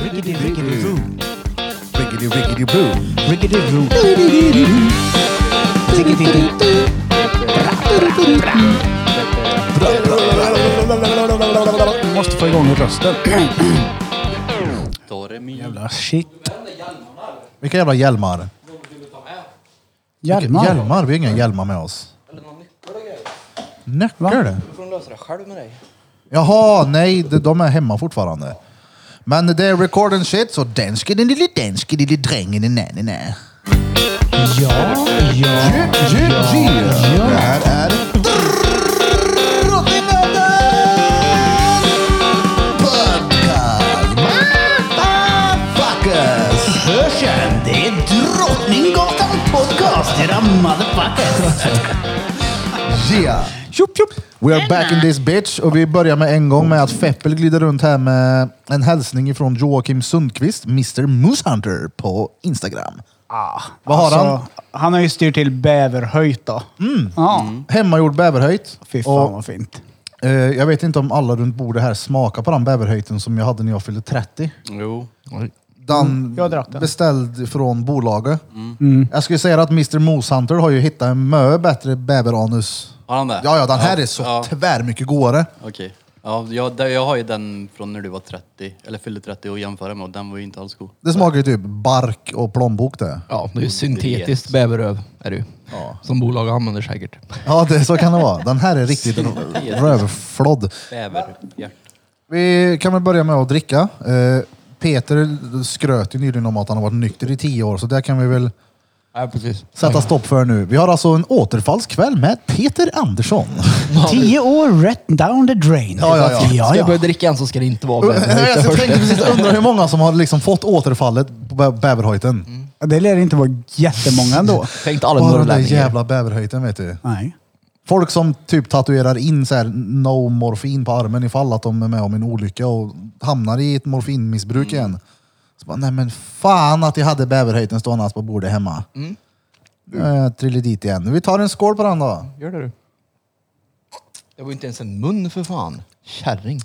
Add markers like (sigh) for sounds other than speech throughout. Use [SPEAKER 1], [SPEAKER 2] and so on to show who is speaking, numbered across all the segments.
[SPEAKER 1] Rickety, rickety, roo.
[SPEAKER 2] Rickety rickety boo.
[SPEAKER 1] Rickety, roo. Rickety, roo.
[SPEAKER 2] Måste få igång rösten.
[SPEAKER 3] Då är det min.
[SPEAKER 2] Jävla shit.
[SPEAKER 4] Vilka jävla hjälmar?
[SPEAKER 2] Hjälmar.
[SPEAKER 4] Hjälmar? Vi har inga hjälmar med oss. Nyckel?
[SPEAKER 3] Du får lösa det själv med dig.
[SPEAKER 4] Jaha, nej, de- de är hemma fortfarande. Men det är record and shit, så den ska den lille den ska den lille drängen i nä nä
[SPEAKER 1] Ja, ja.
[SPEAKER 4] Det här är Drottninggatan Podcast. Motherfuckers! Hör sen, det är Drottninggatan Podcast, era motherfuckers. Yeah.
[SPEAKER 1] Tjopp, tjopp.
[SPEAKER 4] We are back in this bitch och vi börjar med en gång med att Feppel glider runt här med en hälsning ifrån Joakim Sundqvist, Mr Moosehunter på Instagram.
[SPEAKER 2] Ah,
[SPEAKER 4] Vad har han?
[SPEAKER 2] Han har ju styrt till bäverhöjt då. Ja.
[SPEAKER 4] Hemmagjord bäverhöjt.
[SPEAKER 2] Fy fan vad fint.
[SPEAKER 4] Eh, Jag vet inte om alla runt bordet här smakar på den bäverhöjten som jag hade när jag fyllde 30.
[SPEAKER 3] Jo.
[SPEAKER 4] Den
[SPEAKER 2] Mm. jag drack den. Mm.
[SPEAKER 4] beställd från bolaget.
[SPEAKER 3] Mm.
[SPEAKER 4] Jag skulle säga att Mr Moosehunter har ju hittat en mö bättre bäveranus.
[SPEAKER 3] Har han det?
[SPEAKER 4] Ja, ja, den här är så
[SPEAKER 3] Ja,
[SPEAKER 4] tvär mycket godare.
[SPEAKER 3] Okej. Ja, jag, det- jag har ju den från när du var 30, eller fyllde 30 och jämföra med och den var ju inte alls god.
[SPEAKER 4] Det smakar ju typ bark och plånbok det.
[SPEAKER 5] Ja, det är ju syntetiskt bäverröv. Är det ju. Som bolag använder säkert.
[SPEAKER 4] Ja, det, så kan det vara. Den här är
[SPEAKER 3] (laughs)
[SPEAKER 4] riktigt rövflodd.
[SPEAKER 3] Bäverhjärt.
[SPEAKER 4] Vi kan väl börja med att dricka. Eh, Peter skröt ju nyligen om att han har varit nykter i tio år, så det kan vi väl
[SPEAKER 5] Ja, precis.
[SPEAKER 4] sätta stopp för nu. Vi har alltså en återfallskväll med Peter (laughs) Andersson.
[SPEAKER 2] Tio år rätt down the drain.
[SPEAKER 4] Ja, ja, ja.
[SPEAKER 5] Ska jag
[SPEAKER 2] ja,
[SPEAKER 5] börja
[SPEAKER 2] ja.
[SPEAKER 5] dricka en så ska det inte vara (laughs)
[SPEAKER 4] Jag
[SPEAKER 5] bäverhöjt.
[SPEAKER 4] tänkte precis (laughs) undra hur många som har liksom fått återfallet på bä- bäverhöjten.
[SPEAKER 2] Det lär inte vara jättemånga (laughs) ändå.
[SPEAKER 5] Tänk alla
[SPEAKER 4] Bara den där
[SPEAKER 5] norrlänningar.
[SPEAKER 4] jävla bäverhöjten vet du.
[SPEAKER 2] Nej.
[SPEAKER 4] Folk som typ tatuerar in så här no morfin på armen ifall att de är med om en olycka och hamnar i ett morfinmissbruk igen. Så bara, nej men fan att jag hade bäverhöjten stående alltså på bordet hemma. Mm. Jag trillade dit igen. Vi tar en skål på den då.
[SPEAKER 5] Gör det du. Det var ju inte ens en mun för fan. Kärring.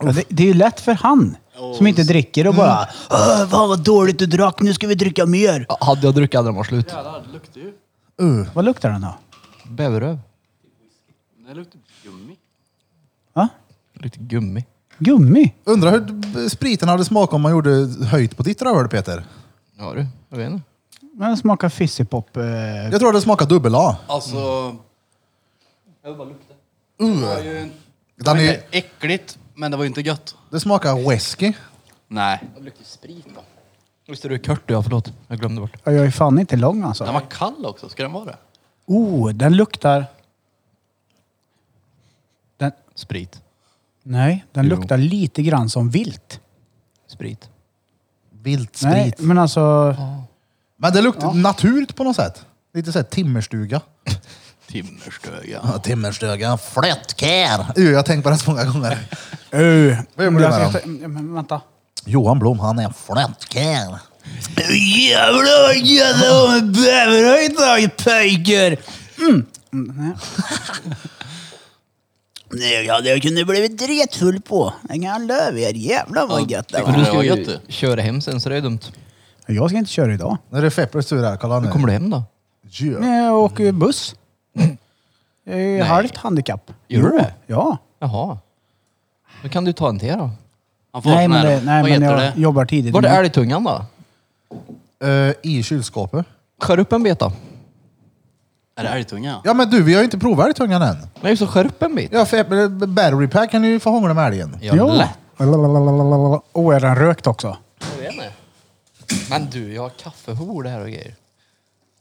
[SPEAKER 2] Ja, det, det är ju lätt för han som inte dricker och bara "Åh, Fan vad dåligt du drack, nu ska vi dricka mer.
[SPEAKER 5] Ja, Hade jag druckit hade den varit slut.
[SPEAKER 3] Jävlar, det luktar ju.
[SPEAKER 4] Uh.
[SPEAKER 2] Vad luktar den då?
[SPEAKER 5] Bäverröv.
[SPEAKER 3] Det luktar gummi.
[SPEAKER 2] Va?
[SPEAKER 5] Lite gummi.
[SPEAKER 2] Gummi?
[SPEAKER 4] Undrar hur b- spriten hade smakat om man gjorde höjt på ditt rövhål Peter.
[SPEAKER 5] Ja du, jag vet inte.
[SPEAKER 2] Den smakar fissipop. Eh,
[SPEAKER 4] Jag tror det smakade dubbel A.
[SPEAKER 3] Alltså... Jag vill bara lukta. Det var ju en- det
[SPEAKER 4] Uh. Den
[SPEAKER 3] var
[SPEAKER 4] är-
[SPEAKER 3] inte äckligt, men det var ju inte gött.
[SPEAKER 4] Det smakar whisky.
[SPEAKER 3] Nej. Det luktar sprit då.
[SPEAKER 5] Visst är du kört du? Ja, förlåt. Jag glömde bort.
[SPEAKER 2] jag är fan inte lång
[SPEAKER 3] Den
[SPEAKER 2] alltså.
[SPEAKER 3] var kall också, ska den vara det?
[SPEAKER 2] Oh, den luktar... Den,
[SPEAKER 5] Sprit.
[SPEAKER 2] nej, den
[SPEAKER 5] Jo.
[SPEAKER 2] luktar lite grann som vilt.
[SPEAKER 5] Sprit.
[SPEAKER 4] Vilt
[SPEAKER 2] Nej,
[SPEAKER 4] sprit.
[SPEAKER 2] men alltså...
[SPEAKER 4] Men det luktar naturligt på något sätt. Lite såhär timmerstuga.
[SPEAKER 3] Timmerstöga.
[SPEAKER 4] Timmerstuga, flättkär. Uh, jag har tänkt på det så många gånger.
[SPEAKER 2] Uh,
[SPEAKER 4] Vad gör man med den?
[SPEAKER 2] Men vänta.
[SPEAKER 4] Johan Blom, han är flättkär.
[SPEAKER 2] Jävlar vad gött det var med bäverhöjd då pojkar! mm. (laughs) Nej, det hade jag kunnat blivit dretfull på. Jag kan lova er, jävlar vad gött det
[SPEAKER 3] Ja,
[SPEAKER 5] Men
[SPEAKER 2] var.
[SPEAKER 5] du
[SPEAKER 3] det
[SPEAKER 5] ska
[SPEAKER 3] var
[SPEAKER 5] ju
[SPEAKER 3] gött, du.
[SPEAKER 5] köra hem sen så det är dumt.
[SPEAKER 2] Jag ska inte köra idag.
[SPEAKER 4] Nu är det Feppers tur här, kolla nu.
[SPEAKER 5] Hur kommer du hem då?
[SPEAKER 4] Yeah.
[SPEAKER 2] Nej, jag åker ju buss. Jag är halvt handikapp.
[SPEAKER 5] Gör du
[SPEAKER 2] Jo,
[SPEAKER 5] det?
[SPEAKER 2] Ja.
[SPEAKER 5] Jaha. Då kan du ta en till då.
[SPEAKER 3] Han får
[SPEAKER 2] Nej
[SPEAKER 3] sån
[SPEAKER 2] men,
[SPEAKER 3] här-
[SPEAKER 2] det, nej,
[SPEAKER 3] vad
[SPEAKER 2] men
[SPEAKER 3] heter
[SPEAKER 2] jag
[SPEAKER 3] det?
[SPEAKER 2] jobbar tidigt.
[SPEAKER 5] Var är
[SPEAKER 2] Men-
[SPEAKER 5] älgtungan då?
[SPEAKER 4] Eh, I kylskåpet.
[SPEAKER 5] Skär upp en bit då.
[SPEAKER 3] Är det älgtunga?
[SPEAKER 4] Ja men du, vi har ju inte provat tungan än.
[SPEAKER 5] Nej just det, skär upp en bit.
[SPEAKER 4] Ja, Feppers, battery pack kan ju få hångla med älgen.
[SPEAKER 5] Ja, lätt.
[SPEAKER 2] Åh, oh, är den rökt också?
[SPEAKER 5] Jag vet inte. Men du, jag har kaffehor där och grejer.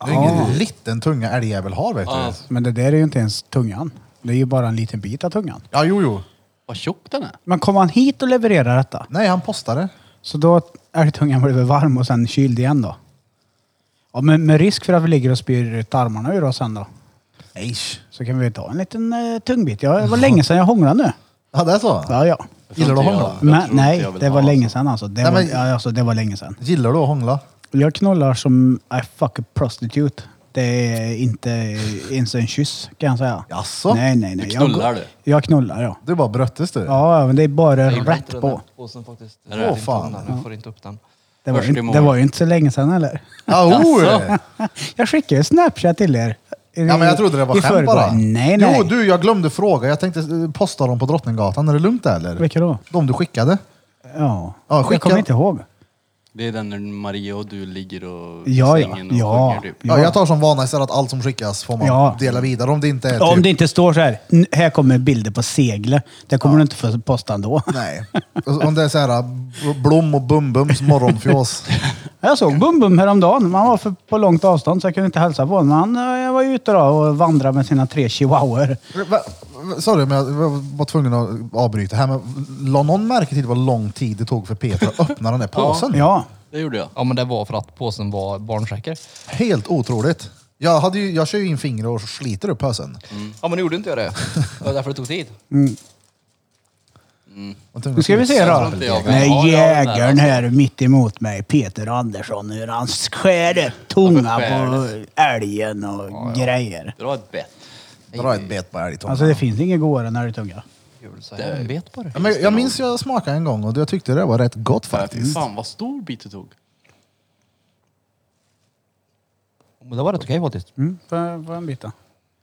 [SPEAKER 4] Det är ingen liten tunga älgjävel har vet
[SPEAKER 3] Ja,
[SPEAKER 4] du.
[SPEAKER 3] alltså,
[SPEAKER 2] Men det där är ju inte ens tungan. Det är ju bara en liten bit av tungan.
[SPEAKER 4] Ja, jo, jo.
[SPEAKER 3] Vad tjock den är.
[SPEAKER 2] Men kom han hit och levererade detta?
[SPEAKER 4] Nej, han postade.
[SPEAKER 2] Så då är tungan blev varm och sen kyld igen då? Ja, men med risk för att vi ligger och spyr ut armarna ur oss sen då.
[SPEAKER 4] Eish.
[SPEAKER 2] Så kan vi ta en liten eh, tungbit. Ja, det var länge sedan jag hånglade nu.
[SPEAKER 4] Ja, det är så?
[SPEAKER 2] Ja, ja.
[SPEAKER 4] Gillar du att hångla?
[SPEAKER 3] Jag
[SPEAKER 2] Men,
[SPEAKER 3] tror inte
[SPEAKER 2] nej,
[SPEAKER 3] jag vill
[SPEAKER 2] det var
[SPEAKER 3] ha,
[SPEAKER 2] länge sedan alltså. Det,
[SPEAKER 4] Nej,
[SPEAKER 2] var,
[SPEAKER 4] men-
[SPEAKER 2] ja, alltså, det var länge sedan.
[SPEAKER 4] Gillar du att hångla?
[SPEAKER 2] Jag knullar som I fuck a prostitute. Det är inte ens en kyss kan jag säga.
[SPEAKER 4] Jaså?
[SPEAKER 2] Nej, nej, nej.
[SPEAKER 3] Du knullar,
[SPEAKER 2] jag,
[SPEAKER 3] du?
[SPEAKER 2] Jag knullar ja.
[SPEAKER 4] Du bara bröttes du.
[SPEAKER 2] Ja, men det är bara
[SPEAKER 5] Jag
[SPEAKER 2] rätt
[SPEAKER 5] inte den
[SPEAKER 2] på.
[SPEAKER 5] här påsen faktiskt.
[SPEAKER 3] Åh,
[SPEAKER 5] Jag får inte
[SPEAKER 4] fan.
[SPEAKER 5] undan, Jag får inte upp den.
[SPEAKER 2] Det var,
[SPEAKER 3] Först
[SPEAKER 2] ju,
[SPEAKER 3] i
[SPEAKER 2] inte-
[SPEAKER 3] mål.
[SPEAKER 2] det var ju inte så länge sedan eller?
[SPEAKER 4] Ah, oh.
[SPEAKER 3] Jaså?
[SPEAKER 2] (laughs) Jag skickade ju Snapchat till er.
[SPEAKER 4] Ja, men jag trodde det var
[SPEAKER 2] I
[SPEAKER 4] skämt
[SPEAKER 2] förrgår.
[SPEAKER 4] bara.
[SPEAKER 2] Nej, nej.
[SPEAKER 4] Jo, du, jag glömde fråga. Jag tänkte eh, posta dem på Drottninggatan. Är det lugnt eller?
[SPEAKER 2] Vilka då?
[SPEAKER 4] De du skickade?
[SPEAKER 2] Ja.
[SPEAKER 4] Ja, skicka-
[SPEAKER 2] jag kommer inte ihåg.
[SPEAKER 3] Det är den när Maria och du ligger och
[SPEAKER 2] Ja, ja.
[SPEAKER 3] sängen och
[SPEAKER 2] Ja.
[SPEAKER 3] sjunger, typ.
[SPEAKER 4] Ja.
[SPEAKER 2] Ja.
[SPEAKER 4] jag tar som vana istället att allt som skickas får man
[SPEAKER 2] Ja.
[SPEAKER 4] dela vidare om det inte är
[SPEAKER 2] Om
[SPEAKER 4] typ...
[SPEAKER 2] det inte står så här, "N- här kommer bilder på seglet. Det kommer du inte få posta ändå. (laughs)
[SPEAKER 4] Nej. Om det är så här b- Blom och Bumbums morgonfjås.
[SPEAKER 2] Jag såg Bum Bum häromdagen. Man var för, på långt avstånd så jag kunde inte hälsa på honom. Men Han eh, var ju ute då och vandrade med sina tre chihuahuor.
[SPEAKER 4] Va- va- Sorry om jag var tvungen att avbryta här, men la någon märke till vad lång tid det tog för Peter att öppna den där påsen?
[SPEAKER 2] Ja.
[SPEAKER 3] Det gjorde jag.
[SPEAKER 5] Ja men det var för att påsen var barnsäker.
[SPEAKER 4] Helt otroligt. Jag, hade ju, jag kör ju in fingrar och sliter upp pösen.
[SPEAKER 5] Ja men nu gjorde inte jag det. Det var därför det tog tid.
[SPEAKER 2] Nu ska vi se då.
[SPEAKER 3] tror inte jag-
[SPEAKER 2] När
[SPEAKER 3] Ja, ja, den där,
[SPEAKER 2] jägaren här mitt emot mig, Peter Andersson, hur han skär upp tunga på älgen och grejer.
[SPEAKER 3] Dra ett bett.
[SPEAKER 4] Dra ett bet på älgtårna.
[SPEAKER 2] Alltså det finns inget godare än älgtunga.
[SPEAKER 5] Jul, så jag vet bara.
[SPEAKER 4] Ja, men jag minns jag smakade en gång och jag tyckte det var rätt gott faktiskt.
[SPEAKER 3] Fan vad stor bit du tog.
[SPEAKER 5] Men det var rätt okej faktiskt.
[SPEAKER 2] Mm, får får jag en bit då?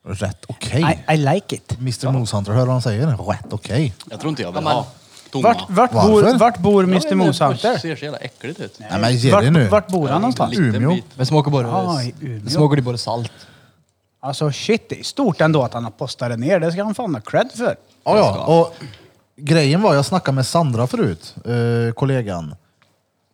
[SPEAKER 4] Rätt okej.
[SPEAKER 2] I, I like it.
[SPEAKER 4] Mr Moshunter, hör vad han säger? Rätt okej.
[SPEAKER 3] Jag tror inte jag vill
[SPEAKER 5] men-
[SPEAKER 3] ha tomma.
[SPEAKER 2] Vart, vart,
[SPEAKER 4] Varför?
[SPEAKER 2] bor, vart bor
[SPEAKER 3] Jag vet
[SPEAKER 2] Mr
[SPEAKER 3] inte, Det
[SPEAKER 2] Moshunter?
[SPEAKER 3] ser så jävla äckligt ut.
[SPEAKER 4] Nej men ge det nu.
[SPEAKER 2] Vart, vart bor han någonstans?
[SPEAKER 4] lite. Umeå.
[SPEAKER 5] Men smakar bara,
[SPEAKER 2] Ja, i Umeå.
[SPEAKER 5] det smakar ju bara salt.
[SPEAKER 2] Alltså shit, det är stort ändå att han har postat det ner. Det ska han fan ha cred för.
[SPEAKER 4] Ja, ja. Och grejen var, jag snackade med Sandra förut, eh, kollegan.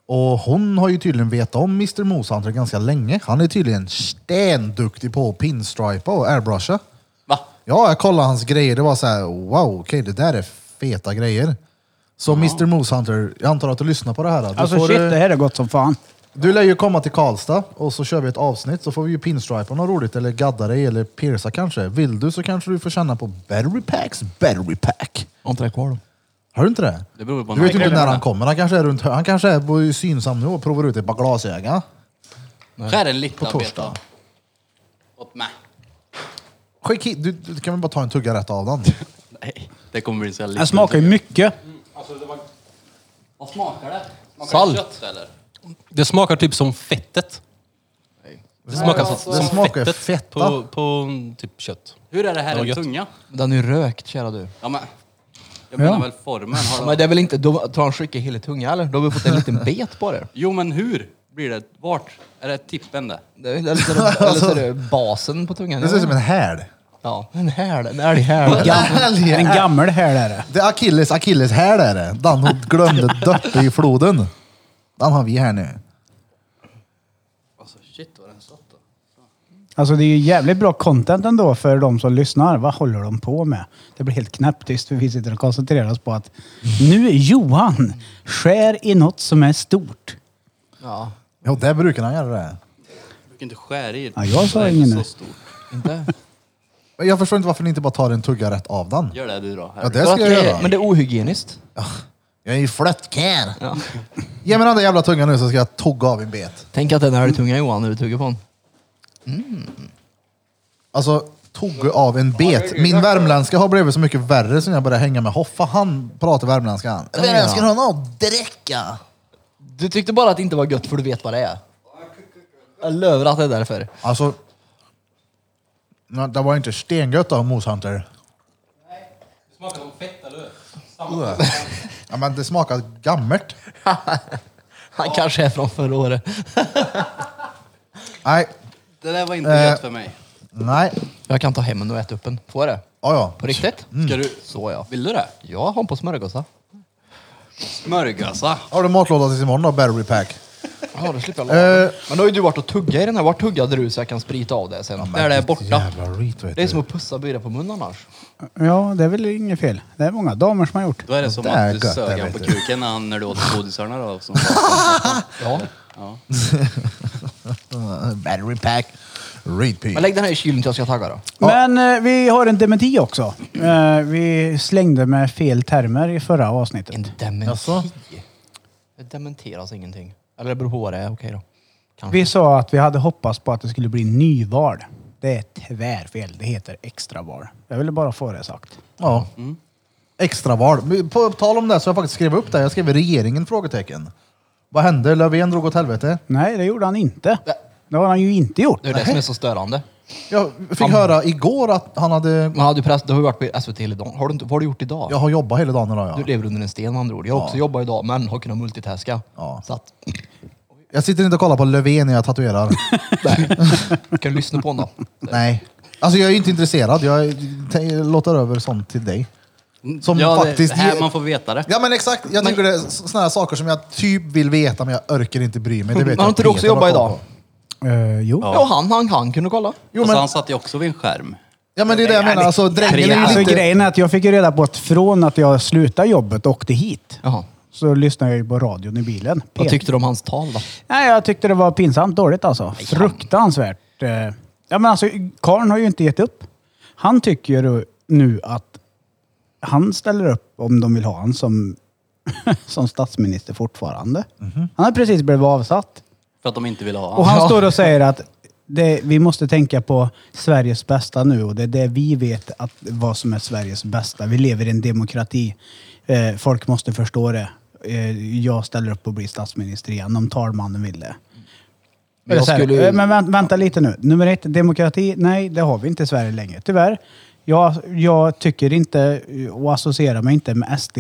[SPEAKER 4] Och hon har ju tydligen vetat om Mr Moshunter ganska länge. Han är tydligen stenduktig på att pinstripa och airbrusha.
[SPEAKER 3] Va?
[SPEAKER 4] Ja, jag kollade hans grejer. Det var så här, wow, okej, det där är feta grejer. Så Mr Moshunter, jag antar att du lyssnar på det här. Du,
[SPEAKER 2] Alltså
[SPEAKER 4] får,
[SPEAKER 2] shit,
[SPEAKER 4] eh,
[SPEAKER 2] det här är gott som fan.
[SPEAKER 4] du lär ju komma till Karlstad och så kör vi ett avsnitt så får vi ju pinstripa något roligt eller gadda dig eller pierca kanske. Vill du så kanske du får känna på battery packs battery pack.
[SPEAKER 5] Har inte det kvar då?
[SPEAKER 4] Har du inte det?
[SPEAKER 3] Det beror på
[SPEAKER 4] Du vet ju
[SPEAKER 3] när-
[SPEAKER 4] inte när han kommer. Han kanske är runt Han kanske är på Synsam nu och provar ut ett par glasögon.
[SPEAKER 3] Skär en liten
[SPEAKER 4] På torsdag.
[SPEAKER 3] beta. Åt mig.
[SPEAKER 4] Skick hit. Du, du kan väl bara ta en tugga rätt av den?
[SPEAKER 3] Nej, det kommer bli så jävla
[SPEAKER 2] Den smakar ju mycket.
[SPEAKER 3] Vad smakar det? Smakar
[SPEAKER 6] Salt.
[SPEAKER 3] det kött eller?
[SPEAKER 6] Det smakar typ som fettet. Det smakar som,
[SPEAKER 4] det
[SPEAKER 6] som
[SPEAKER 4] smakar
[SPEAKER 6] fettet
[SPEAKER 4] fetta.
[SPEAKER 6] på, på mm, typ kött.
[SPEAKER 3] Hur är det här
[SPEAKER 6] Det var
[SPEAKER 3] i
[SPEAKER 6] gött.
[SPEAKER 3] tunga?
[SPEAKER 5] Men Den är ju rökt kära du.
[SPEAKER 3] Ja, men, jag menar väl formen. Har
[SPEAKER 5] Men
[SPEAKER 3] de...
[SPEAKER 5] det är väl inte, då tar han skickar hela tunga eller? Då har vi fått en liten bet på det.
[SPEAKER 3] Jo men hur blir det? Vart? Är det tippen där?
[SPEAKER 5] Det är- Eller så är det, eller så är det basen på tungan.
[SPEAKER 4] Alltså. Det ser ut som en häl.
[SPEAKER 5] Ja, en häl. En älghäl.
[SPEAKER 2] En
[SPEAKER 4] Härlig-
[SPEAKER 2] gammal här är det.
[SPEAKER 4] Det är Achilles Achilles här är det. Den hon glömde döpa i floden. Den har vi här nu.
[SPEAKER 3] Alltså shit vad den satt då.
[SPEAKER 2] Alltså det är ju jävligt bra content ändå för de som lyssnar. Vad håller de på med? Det blir helt knäpptyst för vi sitter och koncentrerar oss på att nu är Johan skär i något som är stort.
[SPEAKER 5] Ja,
[SPEAKER 4] Jo, där brukar han göra det.
[SPEAKER 3] Du brukar inte skära i det.
[SPEAKER 2] Ja, jag sa
[SPEAKER 3] Det är
[SPEAKER 2] ingen
[SPEAKER 3] inte
[SPEAKER 2] nu.
[SPEAKER 3] så stort.
[SPEAKER 5] inte?
[SPEAKER 4] Men Jag förstår inte varför ni inte bara tar en tugga rätt av den.
[SPEAKER 3] Gör det du då. Här.
[SPEAKER 4] Ja, det ska jag göra.
[SPEAKER 5] Men det är ohygieniskt.
[SPEAKER 4] Jag är ju flöttkär. Ge mig den där jävla tungan nu så ska jag tugga av en bet.
[SPEAKER 5] Tänk att den är tunga Johan när du tuggar på den.
[SPEAKER 4] Alltså, tog av en bet. Min värmländska har blivit så mycket värre sen jag började hänga med Hoffa. Han pratar värmländska han.
[SPEAKER 5] Ja, ja. Värmländska
[SPEAKER 4] han har dräcka.
[SPEAKER 5] Du tyckte bara att det inte var gött för du vet vad det är. Jag lövar att det är därför.
[SPEAKER 4] Alltså, nej, det var inte stengött av Moshunter.
[SPEAKER 3] Det smakar som fett eller hur?
[SPEAKER 4] Ja, men det smakar gammalt.
[SPEAKER 5] Han kanske är från förra året.
[SPEAKER 4] Nej,
[SPEAKER 3] Det där var inte
[SPEAKER 4] Eh.
[SPEAKER 3] gött för mig.
[SPEAKER 4] nej.
[SPEAKER 5] Jag kan ta hem den och äta upp den. Får jag det?
[SPEAKER 4] Ja, ja.
[SPEAKER 5] På riktigt?
[SPEAKER 4] Mm.
[SPEAKER 3] Ska du...
[SPEAKER 5] Så ja.
[SPEAKER 3] Vill du det?
[SPEAKER 5] Jag har en på smörgåsar.
[SPEAKER 3] Smörgåsa.
[SPEAKER 4] Har du matlåda tills imorgon då, battery pack?
[SPEAKER 5] Ja, då slipper jag laga den. Eh. Men då har ju du varit och tuggat i den här. Vart tuggade du så jag kan sprita av det sen?
[SPEAKER 3] Där det är borta.
[SPEAKER 4] Jävla rit vet
[SPEAKER 5] Det är
[SPEAKER 4] du.
[SPEAKER 5] som att pussa byrå på munnen annars.
[SPEAKER 2] Ja, det är väl inget fel. Det är många damer som har gjort.
[SPEAKER 3] Då är det som
[SPEAKER 4] Det är
[SPEAKER 3] att du
[SPEAKER 4] gött, det
[SPEAKER 3] sög han
[SPEAKER 4] vet
[SPEAKER 3] på
[SPEAKER 4] du.
[SPEAKER 3] kuken när, han- när
[SPEAKER 4] (laughs)
[SPEAKER 3] du åt godisarna då. Som var-
[SPEAKER 5] Ja.
[SPEAKER 3] ja.
[SPEAKER 4] Mm, Battery pack. Read
[SPEAKER 5] Men lägg den här i kylen till jag ska tagga då.
[SPEAKER 2] Men eh, vi har en dementi också. Eh, vi slängde med fel termer i förra avsnittet.
[SPEAKER 5] En dementi. Det dementeras ingenting. Eller det beror på vad det är. Okej då. Kanske.
[SPEAKER 2] Vi sa att vi hade hoppats på att det skulle bli nyval. Det är tvärfel. Det heter extraval. Jag ville bara få det sagt.
[SPEAKER 4] Ja. Extraval. Men På tal om det så har jag faktiskt skrivit upp det. Jag skrev regeringen? frågetecken. Vad hände? Löfven drog åt helvete.
[SPEAKER 2] Nej, det gjorde han inte.
[SPEAKER 5] Nej.
[SPEAKER 2] Det har han ju inte gjort.
[SPEAKER 5] Det är det som är så störande.
[SPEAKER 4] Jag fick höra igår att han hade...
[SPEAKER 5] Man hade ju press, det har ju varit på SVT hela dagen. Har du inte, vad har du gjort idag?
[SPEAKER 4] Jag har jobbat hela dagen idag
[SPEAKER 5] Du
[SPEAKER 4] ja.
[SPEAKER 5] lever under en sten med andra ord. Jag har också jobbat idag men har kunnat multitaska.
[SPEAKER 4] Ja.
[SPEAKER 5] Så att,
[SPEAKER 4] Jag sitter inte och kollar på Löfven när jag
[SPEAKER 3] (laughs)
[SPEAKER 4] tatuerar.
[SPEAKER 5] nej. kan du lyssna på honom då?
[SPEAKER 4] Nej. Alltså jag är ju inte intresserad. Jag te- låter över sånt till dig. Som
[SPEAKER 3] ja,
[SPEAKER 4] faktiskt
[SPEAKER 3] Det, här,
[SPEAKER 4] ger-
[SPEAKER 3] man får veta det.
[SPEAKER 4] Ja men exakt. Jag tycker det är sådana här saker som jag typ vill veta men jag orkar inte bry mig. Det vet
[SPEAKER 5] Men har
[SPEAKER 4] jag
[SPEAKER 5] inte du också
[SPEAKER 4] Peter har
[SPEAKER 5] jobbat
[SPEAKER 4] koll
[SPEAKER 5] idag?
[SPEAKER 4] på.
[SPEAKER 2] Eh, jo.
[SPEAKER 5] Ja, han, han, han kunde kolla.
[SPEAKER 4] Jo,
[SPEAKER 3] Alltså,
[SPEAKER 4] men,
[SPEAKER 3] han satt ju också vid en skärm.
[SPEAKER 4] ja men det är det jag menar. Alltså drängen är
[SPEAKER 2] Alltså,
[SPEAKER 4] ju lite...
[SPEAKER 2] Grejen är att jag fick ju reda på att från att jag slutade jobbet och åkte hit
[SPEAKER 5] Jaha.
[SPEAKER 2] så lyssnade jag ju på radion i bilen.
[SPEAKER 5] Vad
[SPEAKER 2] Pet-
[SPEAKER 5] tyckte du om hans tal då?
[SPEAKER 2] Nej, jag tyckte det var pinsamt dåligt alltså. Fruktansvärt. eh. Ja, men alltså, Karn har ju inte gett upp. Han tycker ju nu att han ställer upp om de vill ha han som, (laughs) som statsminister fortfarande. Han har precis blivit avsatt.
[SPEAKER 3] För att de inte ville ha
[SPEAKER 2] Och
[SPEAKER 3] honom.
[SPEAKER 2] han står och säger att det, vi måste tänka på Sveriges bästa nu och det är det vi vet att, vad som är Sveriges bästa. Vi lever i en demokrati. Eh, folk måste förstå det. Eh, jag ställer upp och blir statsminister igen om talmannen vill det. Men,
[SPEAKER 5] Men jag skulle-
[SPEAKER 2] eh, men vänta, vänta lite nu. Nummer ett, demokrati. Nej, det har vi inte i Sverige längre, tyvärr. Jag, jag tycker inte och associerar mig inte med SD.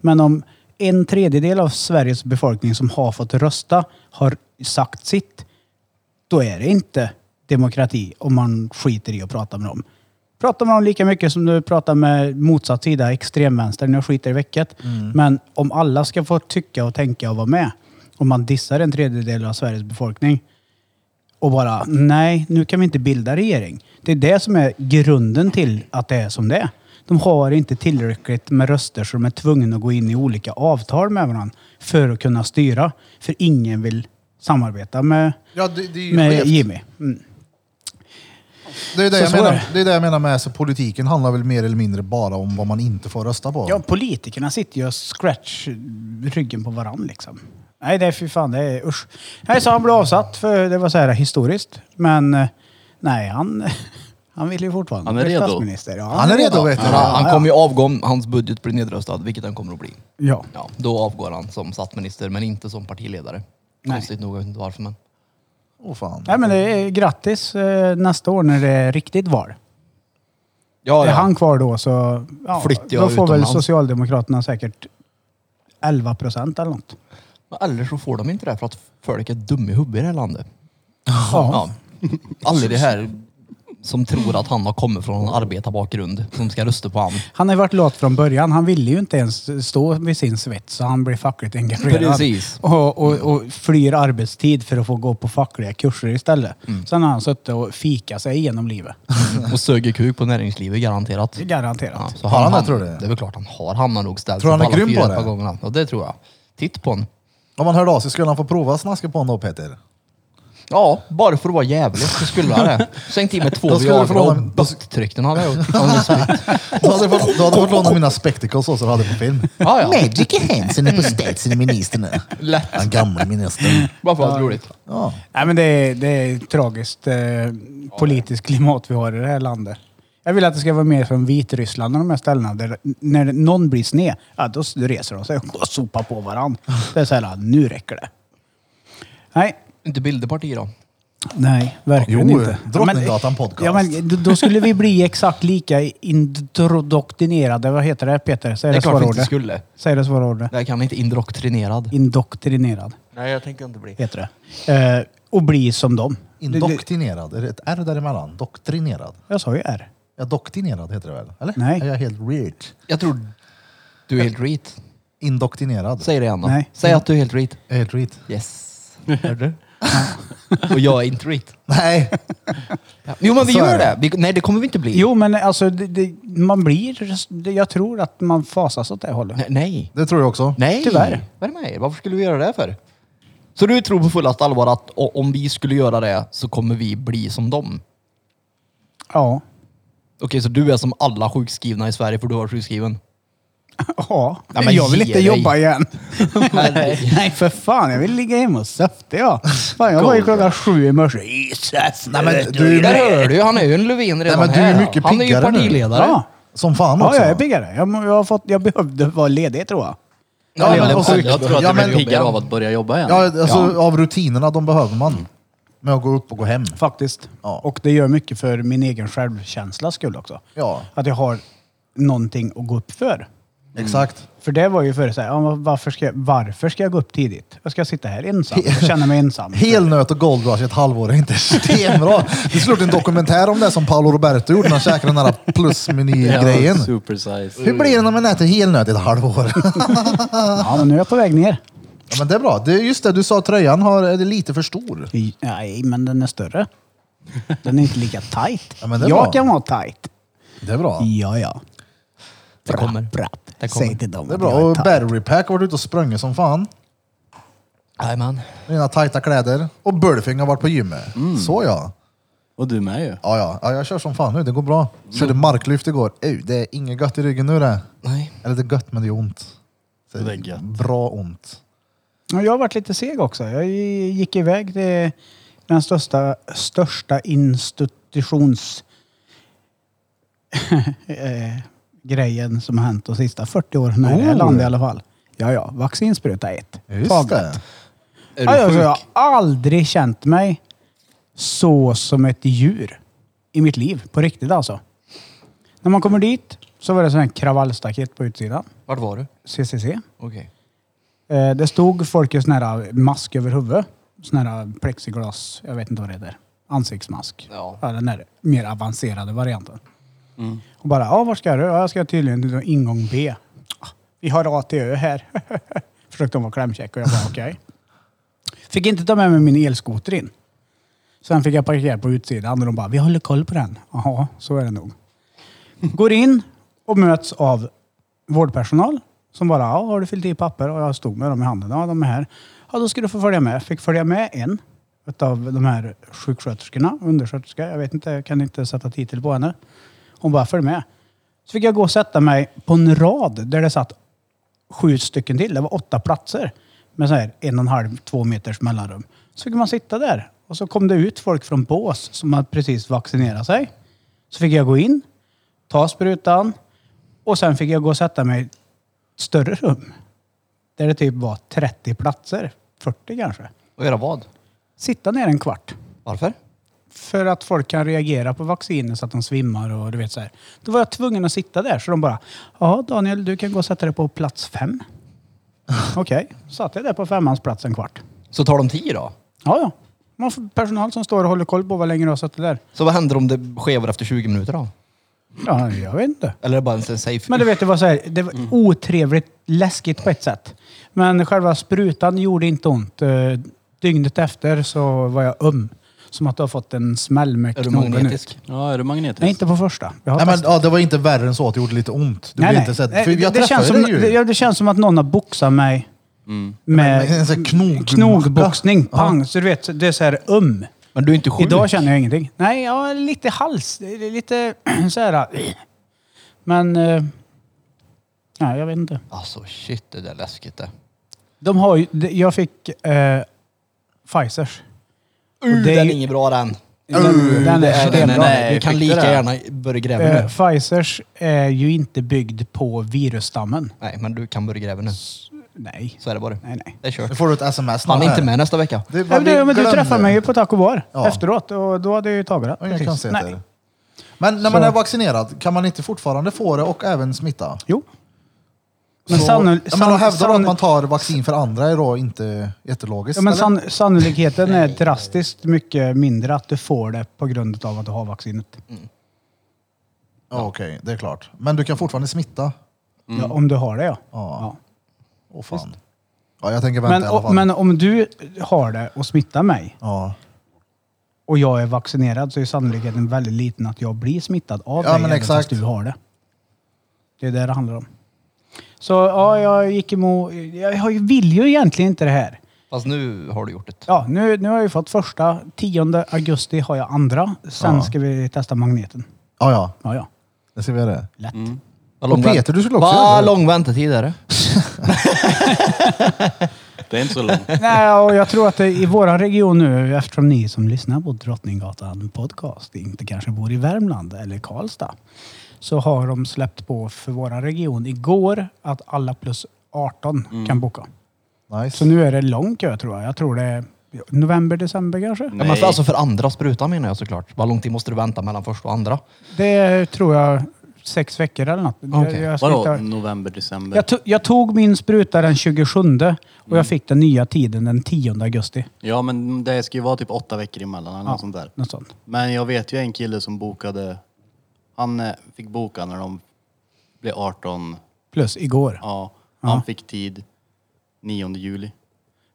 [SPEAKER 2] Men om en tredjedel av Sveriges befolkning som har fått rösta har sagt sitt, då är det inte demokrati om man skiter i att prata med dem. Prata med dem lika mycket som du pratar med motsatt sida, extremvänstern. Jag skiter i vilket.
[SPEAKER 5] Mm.
[SPEAKER 2] Men om alla ska få tycka och tänka och vara med, om man dissar en tredjedel av Sveriges befolkning och bara nej, nu kan vi inte bilda regering. Det är det som är grunden till att det är som det är. De har inte tillräckligt med röster så de är tvungna att gå in i olika avtal med varandra för att kunna styra. För ingen vill samarbeta med
[SPEAKER 4] Ja, det, det är ju
[SPEAKER 2] med
[SPEAKER 4] skevt.
[SPEAKER 2] Jimmy. Mm.
[SPEAKER 4] Det är det,
[SPEAKER 2] Så
[SPEAKER 4] jag
[SPEAKER 2] så är
[SPEAKER 4] menar,
[SPEAKER 2] det.
[SPEAKER 4] det är det jag menar med så politiken handlar väl mer eller mindre bara om vad man inte får rösta på.
[SPEAKER 2] Ja, politikerna sitter ju och scratch ryggen på varandra liksom. Nej, det är fy fan, det är usch. Nej, så han blev avsatt för det var så här historiskt. Men eh, nej, han, (laughs) han vill ju fortfarande
[SPEAKER 3] Han är
[SPEAKER 2] bli
[SPEAKER 3] redo.
[SPEAKER 2] statsminister. Ja,
[SPEAKER 4] Han är redo vet du.
[SPEAKER 5] Han, han kommer ju avgå om hans budget blir nedröstad, vilket han kommer att bli.
[SPEAKER 2] Ja.
[SPEAKER 5] Ja, då avgår han som statsminister, men inte som partiledare.
[SPEAKER 2] Nej.
[SPEAKER 5] Konstigt nog, jag vet inte varför men.
[SPEAKER 4] Åh fan.
[SPEAKER 2] Nej, men det är grattis eh, nästa år när det är riktigt val.
[SPEAKER 5] Ja,
[SPEAKER 2] Är han kvar då så ja,
[SPEAKER 5] Flyttar jag
[SPEAKER 2] då får väl
[SPEAKER 5] utomlands.
[SPEAKER 2] Socialdemokraterna säkert 11 procent eller något.
[SPEAKER 5] Men Eller så får de inte det för att folk är dumma i huvudet i det här landet.
[SPEAKER 2] Ja.
[SPEAKER 5] Ja. Alla det här som tror att han har kommit från en arbetarbakgrund som ska rösta på han.
[SPEAKER 2] Han har ju varit lat från början. Han ville ju inte ens stå vid sin svets så han blir fackligt engagerad.
[SPEAKER 5] Precis.
[SPEAKER 2] Och, och, och flyr arbetstid för att få gå på fackliga kurser istället.
[SPEAKER 5] Mm.
[SPEAKER 2] Sen har han suttit och fika sig igenom livet.
[SPEAKER 5] Och söger kuk på näringslivet garanterat. (laughs)
[SPEAKER 2] Det är Garanterat.
[SPEAKER 5] Ja, så
[SPEAKER 4] Har han det, tror du?
[SPEAKER 5] Det är väl klart han har. Han har nog ställt
[SPEAKER 4] Tror
[SPEAKER 5] sig
[SPEAKER 4] han är
[SPEAKER 5] alla
[SPEAKER 4] grym
[SPEAKER 5] fyra
[SPEAKER 4] på
[SPEAKER 5] ett
[SPEAKER 4] det?
[SPEAKER 5] par gånger. Ja, det tror jag. Titt på honom.
[SPEAKER 4] Om man hörde av sig skulle han få prova att snaska på honom då Peter.
[SPEAKER 5] Ja, bara för att vara jävlig så skulle han det. Skänkt i mig
[SPEAKER 4] (laughs)
[SPEAKER 5] två
[SPEAKER 4] Då skulle du få
[SPEAKER 5] Viagra och
[SPEAKER 4] låna-
[SPEAKER 5] böktrykten hade jag gjort. Han hade spritt.
[SPEAKER 4] Du hade fått, du hade fått låna mina spectacles så du hade på film.
[SPEAKER 5] Ja, ja.
[SPEAKER 4] Magic Hansen är på statsministern.
[SPEAKER 5] Lätt.
[SPEAKER 4] Han gamla ministern.
[SPEAKER 5] Bara för att det är roligt.
[SPEAKER 4] Ja.
[SPEAKER 2] Nej, men det, är, det är ett tragiskt eh, politiskt klimat vi har i det här landet. Jag vill att det ska vara mer som Vitryssland och de här ställena. Där, när någon blir sned, ja, då s- reser de sig och sopar på varandra. Det är så här, "Ah, nu räcker det. Nej,
[SPEAKER 5] Inte bilderparti då.
[SPEAKER 2] nej, verkligen
[SPEAKER 4] Jo,
[SPEAKER 2] inte.
[SPEAKER 4] Drottninggatan podcast.
[SPEAKER 2] Ja, men då- då skulle vi bli exakt lika indoktrinerade. Vad heter det Peter? Säg
[SPEAKER 5] Det
[SPEAKER 2] det,
[SPEAKER 5] är klart vi inte
[SPEAKER 2] svarordet.
[SPEAKER 5] skulle.
[SPEAKER 2] Säg det svarordet.
[SPEAKER 5] Det här kan han inte indoktrinerad.
[SPEAKER 2] Indoktrinerad
[SPEAKER 5] Nej, jag tänker inte bli.
[SPEAKER 2] heter det. Eh, och bli som dem. Det- det-
[SPEAKER 4] Indoktrinerad. Är det ett R däremellan? Doktrinerad.
[SPEAKER 2] Jag sa ju R.
[SPEAKER 4] Ja, doktrinerad heter det väl? Eller?
[SPEAKER 2] Nej.
[SPEAKER 4] Är jag helt weird?
[SPEAKER 5] Jag tror du är helt reet.
[SPEAKER 4] Indoktrinerad.
[SPEAKER 5] Säg det igen då.
[SPEAKER 2] Nej.
[SPEAKER 5] Säg att du är helt reet.
[SPEAKER 4] Jag är helt read.
[SPEAKER 5] Yes. Hörde du? (laughs) Och jag är inte reet.
[SPEAKER 4] (laughs) Nej.
[SPEAKER 5] Jo men vi
[SPEAKER 4] Så är
[SPEAKER 5] gör
[SPEAKER 4] det.
[SPEAKER 5] det. Vi, nej det kommer vi inte bli.
[SPEAKER 2] Jo, men alltså, det, det, man blir... Det, jag tror att man fasas åt det hållet.
[SPEAKER 5] Ne- Nej.
[SPEAKER 4] Det tror jag också.
[SPEAKER 5] Nej.
[SPEAKER 2] Tyvärr.
[SPEAKER 5] Vad är det med er? Varför skulle vi göra det för? Så du tror på fullaste allvar att o- om vi skulle göra det så kommer vi bli som dem?
[SPEAKER 2] Ja.
[SPEAKER 4] (laughs)
[SPEAKER 5] Okej, så du är som alla sjukskrivna i Sverige för du var sjukskriven?
[SPEAKER 2] Ja,
[SPEAKER 5] Ja, men
[SPEAKER 2] jag vill
[SPEAKER 5] ge
[SPEAKER 2] inte
[SPEAKER 5] dig.
[SPEAKER 2] jobba igen.
[SPEAKER 5] Nej.
[SPEAKER 2] (laughs) Nej, för fan. Jag vill ligga hemma och söfta jag. Fan, jag var ju klockan sju i morse. I söfte.
[SPEAKER 4] Nej, men du-
[SPEAKER 5] Där hör du ju, han är ju en Löfven redan
[SPEAKER 4] Nej, men du är
[SPEAKER 5] här.
[SPEAKER 4] mycket
[SPEAKER 5] han är ju
[SPEAKER 4] piggare nu.
[SPEAKER 5] partiledare.
[SPEAKER 2] Ja,
[SPEAKER 4] Som fan
[SPEAKER 2] ja
[SPEAKER 4] också.
[SPEAKER 2] jag är piggare. Jag, må- jag, har fått, jag behövde vara ledig tror jag.
[SPEAKER 4] Ja, men,
[SPEAKER 3] jag,
[SPEAKER 4] och så-
[SPEAKER 3] jag tror att
[SPEAKER 4] ja,
[SPEAKER 3] jag
[SPEAKER 4] men,
[SPEAKER 3] blir piggare av att börja jobba igen.
[SPEAKER 4] ja, alltså, Av rutinerna, de behöver man. Med att gå upp och gå hem.
[SPEAKER 2] Faktiskt.
[SPEAKER 4] Ja.
[SPEAKER 2] Och det gör mycket för min egen självkänsla skull också.
[SPEAKER 4] Ja,
[SPEAKER 2] Att jag har någonting att gå upp för.
[SPEAKER 4] exakt.
[SPEAKER 2] För det var ju förr såhär, ja, men varför, ska jag, varför ska jag gå upp tidigt? Jag ska sitta här ensam och känna mig
[SPEAKER 4] (laughs)
[SPEAKER 2] ensam.
[SPEAKER 4] Helnöt och Gold Rush i ett halvår är inte (laughs) stenbra. Det skulle gjort en dokumentär om det som Paolo Roberto gjorde när han käkade den där plusmeny-grejen.
[SPEAKER 3] Super size.
[SPEAKER 4] Hur blir det när man äter helnöt i ett halvår? (laughs)
[SPEAKER 2] Ja, men nu är jag på väg ner.
[SPEAKER 4] Ja, men det är bra. Det är just det, du sa att tröjan har, är lite för stor.
[SPEAKER 2] I- Nej, men den är större. Den är inte lika tight.
[SPEAKER 4] Ja, men det är
[SPEAKER 2] jag
[SPEAKER 4] bra.
[SPEAKER 2] kan vara tight.
[SPEAKER 4] Det är bra.
[SPEAKER 2] Ja, ja.
[SPEAKER 5] Det kommer.
[SPEAKER 2] Bratt.
[SPEAKER 5] Det kommer.
[SPEAKER 2] Säg till dem
[SPEAKER 4] Det är
[SPEAKER 2] att
[SPEAKER 4] bra.
[SPEAKER 2] jag
[SPEAKER 4] Och
[SPEAKER 2] tight.
[SPEAKER 4] Battery Pack har varit ute och sprungit som fan.
[SPEAKER 5] Jajamän.
[SPEAKER 4] Dina tajta kläder. Och Bulfing har varit på gymmet. Så ja.
[SPEAKER 3] Och du med ju.
[SPEAKER 4] Ja, ja. ja, jag kör som fan nu. Det går bra. Körde marklyft igår. Ej, det är inget gött i ryggen nu det.
[SPEAKER 5] Nej.
[SPEAKER 4] Eller det är gött, men det är ont. Så
[SPEAKER 3] Det är gött.
[SPEAKER 4] Bra ont.
[SPEAKER 2] Ja, Jag har varit lite seg också. Jag gick iväg till den största, största institutions... (laughs) eh, grejen som har hänt de sista 40 åren här i det här
[SPEAKER 4] Oh.
[SPEAKER 2] landet i alla fall. Ja, ja. Vaccinspruta ett.
[SPEAKER 4] Just
[SPEAKER 2] Taget.
[SPEAKER 4] det.
[SPEAKER 5] Är
[SPEAKER 2] Ja, alltså,
[SPEAKER 5] du
[SPEAKER 2] jag
[SPEAKER 5] sjuk?
[SPEAKER 2] har aldrig känt mig så som ett djur i mitt liv. På riktigt alltså. När man kommer dit så var det sån här kravallstaket på utsidan.
[SPEAKER 5] Vart var du?
[SPEAKER 2] CCC.
[SPEAKER 5] Okej.
[SPEAKER 2] Eh, det stod folk i sån här eh, mask över huvudet. Sån här eh, plexiglas, jag vet inte vad det heter. Ansiktsmask.
[SPEAKER 5] Ja.
[SPEAKER 2] Den där mer avancerade varianten. Och bara, ja var ska du? Ja, jag ska tydligen till ingång B. "Ah, Vi har ATÖ här. (laughs) Försökte de vara klämkäck och jag bara okej. Fick inte ta med mig min elskoter in. Sen fick jag parkera på utsidan och de bara, vi håller koll på den. Jaha, så är det nog. Går in och möts av vårdpersonal som bara, ja, har du fyllt i papper? Och jag stod med dem i handen. Ja, de är här. Ja, då ska du få följa med. Fick följa med en av de här sjuksköterskorna, undersköterska, jag vet inte, jag kan inte sätta titel på henne. Hon bara, följ med. Så fick jag gå och sätta mig på en rad där det satt sju stycken till. Det var åtta platser med så här en och en halv, två meters mellanrum. Så fick man sitta där. Och så kom det ut folk från bås som hade precis vaccinerat sig. Så fick jag gå in, ta sprutan och sen fick jag gå och sätta mig i ett större rum. Där det typ var 30 platser, 40 kanske.
[SPEAKER 5] Och göra vad?
[SPEAKER 2] Sitta ner en kvart.
[SPEAKER 5] Varför?
[SPEAKER 2] För att folk kan reagera på vacciner så att de svimmar och du vet så här. Då var jag tvungen att sitta där så de bara, ja Daniel du kan gå och sätta dig på plats
[SPEAKER 5] (laughs)
[SPEAKER 2] fem. Okej, satt jag där på femmans plats en kvart.
[SPEAKER 5] Så tar de tio då?
[SPEAKER 2] Ja, ja. Man får personal som står och håller koll på vad länge du har suttit där.
[SPEAKER 5] Så vad händer om det skevar efter 20 minuter då?
[SPEAKER 2] Ja, jag vet inte.
[SPEAKER 5] Eller är det bara en sån safe...
[SPEAKER 2] Men du vet, det var så här, det var
[SPEAKER 5] Mm.
[SPEAKER 2] otrevligt läskigt på ett sätt. Men själva sprutan gjorde inte ont. Eh, Dygnet efter så var jag öm. Som att du har fått en smäll med
[SPEAKER 5] Är du
[SPEAKER 2] knogen ut.
[SPEAKER 5] magnetisk?
[SPEAKER 3] Ja, är du magnetisk?
[SPEAKER 2] Nej, inte på första. Jag har
[SPEAKER 4] Nej, men,
[SPEAKER 2] testat.
[SPEAKER 4] ja, det var inte värre än så att det gjorde lite ont. Du nej, inte sett. För
[SPEAKER 2] Eh, det,
[SPEAKER 4] jag
[SPEAKER 2] det, känns
[SPEAKER 4] träffade
[SPEAKER 2] som,
[SPEAKER 4] dig ju.
[SPEAKER 2] det, ja, det känns som att någon har boxat mig
[SPEAKER 4] Men en
[SPEAKER 2] med
[SPEAKER 4] sån här knog-
[SPEAKER 2] knogboxning.
[SPEAKER 4] Ja.
[SPEAKER 2] Pang! Så du vet, det är så här öm.
[SPEAKER 5] Men du är inte sjuk?
[SPEAKER 2] Idag känner jag ingenting. Nej, ja, lite hals. Det är Lite (clears throat) så här... äh. Men... eh, Nej, jag vet inte.
[SPEAKER 5] Alltså shit, det där är läskigt det.
[SPEAKER 2] De har ju, de- jag fick eh, Pfizers. det
[SPEAKER 5] Uh,
[SPEAKER 2] är
[SPEAKER 5] den
[SPEAKER 2] ju-
[SPEAKER 5] är ingen bra den.
[SPEAKER 2] Den, den är
[SPEAKER 5] Nej, nej, nej,
[SPEAKER 2] stenbra.
[SPEAKER 5] nej. Du
[SPEAKER 3] Fick
[SPEAKER 5] kan
[SPEAKER 3] du
[SPEAKER 5] lika
[SPEAKER 3] det?
[SPEAKER 5] gärna börja gräva
[SPEAKER 2] Eh,
[SPEAKER 5] nu.
[SPEAKER 2] Pfizers är ju inte byggd på virusstammen.
[SPEAKER 5] Nej, men du kan börja gräva nu.
[SPEAKER 2] Nej,
[SPEAKER 5] Så är det bara.
[SPEAKER 2] nej, nej.
[SPEAKER 5] Det är kört.
[SPEAKER 4] Nu får du ett sms
[SPEAKER 5] Han är
[SPEAKER 4] snart
[SPEAKER 5] inte
[SPEAKER 4] här.
[SPEAKER 5] med nästa vecka.
[SPEAKER 4] Det var
[SPEAKER 2] Ja, men du,
[SPEAKER 4] vi
[SPEAKER 2] men du
[SPEAKER 4] glömde.
[SPEAKER 2] träffade mig ju på Taco Bar
[SPEAKER 4] Ja.
[SPEAKER 2] efteråt och då hade jag ju tagit det.
[SPEAKER 4] Ja, inga
[SPEAKER 2] Precis.
[SPEAKER 4] konstigheter.
[SPEAKER 2] Nej.
[SPEAKER 4] Men när man
[SPEAKER 2] Så-
[SPEAKER 4] är vaccinerad, kan man inte fortfarande få det och även smitta?
[SPEAKER 2] Jo. Men,
[SPEAKER 4] Så-
[SPEAKER 2] sanno-
[SPEAKER 4] ja, men då
[SPEAKER 2] sann-
[SPEAKER 4] hävdar du att
[SPEAKER 2] sann-
[SPEAKER 4] man tar vaccin för andra är då inte jättelogiskt?
[SPEAKER 2] ja, men
[SPEAKER 4] eller?
[SPEAKER 2] sann- sannolikheten är drastiskt mycket mindre att du får det på grund av att du har vaccinet.
[SPEAKER 4] ja, Okej, det är klart. Men du kan fortfarande smitta?
[SPEAKER 2] Ja, om du har det ja.
[SPEAKER 4] Mm. Ja. Åh fan.
[SPEAKER 2] Visst.
[SPEAKER 4] Ja, jag tänker vänta
[SPEAKER 2] Men,
[SPEAKER 4] i alla
[SPEAKER 2] o-
[SPEAKER 4] fall.
[SPEAKER 2] men om du har det och smittar mig
[SPEAKER 4] ja.
[SPEAKER 2] och jag är vaccinerad så är sannolikheten väldigt liten att jag blir smittad av
[SPEAKER 4] Ja,
[SPEAKER 2] dig
[SPEAKER 4] men
[SPEAKER 2] även fast
[SPEAKER 4] exakt.
[SPEAKER 2] du har det. Det är det det handlar om. Så ja, jag gick emot... Jag vill ju egentligen inte det här.
[SPEAKER 5] Fast nu har du gjort det.
[SPEAKER 2] Ja, nu, nu har jag ju fått första. 10 augusti har jag andra. Sen
[SPEAKER 4] Ja.
[SPEAKER 2] ska vi testa magneten.
[SPEAKER 4] ja, ja.
[SPEAKER 2] Ja, (laughs) ja.
[SPEAKER 4] Det ser vi göra.
[SPEAKER 2] Lätt.
[SPEAKER 5] Vad
[SPEAKER 4] Och
[SPEAKER 5] lång vänt-
[SPEAKER 4] Peter, du skulle också
[SPEAKER 5] Vad
[SPEAKER 4] göra det.
[SPEAKER 5] lång väntetid är det?
[SPEAKER 3] Det är inte
[SPEAKER 4] (laughs)
[SPEAKER 3] så långt.
[SPEAKER 2] Nej, och jag tror att det, i vår region nu, eftersom ni som lyssnar på Drottninggatan podcast inte kanske bor i Värmland eller Karlstad, så har de släppt på för vår region igår att alla plus 18 kan boka. Så
[SPEAKER 4] Nice.
[SPEAKER 2] nu är det lång kö tror jag. Jag tror det är november, december kanske.
[SPEAKER 5] Ja, men för, alltså för andra sprutan menar jag såklart. Vad lång tid måste du vänta mellan första och andra?
[SPEAKER 2] Det tror jag sex veckor eller något. Jag-
[SPEAKER 5] Okej.
[SPEAKER 2] Jag,
[SPEAKER 3] Vadå?
[SPEAKER 2] slutar-
[SPEAKER 3] November, december?
[SPEAKER 2] jag, to- jag tog min spruta den 27 och jag fick den nya tiden den 10 augusti.
[SPEAKER 3] Ja men det ska ju vara typ åtta veckor emellan eller något sånt där.
[SPEAKER 2] Något sånt.
[SPEAKER 3] Men jag vet ju en kille som bokade, han eh, fick boka när de blev 18,
[SPEAKER 2] Plus igår.
[SPEAKER 3] ja. Han fick tid 9 juli.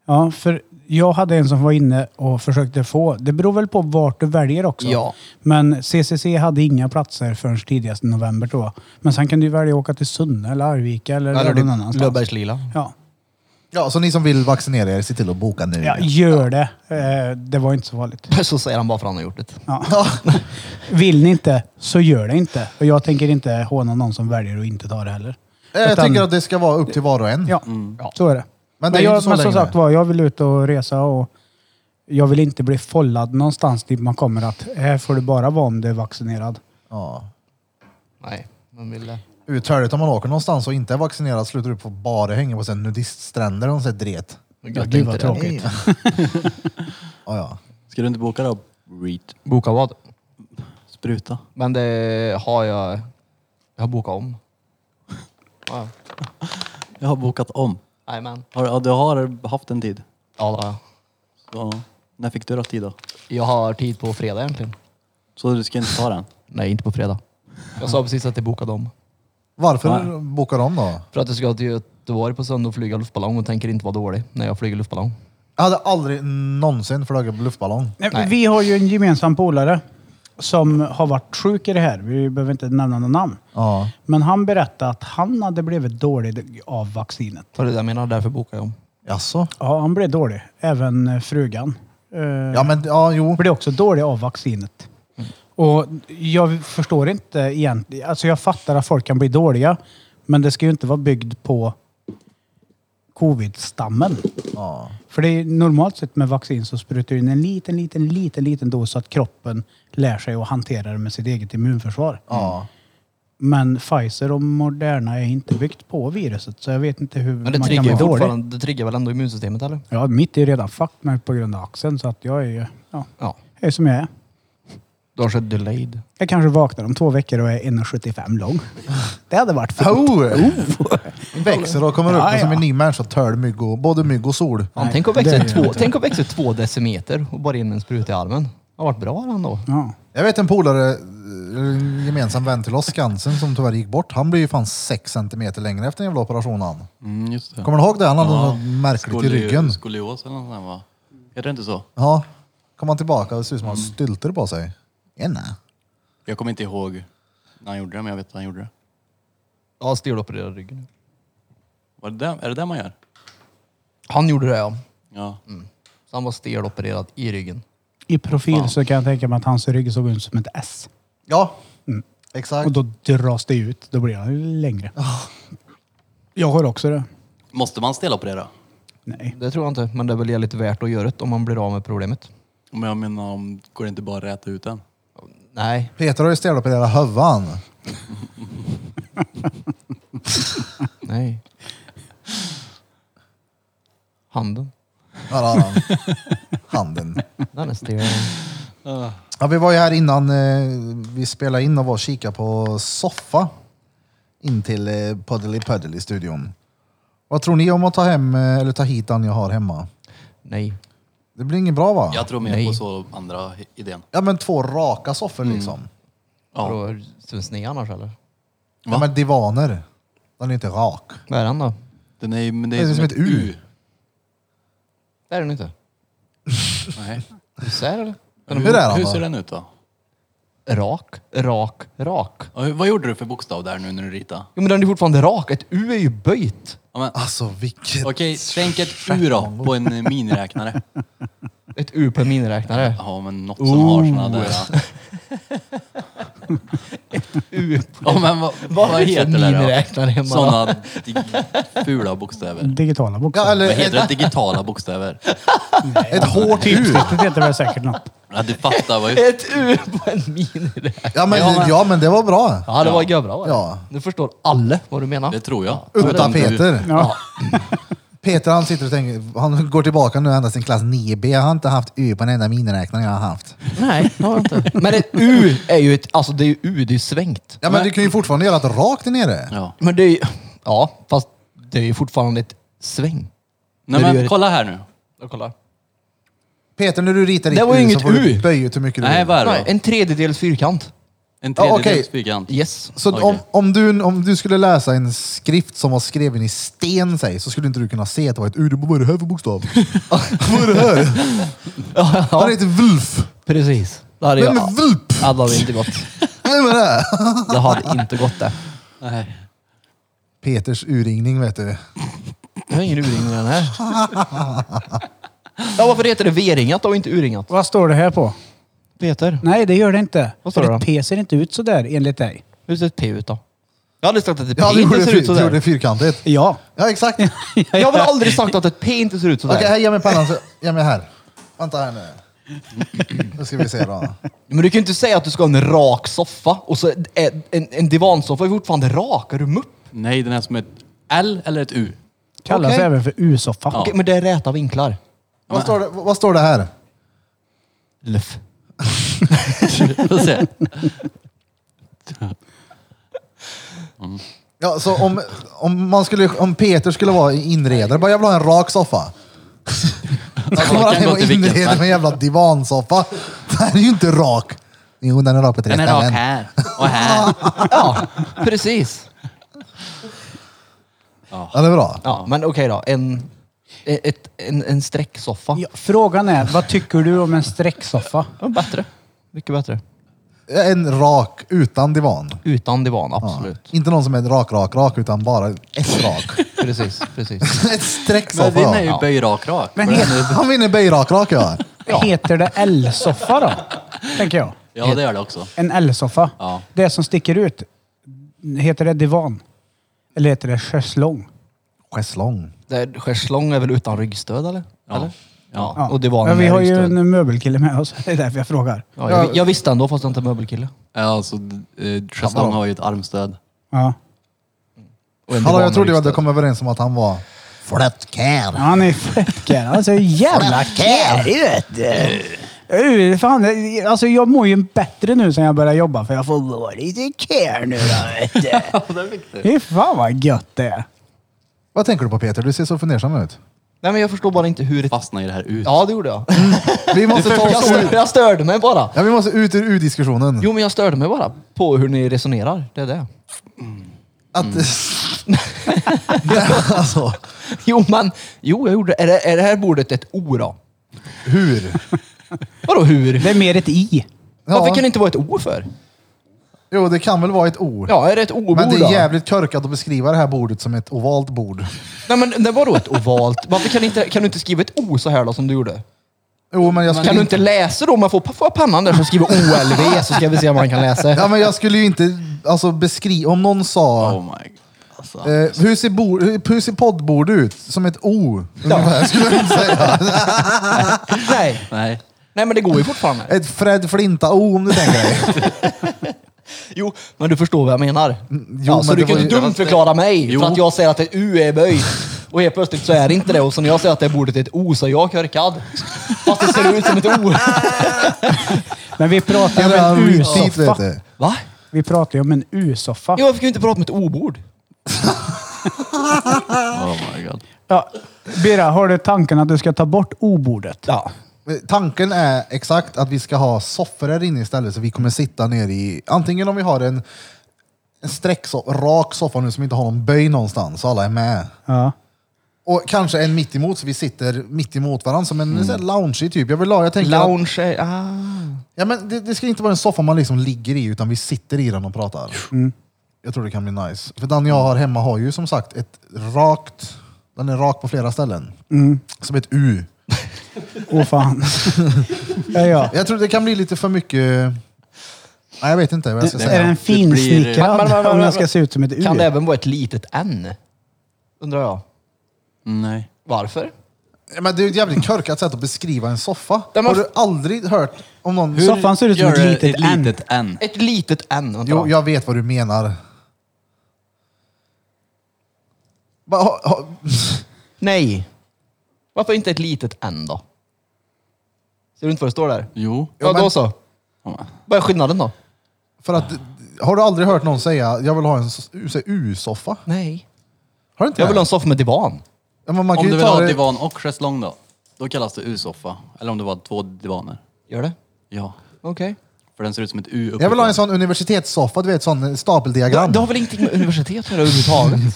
[SPEAKER 2] Ja, för jag hade en som var inne och försökte få. Det beror väl på vart du väljer också.
[SPEAKER 5] Ja.
[SPEAKER 2] Men CCC hade inga platser förrän tidigast i november tror jag. Men sen kan du välja att åka till Sunne eller Arvika eller,
[SPEAKER 5] Eller
[SPEAKER 2] någon
[SPEAKER 5] typ
[SPEAKER 2] annanstans.
[SPEAKER 5] Löfbergslila. (laughs)
[SPEAKER 2] Ja.
[SPEAKER 4] Ja, så ni som vill vaccinera er, se till att boka nu.
[SPEAKER 2] ja, gör det. Eh, det var inte så farligt.
[SPEAKER 5] Så säger han bara för han har gjort det.
[SPEAKER 2] Ja. (laughs) Vill ni inte, så gör det inte. Och jag tänker inte håna någon som väljer att inte ta det heller.
[SPEAKER 4] Eh, Jag
[SPEAKER 2] Utan-
[SPEAKER 4] tycker att det ska vara upp till var och en.
[SPEAKER 2] Ja, så är det.
[SPEAKER 4] Men det är ju
[SPEAKER 2] jag,
[SPEAKER 4] inte så
[SPEAKER 2] men som
[SPEAKER 4] längre.
[SPEAKER 2] sagt var, jag vill ut och resa och jag vill inte bli follad någonstans dit man kommer att här får du bara vara om du är vaccinerad.
[SPEAKER 4] Ja.
[SPEAKER 5] Nej, men ville...
[SPEAKER 4] Uthärligt om man åker någonstans och inte är vaccinerad slutar upp på bara hänga på sån här nudiststränder och sån dret.
[SPEAKER 5] Jag
[SPEAKER 2] gud, vad
[SPEAKER 5] tänkte det.
[SPEAKER 2] tråkigt.
[SPEAKER 4] Ja, ja.
[SPEAKER 3] Ska du inte boka då? Reet.
[SPEAKER 5] Boka vad?
[SPEAKER 3] Spruta.
[SPEAKER 5] Men det har jag... Jag har bokat om. Ja,
[SPEAKER 3] Jag har bokat om.
[SPEAKER 5] Jajamän.
[SPEAKER 3] Har, ja, du har haft en tid?
[SPEAKER 5] Ja, det har jag.
[SPEAKER 3] Så, när fick du då tid då?
[SPEAKER 5] Jag har tid på fredag egentligen.
[SPEAKER 3] Så du ska inte ta den?
[SPEAKER 5] Nej, inte på fredag. Jag sa precis att jag bokade om.
[SPEAKER 4] Varför bokar de då?
[SPEAKER 5] För att jag ska till Göteborg på söndag och flyga luftballong och tänker inte vara dålig när jag flyger luftballong.
[SPEAKER 4] Jag hade aldrig någonsin flugit luftballong.
[SPEAKER 2] Nej, Vi har ju en gemensam polare som har varit sjuk i det här. Vi behöver inte nämna några namn.
[SPEAKER 4] Ja.
[SPEAKER 2] Men han berättade att han hade blivit dålig av vaccinet.
[SPEAKER 5] Var det det jag menar? Därför bokar jag om.
[SPEAKER 4] Jaså?
[SPEAKER 2] Ja, han blev dålig. Även eh, frugan. Eh,
[SPEAKER 4] Ja men ja, jo.
[SPEAKER 2] blev också dålig av vaccinet. Och jag förstår inte egentligen. Alltså jag fattar att folk kan bli dåliga, men det ska ju inte vara byggd på covid-stammen.
[SPEAKER 4] Ja.
[SPEAKER 2] För det är normalt sett med vaccin så sprutar du in en liten, liten, liten, liten dos så att kroppen lär sig att hantera det med sitt eget immunförsvar.
[SPEAKER 4] Ja.
[SPEAKER 2] Men Pfizer och Moderna är inte byggt på viruset så jag vet inte hur
[SPEAKER 5] Men det
[SPEAKER 2] man kan
[SPEAKER 5] triggar,
[SPEAKER 2] bli
[SPEAKER 5] ju
[SPEAKER 2] dålig.
[SPEAKER 5] fortfarande, det triggar väl ändå immunsystemet eller?
[SPEAKER 2] Ja, mitt är redan fucked med på grund av axeln så att jag är ju ja,
[SPEAKER 5] Ja.
[SPEAKER 2] jag är som jag är.
[SPEAKER 5] Du har sett delayed.
[SPEAKER 2] Jag kanske vaknar om två veckor och är 1,75 lång. Det hade varit fint.
[SPEAKER 4] Oh. Växer och kommer upp
[SPEAKER 2] Ja,
[SPEAKER 4] som
[SPEAKER 2] ja.
[SPEAKER 4] en ny människa, törl, mygg och, både mygg och sol.
[SPEAKER 5] Fan, tänk att växa två, tänk att växa två decimeter och bara in en spruta i armen. Det har varit bra ändå.
[SPEAKER 2] Ja.
[SPEAKER 4] Jag vet en polare, en gemensam vän till oss, Skansen, som tyvärr gick bort. Han blev ju fan 6 centimeter längre efter en jävla operation han.
[SPEAKER 3] Mm, just det.
[SPEAKER 4] Kommer du ihåg det? Han hade något märkligt i ryggen.
[SPEAKER 3] Skolios eller något sånt där, va? Är det inte så?
[SPEAKER 4] Ja. Kom han tillbaka, det ser ut som han har
[SPEAKER 2] Mm.
[SPEAKER 4] stylter på sig. Ena.
[SPEAKER 3] Jag kommer inte ihåg när han gjorde det men jag vet att han gjorde det.
[SPEAKER 5] Ja, stelopererad ryggen.
[SPEAKER 3] Var det där, är det där man gör?
[SPEAKER 5] Han gjorde det ja.
[SPEAKER 3] Ja.
[SPEAKER 5] Så han var stelopererad i ryggen.
[SPEAKER 2] I profil så kan jag tänka mig att hans rygg såg ut som ett S.
[SPEAKER 4] Ja,
[SPEAKER 2] Mm.
[SPEAKER 4] exakt.
[SPEAKER 2] Och då dras det ut. Då blir han ju längre.
[SPEAKER 5] Ah.
[SPEAKER 2] Jag har också det.
[SPEAKER 3] Måste man stela på det då?
[SPEAKER 2] Nej.
[SPEAKER 5] Det tror jag inte, men det är väl lite värt att göra det om man blir av med problemet.
[SPEAKER 3] Men jag menar, om, går det inte bara att räta ut den?
[SPEAKER 5] Nej.
[SPEAKER 4] Peter har ju stelopererat hövan.
[SPEAKER 5] Nej. Handen.
[SPEAKER 4] Ja, där har han. Handen.
[SPEAKER 5] Den är stel.
[SPEAKER 4] Ja, vi var ju här innan eh, vi spelade in och var och kikade på soffa in till eh, Puddly Puddly studion. Vad tror ni om att ta hem eh, eller ta hit den jag har hemma?
[SPEAKER 5] Nej.
[SPEAKER 4] Det blir inget bra va?
[SPEAKER 3] Jag tror mer
[SPEAKER 5] Nej.
[SPEAKER 3] på så andra hi- idén.
[SPEAKER 4] Ja men två raka soffor
[SPEAKER 3] Mm.
[SPEAKER 4] liksom.
[SPEAKER 3] Ja.
[SPEAKER 5] Vadå, syns ni annars eller?
[SPEAKER 4] Ja, men divaner. Den är inte rak.
[SPEAKER 5] Vad är den då?
[SPEAKER 3] Den är, ju- men det
[SPEAKER 4] Det
[SPEAKER 3] är,
[SPEAKER 4] är som ett U.
[SPEAKER 5] Det är den inte.
[SPEAKER 3] Nej.
[SPEAKER 5] Du ser eller?
[SPEAKER 3] Men
[SPEAKER 4] Hur är den
[SPEAKER 3] Hur
[SPEAKER 4] då?
[SPEAKER 3] ser den ut då?
[SPEAKER 5] Rak, rak, rak.
[SPEAKER 3] Ja, hur- Vad gjorde du för bokstav där nu när du ritade?
[SPEAKER 5] Jo men den är fortfarande rak. Ett U är ju böjt.
[SPEAKER 3] Ja, men,
[SPEAKER 4] Alltså vilket...
[SPEAKER 3] Okej, tänk ett U då på en eh, miniräknare.
[SPEAKER 5] Ett U på en miniräknare.
[SPEAKER 3] Ja, men något som har såna där.
[SPEAKER 5] ut.
[SPEAKER 3] Ja, men vad,
[SPEAKER 5] Vad
[SPEAKER 3] vad heter det då?
[SPEAKER 5] miniräknare hemma?
[SPEAKER 3] Sådana dig- fula bokstäver.
[SPEAKER 2] Digitala
[SPEAKER 4] Ja,
[SPEAKER 2] bokstäver.
[SPEAKER 4] eller
[SPEAKER 3] Vad heter det?
[SPEAKER 4] ett,
[SPEAKER 3] Digitala bokstäver?
[SPEAKER 4] ett
[SPEAKER 3] (laughs)
[SPEAKER 4] hårt U.
[SPEAKER 2] Typsnittet heter väl säkert något.
[SPEAKER 3] Ja, du fattar vad ju...
[SPEAKER 5] Ett U på en miniräknare.
[SPEAKER 4] Ja men, ja, men det var bra.
[SPEAKER 5] Ja, det var görbra var det.
[SPEAKER 4] Ja.
[SPEAKER 5] Nu förstår alla vad du menar.
[SPEAKER 3] Det tror jag.
[SPEAKER 4] Utta
[SPEAKER 3] Jag vet inte hur-
[SPEAKER 4] Peter.
[SPEAKER 2] Ja.
[SPEAKER 4] (laughs) Peter han sitter och tänker, han går tillbaka nu ända sin klass 9B. Jag har inte haft U på en enda miniräknare jag har haft.
[SPEAKER 5] Nej, det har jag inte. (laughs) Men ett U är ju ett, alltså det är ju U, det är ju svängt.
[SPEAKER 4] Ja men du kan ju fortfarande göra ett rakt där nere.
[SPEAKER 3] Ja.
[SPEAKER 5] Men det är ju, ja, fast det är ju fortfarande ett sväng.
[SPEAKER 3] Nej
[SPEAKER 5] När du gör-
[SPEAKER 3] men kolla här nu.
[SPEAKER 5] Jag kollar.
[SPEAKER 4] Peter när du ritar
[SPEAKER 5] Det
[SPEAKER 4] ditt
[SPEAKER 5] var ju
[SPEAKER 4] U så
[SPEAKER 5] inget
[SPEAKER 4] får du
[SPEAKER 5] U.
[SPEAKER 4] böja ut hur mycket du
[SPEAKER 3] Nej,
[SPEAKER 4] vill.
[SPEAKER 3] vad är
[SPEAKER 5] Nej,
[SPEAKER 3] det då?
[SPEAKER 5] en tredjedels fyrkant.
[SPEAKER 3] En
[SPEAKER 4] Ja, okej.
[SPEAKER 3] tredjedels fyrkant.
[SPEAKER 5] Yes.
[SPEAKER 4] Så
[SPEAKER 3] Okej.
[SPEAKER 4] om, om, du, om du skulle läsa en skrift som var skriven i sten säg, så skulle inte du kunna se att det var ett U. Du bara, Vad är det här för bokstav? (laughs) Vad är det här? Han heter Wulf.
[SPEAKER 5] Precis. Det hade,
[SPEAKER 4] Vem
[SPEAKER 5] jag,
[SPEAKER 4] är Wulp?
[SPEAKER 5] Ja, det hade inte gått.
[SPEAKER 4] Vem är det?
[SPEAKER 5] Det hade inte gått det.
[SPEAKER 3] Nej.
[SPEAKER 4] Peters urringning vet du.
[SPEAKER 5] Jag har ingen urringning i den här. Ja, varför heter det V-ringat då och inte urringat?
[SPEAKER 2] Vad står det här på?
[SPEAKER 5] Peter,
[SPEAKER 2] Nej, det gör det inte.
[SPEAKER 5] Vad står
[SPEAKER 2] För
[SPEAKER 5] det
[SPEAKER 2] ett
[SPEAKER 5] då?
[SPEAKER 2] P ser inte ut så där enligt dig.
[SPEAKER 5] hur ser ett P ut då? Jag har aldrig sagt att ett P
[SPEAKER 4] Ja, du
[SPEAKER 5] inte
[SPEAKER 4] gjorde,
[SPEAKER 5] ser ut
[SPEAKER 4] fyr, du gjorde
[SPEAKER 5] sådär.
[SPEAKER 4] fyrkantigt.
[SPEAKER 2] Ja.
[SPEAKER 4] Ja, exakt. Okej,
[SPEAKER 5] Jag har väl aldrig sagt att ett P inte ser ut sådär.
[SPEAKER 4] här, ge mig pennan. så- Ge mig här. Vänta här nu. Nu ska vi se då.
[SPEAKER 5] Men du kan ju inte säga att du ska ha en rak soffa och så en, en, en divansoffa är fortfarande rak. Är du mupp?
[SPEAKER 3] Nej, den är som ett L eller ett U. (laughs)
[SPEAKER 2] Kallas
[SPEAKER 5] Okej.
[SPEAKER 2] även för U-soffa.
[SPEAKER 5] Okej, men det är räta vinklar.
[SPEAKER 4] Vad står det, vad står det här?
[SPEAKER 5] Luff.
[SPEAKER 3] Får se.
[SPEAKER 4] Ja, så om, om, man skulle, om Peter skulle vara inredare, bara jag vill ha en rak soffa. Då kommer
[SPEAKER 3] kan
[SPEAKER 4] han hem
[SPEAKER 3] gå
[SPEAKER 4] och
[SPEAKER 3] till vilket,
[SPEAKER 4] inreder
[SPEAKER 3] men-
[SPEAKER 4] med en jävla divansoffa. Den är ju inte rak. Jo, den är rak på tre
[SPEAKER 3] Den är rak
[SPEAKER 4] ställen.
[SPEAKER 3] här och här.
[SPEAKER 5] (laughs) Ja, precis.
[SPEAKER 4] Ja, det är bra.
[SPEAKER 5] Ja, men okej då. En, e, ett, en, en sträcksoffa.
[SPEAKER 2] Ja, frågan är, vad tycker du om en sträcksoffa?
[SPEAKER 5] Ja, Bättre. Mycket bättre.
[SPEAKER 4] En rak utan divan.
[SPEAKER 5] Utan divan,
[SPEAKER 4] Ja.
[SPEAKER 5] absolut.
[SPEAKER 4] Inte någon som är rak, rak, rak, utan bara ett
[SPEAKER 3] (laughs)
[SPEAKER 4] rak.
[SPEAKER 5] Precis, precis.
[SPEAKER 4] ett streck
[SPEAKER 3] Men
[SPEAKER 4] soffa.
[SPEAKER 3] din är ju
[SPEAKER 4] ja.
[SPEAKER 3] böjrak rak.
[SPEAKER 2] Men
[SPEAKER 3] För
[SPEAKER 2] helt-
[SPEAKER 3] den är-
[SPEAKER 4] Han vinner böjrak, rak ja.
[SPEAKER 2] Heter det L-soffa då? Tänker jag.
[SPEAKER 3] Ja, det gör det också.
[SPEAKER 2] En L-soffa.
[SPEAKER 3] Ja.
[SPEAKER 2] Det som sticker ut. Heter det divan? Eller heter det schäslong?
[SPEAKER 4] Schäslong.
[SPEAKER 5] Det är- Schäslong är väl utan ryggstöd eller?
[SPEAKER 3] Ja.
[SPEAKER 5] eller?
[SPEAKER 3] Ja.
[SPEAKER 5] Och divanen
[SPEAKER 2] ja, vi
[SPEAKER 5] är
[SPEAKER 2] har ju
[SPEAKER 5] ryggstöd.
[SPEAKER 2] en möbelkille med oss. (laughs) Det är därför jag frågar.
[SPEAKER 5] Ja, jag, jag visste ändå fast jag inte är möbelkille.
[SPEAKER 3] Ja, alltså eh, Schäslong har ju ett armstöd.
[SPEAKER 2] Ja.
[SPEAKER 5] Och en
[SPEAKER 4] Hallå,
[SPEAKER 5] divan
[SPEAKER 4] jag
[SPEAKER 5] är
[SPEAKER 4] trodde vi hade
[SPEAKER 5] ryggstöd.
[SPEAKER 4] kommit överens om att han var
[SPEAKER 2] Ja,
[SPEAKER 4] flättkär.
[SPEAKER 2] Han är flättkär. Alltså jävla kärig vet du. Uh, fan, det- alltså jag mår ju bättre nu sen jag började jobba för jag får vara lite care nu då vet du. Fy fan vad gött det är.
[SPEAKER 4] Vad tänker du på Peter? Du ser så fundersam ut.
[SPEAKER 5] Nej men jag förstår bara inte hur ett...
[SPEAKER 3] Fastnar i det här ut.
[SPEAKER 5] Ja det gjorde jag. (laughs)
[SPEAKER 4] Vi måste ta
[SPEAKER 5] Jag
[SPEAKER 4] oss
[SPEAKER 5] störde,
[SPEAKER 4] ur,
[SPEAKER 5] jag störde mig bara.
[SPEAKER 4] ja, vi måste ut ur U-diskussionen.
[SPEAKER 5] Jo men jag störde mig bara på hur ni resonerar. Det är det.
[SPEAKER 4] Att...
[SPEAKER 5] Mm.
[SPEAKER 4] Nej, (laughs) alltså,
[SPEAKER 5] (laughs) Jo men, jo jag gjorde Är det, är det här bordet ett O då?
[SPEAKER 4] (laughs) hur?
[SPEAKER 5] Vadå hur?
[SPEAKER 2] Det är mer ett i.
[SPEAKER 5] Varför
[SPEAKER 4] Ja.
[SPEAKER 5] kan det inte vara ett O för?
[SPEAKER 4] Jo, det kan väl vara ett ord.
[SPEAKER 5] Ja, är det ett O-bord
[SPEAKER 4] Men det
[SPEAKER 5] då?
[SPEAKER 4] är jävligt korkat att beskriva det här bordet som ett ovalt bord.
[SPEAKER 5] Nej men det var då ett ovalt. Varför kan, inte, kan du inte skriva ett O så här då som du gjorde?
[SPEAKER 4] Jo, men jag skulle
[SPEAKER 5] Kan du inte läsa då? Om jag får, får jag pannan där så skriver OLV så ska vi se om man kan läsa.
[SPEAKER 4] Ja, men jag skulle ju inte alltså, beskriva... Om någon sa...
[SPEAKER 3] Oh my god. Alltså.
[SPEAKER 4] Eh, hur, ser bord, hur, hur ser poddbord ut? Som ett O. ungefär, Skulle jag inte säga.
[SPEAKER 5] Nej.
[SPEAKER 3] Nej.
[SPEAKER 5] Nej men det går ju fortfarande.
[SPEAKER 4] Ett Fred Flinta-O om du tänker dig.
[SPEAKER 5] Jo, men du förstår vad jag menar. (laughs) ja,
[SPEAKER 4] men
[SPEAKER 5] så
[SPEAKER 4] det
[SPEAKER 5] du kan
[SPEAKER 4] var
[SPEAKER 5] ju
[SPEAKER 4] ju-
[SPEAKER 5] dumt förklara mig
[SPEAKER 3] Jo.
[SPEAKER 5] för att jag säger att ett U är böjt. Och helt plötsligt så är det inte det. Och så när jag säger att det bordet är ett O så är jag körkad. Fast det ser ut som ett O.
[SPEAKER 2] Men vi pratar ju
[SPEAKER 4] Eller
[SPEAKER 2] om
[SPEAKER 4] han
[SPEAKER 2] en
[SPEAKER 4] reach hit, vet
[SPEAKER 2] U-soffa.
[SPEAKER 4] du.
[SPEAKER 5] Va?
[SPEAKER 2] Vi pratar ju om en U-soffa.
[SPEAKER 5] Jo, varför kan vi inte prata om ett O-bord?
[SPEAKER 3] Oh my god.
[SPEAKER 2] Ja. Birra, har du tanken att du ska ta bort O-bordet?
[SPEAKER 5] Ja.
[SPEAKER 4] Tanken är exakt att vi ska ha soffor här inne istället så vi kommer sitta ner i... Antingen om vi har en, en sträckso- rak soffa nu som inte har någon böj någonstans så alla är med.
[SPEAKER 2] Ja.
[SPEAKER 4] Och kanske en mitt emot så vi sitter mitt emot varandra som en mm. lounge typ. Jag vill ha, jag tänker att,
[SPEAKER 5] Lounge är... Ah.
[SPEAKER 4] ja, men det, det ska inte vara en soffa man liksom ligger i utan vi sitter i den och pratar. Jag tror det kan bli nice. För den jag har hemma har ju som sagt ett rakt... Den är rak på flera ställen. Som ett U.
[SPEAKER 2] Åh fan. ja, ja.
[SPEAKER 4] Jag tror det kan bli lite för mycket... Nej, jag vet inte vad jag ska
[SPEAKER 2] Är den
[SPEAKER 4] säga.
[SPEAKER 5] Men- men- men-
[SPEAKER 2] finsnickrad?
[SPEAKER 5] men-
[SPEAKER 2] Om den
[SPEAKER 5] men-
[SPEAKER 2] ska se ut som ett U? E
[SPEAKER 5] Kan det även vara ett litet N? Undrar jag.
[SPEAKER 3] Nej.
[SPEAKER 5] Varför?
[SPEAKER 4] Ja, Men det är ju ett jävligt korkat sätt att beskriva en soffa.
[SPEAKER 5] Ja, men-
[SPEAKER 4] Har du aldrig hört om någon...
[SPEAKER 2] Hur- Soffan ser ut som
[SPEAKER 3] Gör
[SPEAKER 2] ett
[SPEAKER 3] det-
[SPEAKER 2] litet N.
[SPEAKER 3] litet N.
[SPEAKER 5] Ett litet N. vänta
[SPEAKER 4] Jo,
[SPEAKER 5] då.
[SPEAKER 4] jag vet vad du menar. Bara, ha, ha, (laughs)
[SPEAKER 5] Nej. Varför inte ett litet N då? Ser du inte vad det står där?
[SPEAKER 3] Jo.
[SPEAKER 5] Ja,
[SPEAKER 4] men-
[SPEAKER 5] då så. Vad är skillnaden då?
[SPEAKER 4] för att, har du aldrig hört någon säga jag vill ha en s- säg U-soffa?
[SPEAKER 5] Nej.
[SPEAKER 4] Har du inte
[SPEAKER 5] Jag vill
[SPEAKER 4] det?
[SPEAKER 5] ha en soffa med divan.
[SPEAKER 4] Ja, men man kan
[SPEAKER 3] Om
[SPEAKER 4] ju
[SPEAKER 3] du vill
[SPEAKER 4] ta
[SPEAKER 3] ha
[SPEAKER 4] det-
[SPEAKER 3] divan och schäslong då? Då kallas det U-soffa. Eller om det var två divaner.
[SPEAKER 5] Gör det?
[SPEAKER 3] Ja.
[SPEAKER 5] Okej.
[SPEAKER 3] För den ser ut som ett U
[SPEAKER 4] Jag vill ha en
[SPEAKER 3] uppifrån.
[SPEAKER 4] sån universitetssoffa, du vet sån
[SPEAKER 5] Det,
[SPEAKER 4] stapeldiagram.
[SPEAKER 5] det har väl ingenting med universitet att göra (laughs) överhuvudtaget?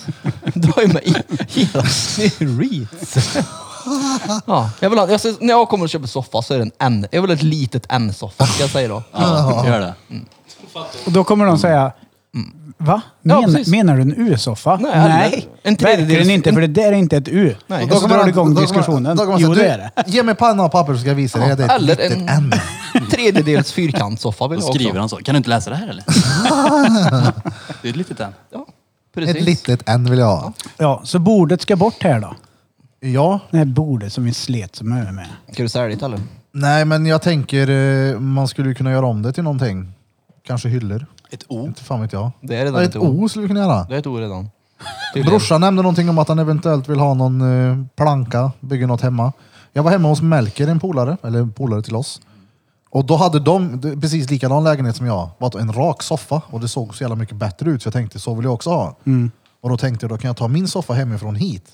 [SPEAKER 5] Du har ju med i- hela snurrit. Ja, jag vill ha, jag, ser- när jag kommer och köper soffa så är det en N. Jag vill ha ett litet N-soffa ska jag säga då.
[SPEAKER 3] Ja, gör det.
[SPEAKER 2] Och då kommer de säga, va?
[SPEAKER 5] Ja,
[SPEAKER 2] Men,
[SPEAKER 5] precis.
[SPEAKER 2] menar du en U-soffa?
[SPEAKER 5] Nej, aldrig. En tredjedels-
[SPEAKER 2] verkligen inte, för det där är inte ett U.
[SPEAKER 5] Nej.
[SPEAKER 2] Nej.
[SPEAKER 5] Och
[SPEAKER 2] Och så
[SPEAKER 4] kommer
[SPEAKER 2] drar du
[SPEAKER 4] han-
[SPEAKER 2] igång
[SPEAKER 4] Alltså, då kommer-
[SPEAKER 2] diskussionen.
[SPEAKER 4] då kommer han
[SPEAKER 2] jo,
[SPEAKER 4] säga,
[SPEAKER 2] det är det.
[SPEAKER 4] "Du, Ge mig panna och papper så ska jag visa dig. Det är ett
[SPEAKER 5] Eller
[SPEAKER 4] litet
[SPEAKER 5] en-
[SPEAKER 4] N.
[SPEAKER 5] Tredjedels fyrkantsoffa vill
[SPEAKER 3] Då
[SPEAKER 5] jag också.
[SPEAKER 3] skriver han så. Kan du inte läsa det här eller? det är ett litet N.
[SPEAKER 5] Ja,
[SPEAKER 4] Ett
[SPEAKER 5] precis.
[SPEAKER 4] litet N vill jag ha.
[SPEAKER 2] Ja, så bordet ska bort här då.
[SPEAKER 4] Ja.
[SPEAKER 2] Det här bordet som vi slet som över med.
[SPEAKER 5] Ska du sälja det eller?
[SPEAKER 4] Nej, men jag tänker eh, man skulle ju kunna göra om det till någonting. Kanske hyllor.
[SPEAKER 3] Ett O.
[SPEAKER 4] Inte fan vet jag.
[SPEAKER 5] Det är redan
[SPEAKER 4] Nej,
[SPEAKER 5] ett
[SPEAKER 4] ett O skulle vi kunna göra.
[SPEAKER 5] Det är ett O redan.
[SPEAKER 4] Brorsan nämnde någonting om att han eventuellt vill ha någon eh, planka, bygga något hemma. Jag var hemma hos Melker, en polare, eller en polare till oss. Och då hade de d- precis likadan lägenhet som jag. Var att en rak soffa och det såg så jävla mycket bättre ut så jag tänkte så vill jag också ha. Och då tänkte jag då kan jag ta min soffa hemifrån hit.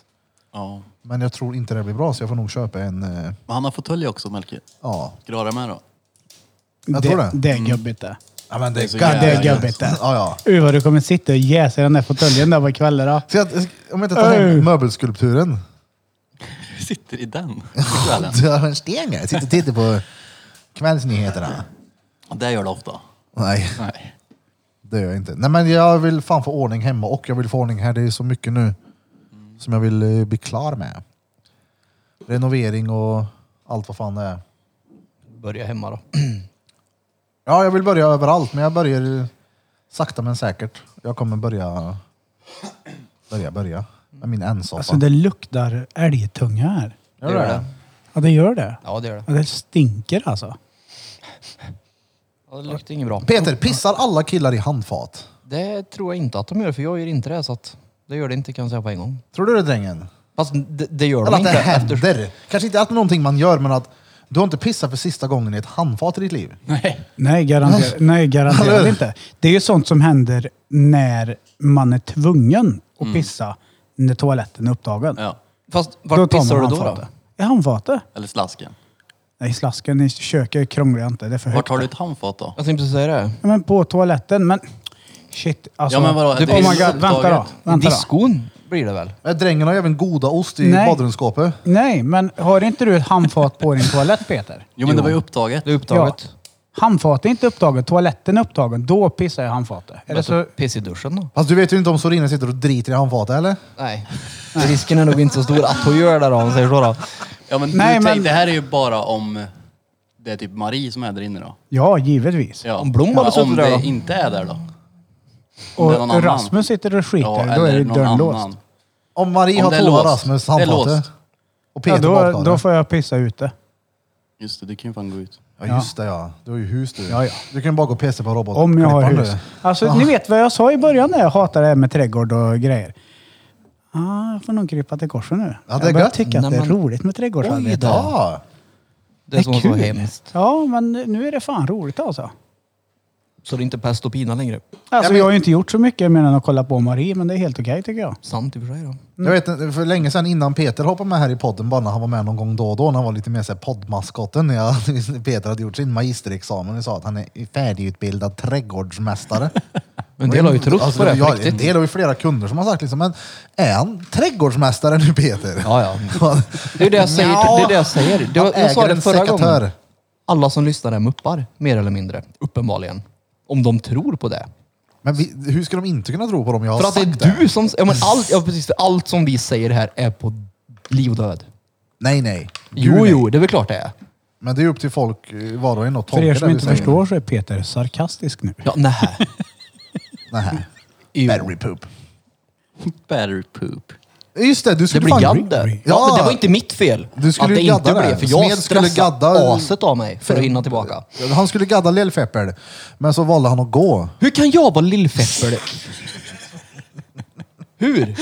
[SPEAKER 3] Ja.
[SPEAKER 4] Men jag tror inte det blir bra så jag får nog köpa en, eh,
[SPEAKER 3] Men han har fåtölj också, Melke.
[SPEAKER 4] ja.
[SPEAKER 3] Grara med då.
[SPEAKER 4] Jag tror det.
[SPEAKER 2] Det är gubbigt det.
[SPEAKER 4] Ja men det
[SPEAKER 3] är så
[SPEAKER 2] Ja, det är
[SPEAKER 3] jävla
[SPEAKER 2] gubbigt det.
[SPEAKER 4] Ja, ja.
[SPEAKER 2] Uh, vad du kommer sitta och jäsa i den där fåtöljen där på kvällarna.
[SPEAKER 4] Så jag, om jag inte tar
[SPEAKER 2] Öj.
[SPEAKER 4] hem möbelskulpturen.
[SPEAKER 3] Sitter i den.
[SPEAKER 4] Du har en sten jag sitter och tittar på kvällsnyheterna.
[SPEAKER 3] Och det gör det ofta.
[SPEAKER 4] Nej.
[SPEAKER 3] Nej.
[SPEAKER 4] Det gör jag inte. Nej men jag vill fan få ordning hemma och jag vill få ordning här. Det är så mycket nu som jag vill eh, bli klar med. Renovering och allt vad fan det är.
[SPEAKER 5] Börja hemma då.
[SPEAKER 4] Ja, jag vill börja överallt men jag börjar eh, sakta men säkert. Jag kommer börja, börja, börja. Med min ensoffa.
[SPEAKER 2] Alltså det luktar älgtunga här.
[SPEAKER 4] Gör det?
[SPEAKER 2] Ja, det gör det.
[SPEAKER 5] Ja, det gör det.
[SPEAKER 2] Ja, det stinker alltså.
[SPEAKER 5] Ja, det luktar inget bra.
[SPEAKER 4] Peter, pissar alla killar i handfat?
[SPEAKER 5] Det tror jag inte att de gör, för jag gör inte det. Så att det gör det inte kan jag säga på en gång.
[SPEAKER 4] Tror du det drängen?
[SPEAKER 5] Fast det, det gör
[SPEAKER 4] Eller
[SPEAKER 5] de
[SPEAKER 4] att det
[SPEAKER 5] inte.
[SPEAKER 4] händer?
[SPEAKER 5] efter-
[SPEAKER 4] Kanske inte att någonting man gör men att du har inte pissat för sista gången i ett handfat i ditt liv.
[SPEAKER 3] Nej.
[SPEAKER 2] Nej, garanterat, nej, garanterat inte. Det är ju sånt som händer när man är tvungen att pissa när toaletten är upptagen.
[SPEAKER 3] Mm. Ja.
[SPEAKER 5] Fast
[SPEAKER 2] Då
[SPEAKER 5] vart
[SPEAKER 2] tar man
[SPEAKER 5] pissar du då? då?
[SPEAKER 2] handfatet. I handfatet.
[SPEAKER 3] Eller slasken.
[SPEAKER 2] Nej, slasken i köket krånglar jag inte. Det är för
[SPEAKER 3] Vart
[SPEAKER 2] högt.
[SPEAKER 3] har du ett handfat då?
[SPEAKER 5] Jag tänkte precis säga det.
[SPEAKER 2] Ja, men på toaletten, men... Shit, alltså...
[SPEAKER 3] Ja, men vadå?
[SPEAKER 2] oh
[SPEAKER 3] Det
[SPEAKER 2] my
[SPEAKER 3] är
[SPEAKER 2] God,
[SPEAKER 3] ju upptaget.
[SPEAKER 2] vänta då.
[SPEAKER 5] I
[SPEAKER 2] Vänta då.
[SPEAKER 5] diskon blir det väl?
[SPEAKER 4] Men Drängen har ju även goda ost i
[SPEAKER 2] Nej.
[SPEAKER 4] badrumsskåpet.
[SPEAKER 2] Nej, men har inte du ett handfat på din toalett,
[SPEAKER 3] (laughs)
[SPEAKER 2] Peter?
[SPEAKER 3] Jo men det var ju upptaget.
[SPEAKER 5] Det är upptaget.
[SPEAKER 2] Handfatet är inte upptaget, toaletten är upptagen. Då pissar jag i handfatet. Alltså, Eller så...
[SPEAKER 5] Piss i duschen då?
[SPEAKER 4] Fast du vet ju inte om Sorina sitter och driter i handfatet eller?
[SPEAKER 5] Nej. (laughs) Risken är nog inte så stor att hon gör det då, om man säger så. Då.
[SPEAKER 3] Ja men,
[SPEAKER 2] Nej,
[SPEAKER 3] du, tänk,
[SPEAKER 2] men-
[SPEAKER 3] det här är ju bara om det är typ Marie som är där inne då.
[SPEAKER 2] Ja, givetvis.
[SPEAKER 3] Ja.
[SPEAKER 5] Om Blom hade
[SPEAKER 3] Men
[SPEAKER 5] suttit
[SPEAKER 3] Om
[SPEAKER 5] där
[SPEAKER 3] det
[SPEAKER 5] då?
[SPEAKER 3] inte är där då? Om det är någon annan.
[SPEAKER 2] Och Rasmus sitter och skiter,
[SPEAKER 3] Ja,
[SPEAKER 2] då är
[SPEAKER 3] eller
[SPEAKER 2] ju
[SPEAKER 3] någon
[SPEAKER 2] dörren
[SPEAKER 3] annan.
[SPEAKER 2] låst.
[SPEAKER 4] Om Marie
[SPEAKER 3] Om
[SPEAKER 4] har
[SPEAKER 3] det är
[SPEAKER 4] tvåa
[SPEAKER 3] låst.
[SPEAKER 4] Rasmus
[SPEAKER 3] Det är
[SPEAKER 4] handfatet
[SPEAKER 3] låst.
[SPEAKER 4] och
[SPEAKER 2] Ja,
[SPEAKER 4] Peter
[SPEAKER 2] då,
[SPEAKER 4] badkaret.
[SPEAKER 2] då får jag pissa ute.
[SPEAKER 3] Just det, du kan ju fan gå ut.
[SPEAKER 4] Ja just det ja. Du har ju hus du.
[SPEAKER 2] Ja, ja.
[SPEAKER 4] Du kan ju bara gå och pissa på roboten.
[SPEAKER 2] Om jag har hus. Alltså, ni vet vad jag sa i början när jag hatade det här med trädgård och grejer. Ah, jag får nog krypa till korset nu.
[SPEAKER 4] Ja, det är
[SPEAKER 2] jag börjar
[SPEAKER 4] gött.
[SPEAKER 2] tycka att
[SPEAKER 5] Nej,
[SPEAKER 2] det är
[SPEAKER 5] men-
[SPEAKER 2] roligt med trädgårdsarbete.
[SPEAKER 4] Oj då!
[SPEAKER 5] Det är som så hemskt.
[SPEAKER 2] Ja, men nu är det fan roligt alltså.
[SPEAKER 5] Så det är inte pest och pina längre.
[SPEAKER 2] Alltså,
[SPEAKER 4] Ja, men-
[SPEAKER 2] Jag har ju inte gjort så mycket mer än att kolla på Marie, men det är helt okej tycker jag.
[SPEAKER 5] Sant i och för sig då.
[SPEAKER 2] Mm.
[SPEAKER 4] Jag vet inte, för länge sedan innan Peter hoppade med här i podden, bara när han var med någon gång då och då, när han var lite mer såhär poddmaskotten. när jag- (laughs) Peter hade gjort sin magisterexamen och sa att han är färdigutbildad trädgårdsmästare.
[SPEAKER 5] Men Alltså, det har ju trott på det på
[SPEAKER 4] Alltså, ja,
[SPEAKER 5] riktigt.
[SPEAKER 4] En del har ju flera kunder som har sagt liksom, men är han trädgårdsmästare nu Peter?
[SPEAKER 5] Ja, ja.
[SPEAKER 4] Han-
[SPEAKER 5] Det är det jag säger. Det är det jag säger. Det var,
[SPEAKER 4] Han
[SPEAKER 5] jag sa
[SPEAKER 4] äger
[SPEAKER 5] det
[SPEAKER 4] en
[SPEAKER 5] förra
[SPEAKER 4] sekatör.
[SPEAKER 5] gången. Alla som lyssnar är muppar, mer eller mindre. Uppenbarligen. Om de tror på det.
[SPEAKER 4] Men vi, hur ska de inte kunna tro på dem? Jag har
[SPEAKER 5] För att det
[SPEAKER 4] sagt
[SPEAKER 5] är du som... Ja, men allt, ja, precis, för allt som vi säger här är på liv och död.
[SPEAKER 4] Nej, nej. Gud,
[SPEAKER 5] Jo,
[SPEAKER 4] nej.
[SPEAKER 5] jo, det är väl klart det är.
[SPEAKER 4] Men det är upp till folk eh, var och en att
[SPEAKER 2] För
[SPEAKER 4] tolka
[SPEAKER 2] er
[SPEAKER 4] det
[SPEAKER 2] som
[SPEAKER 4] vi
[SPEAKER 2] inte
[SPEAKER 4] säger.
[SPEAKER 2] förstår så är Peter sarkastisk nu.
[SPEAKER 5] Ja, nej.
[SPEAKER 4] Nej.
[SPEAKER 5] Jo.
[SPEAKER 4] Battery poop.
[SPEAKER 3] Battery poop.
[SPEAKER 4] Just det, du
[SPEAKER 5] Det
[SPEAKER 4] skulle
[SPEAKER 5] blir
[SPEAKER 4] fan-
[SPEAKER 5] gadd där. Ja,
[SPEAKER 4] Ja.
[SPEAKER 5] men det var inte mitt fel.
[SPEAKER 4] Du skulle
[SPEAKER 5] att det
[SPEAKER 4] ju gadda
[SPEAKER 5] inte
[SPEAKER 4] det.
[SPEAKER 5] blev, för jag
[SPEAKER 4] Smed skulle
[SPEAKER 5] stressade
[SPEAKER 4] gadda-
[SPEAKER 5] aset av mig för att hinna tillbaka.
[SPEAKER 4] Han skulle gadda Lill-Feppel, men så valde han att gå.
[SPEAKER 5] Hur kan jag vara lillfeppel? Hur?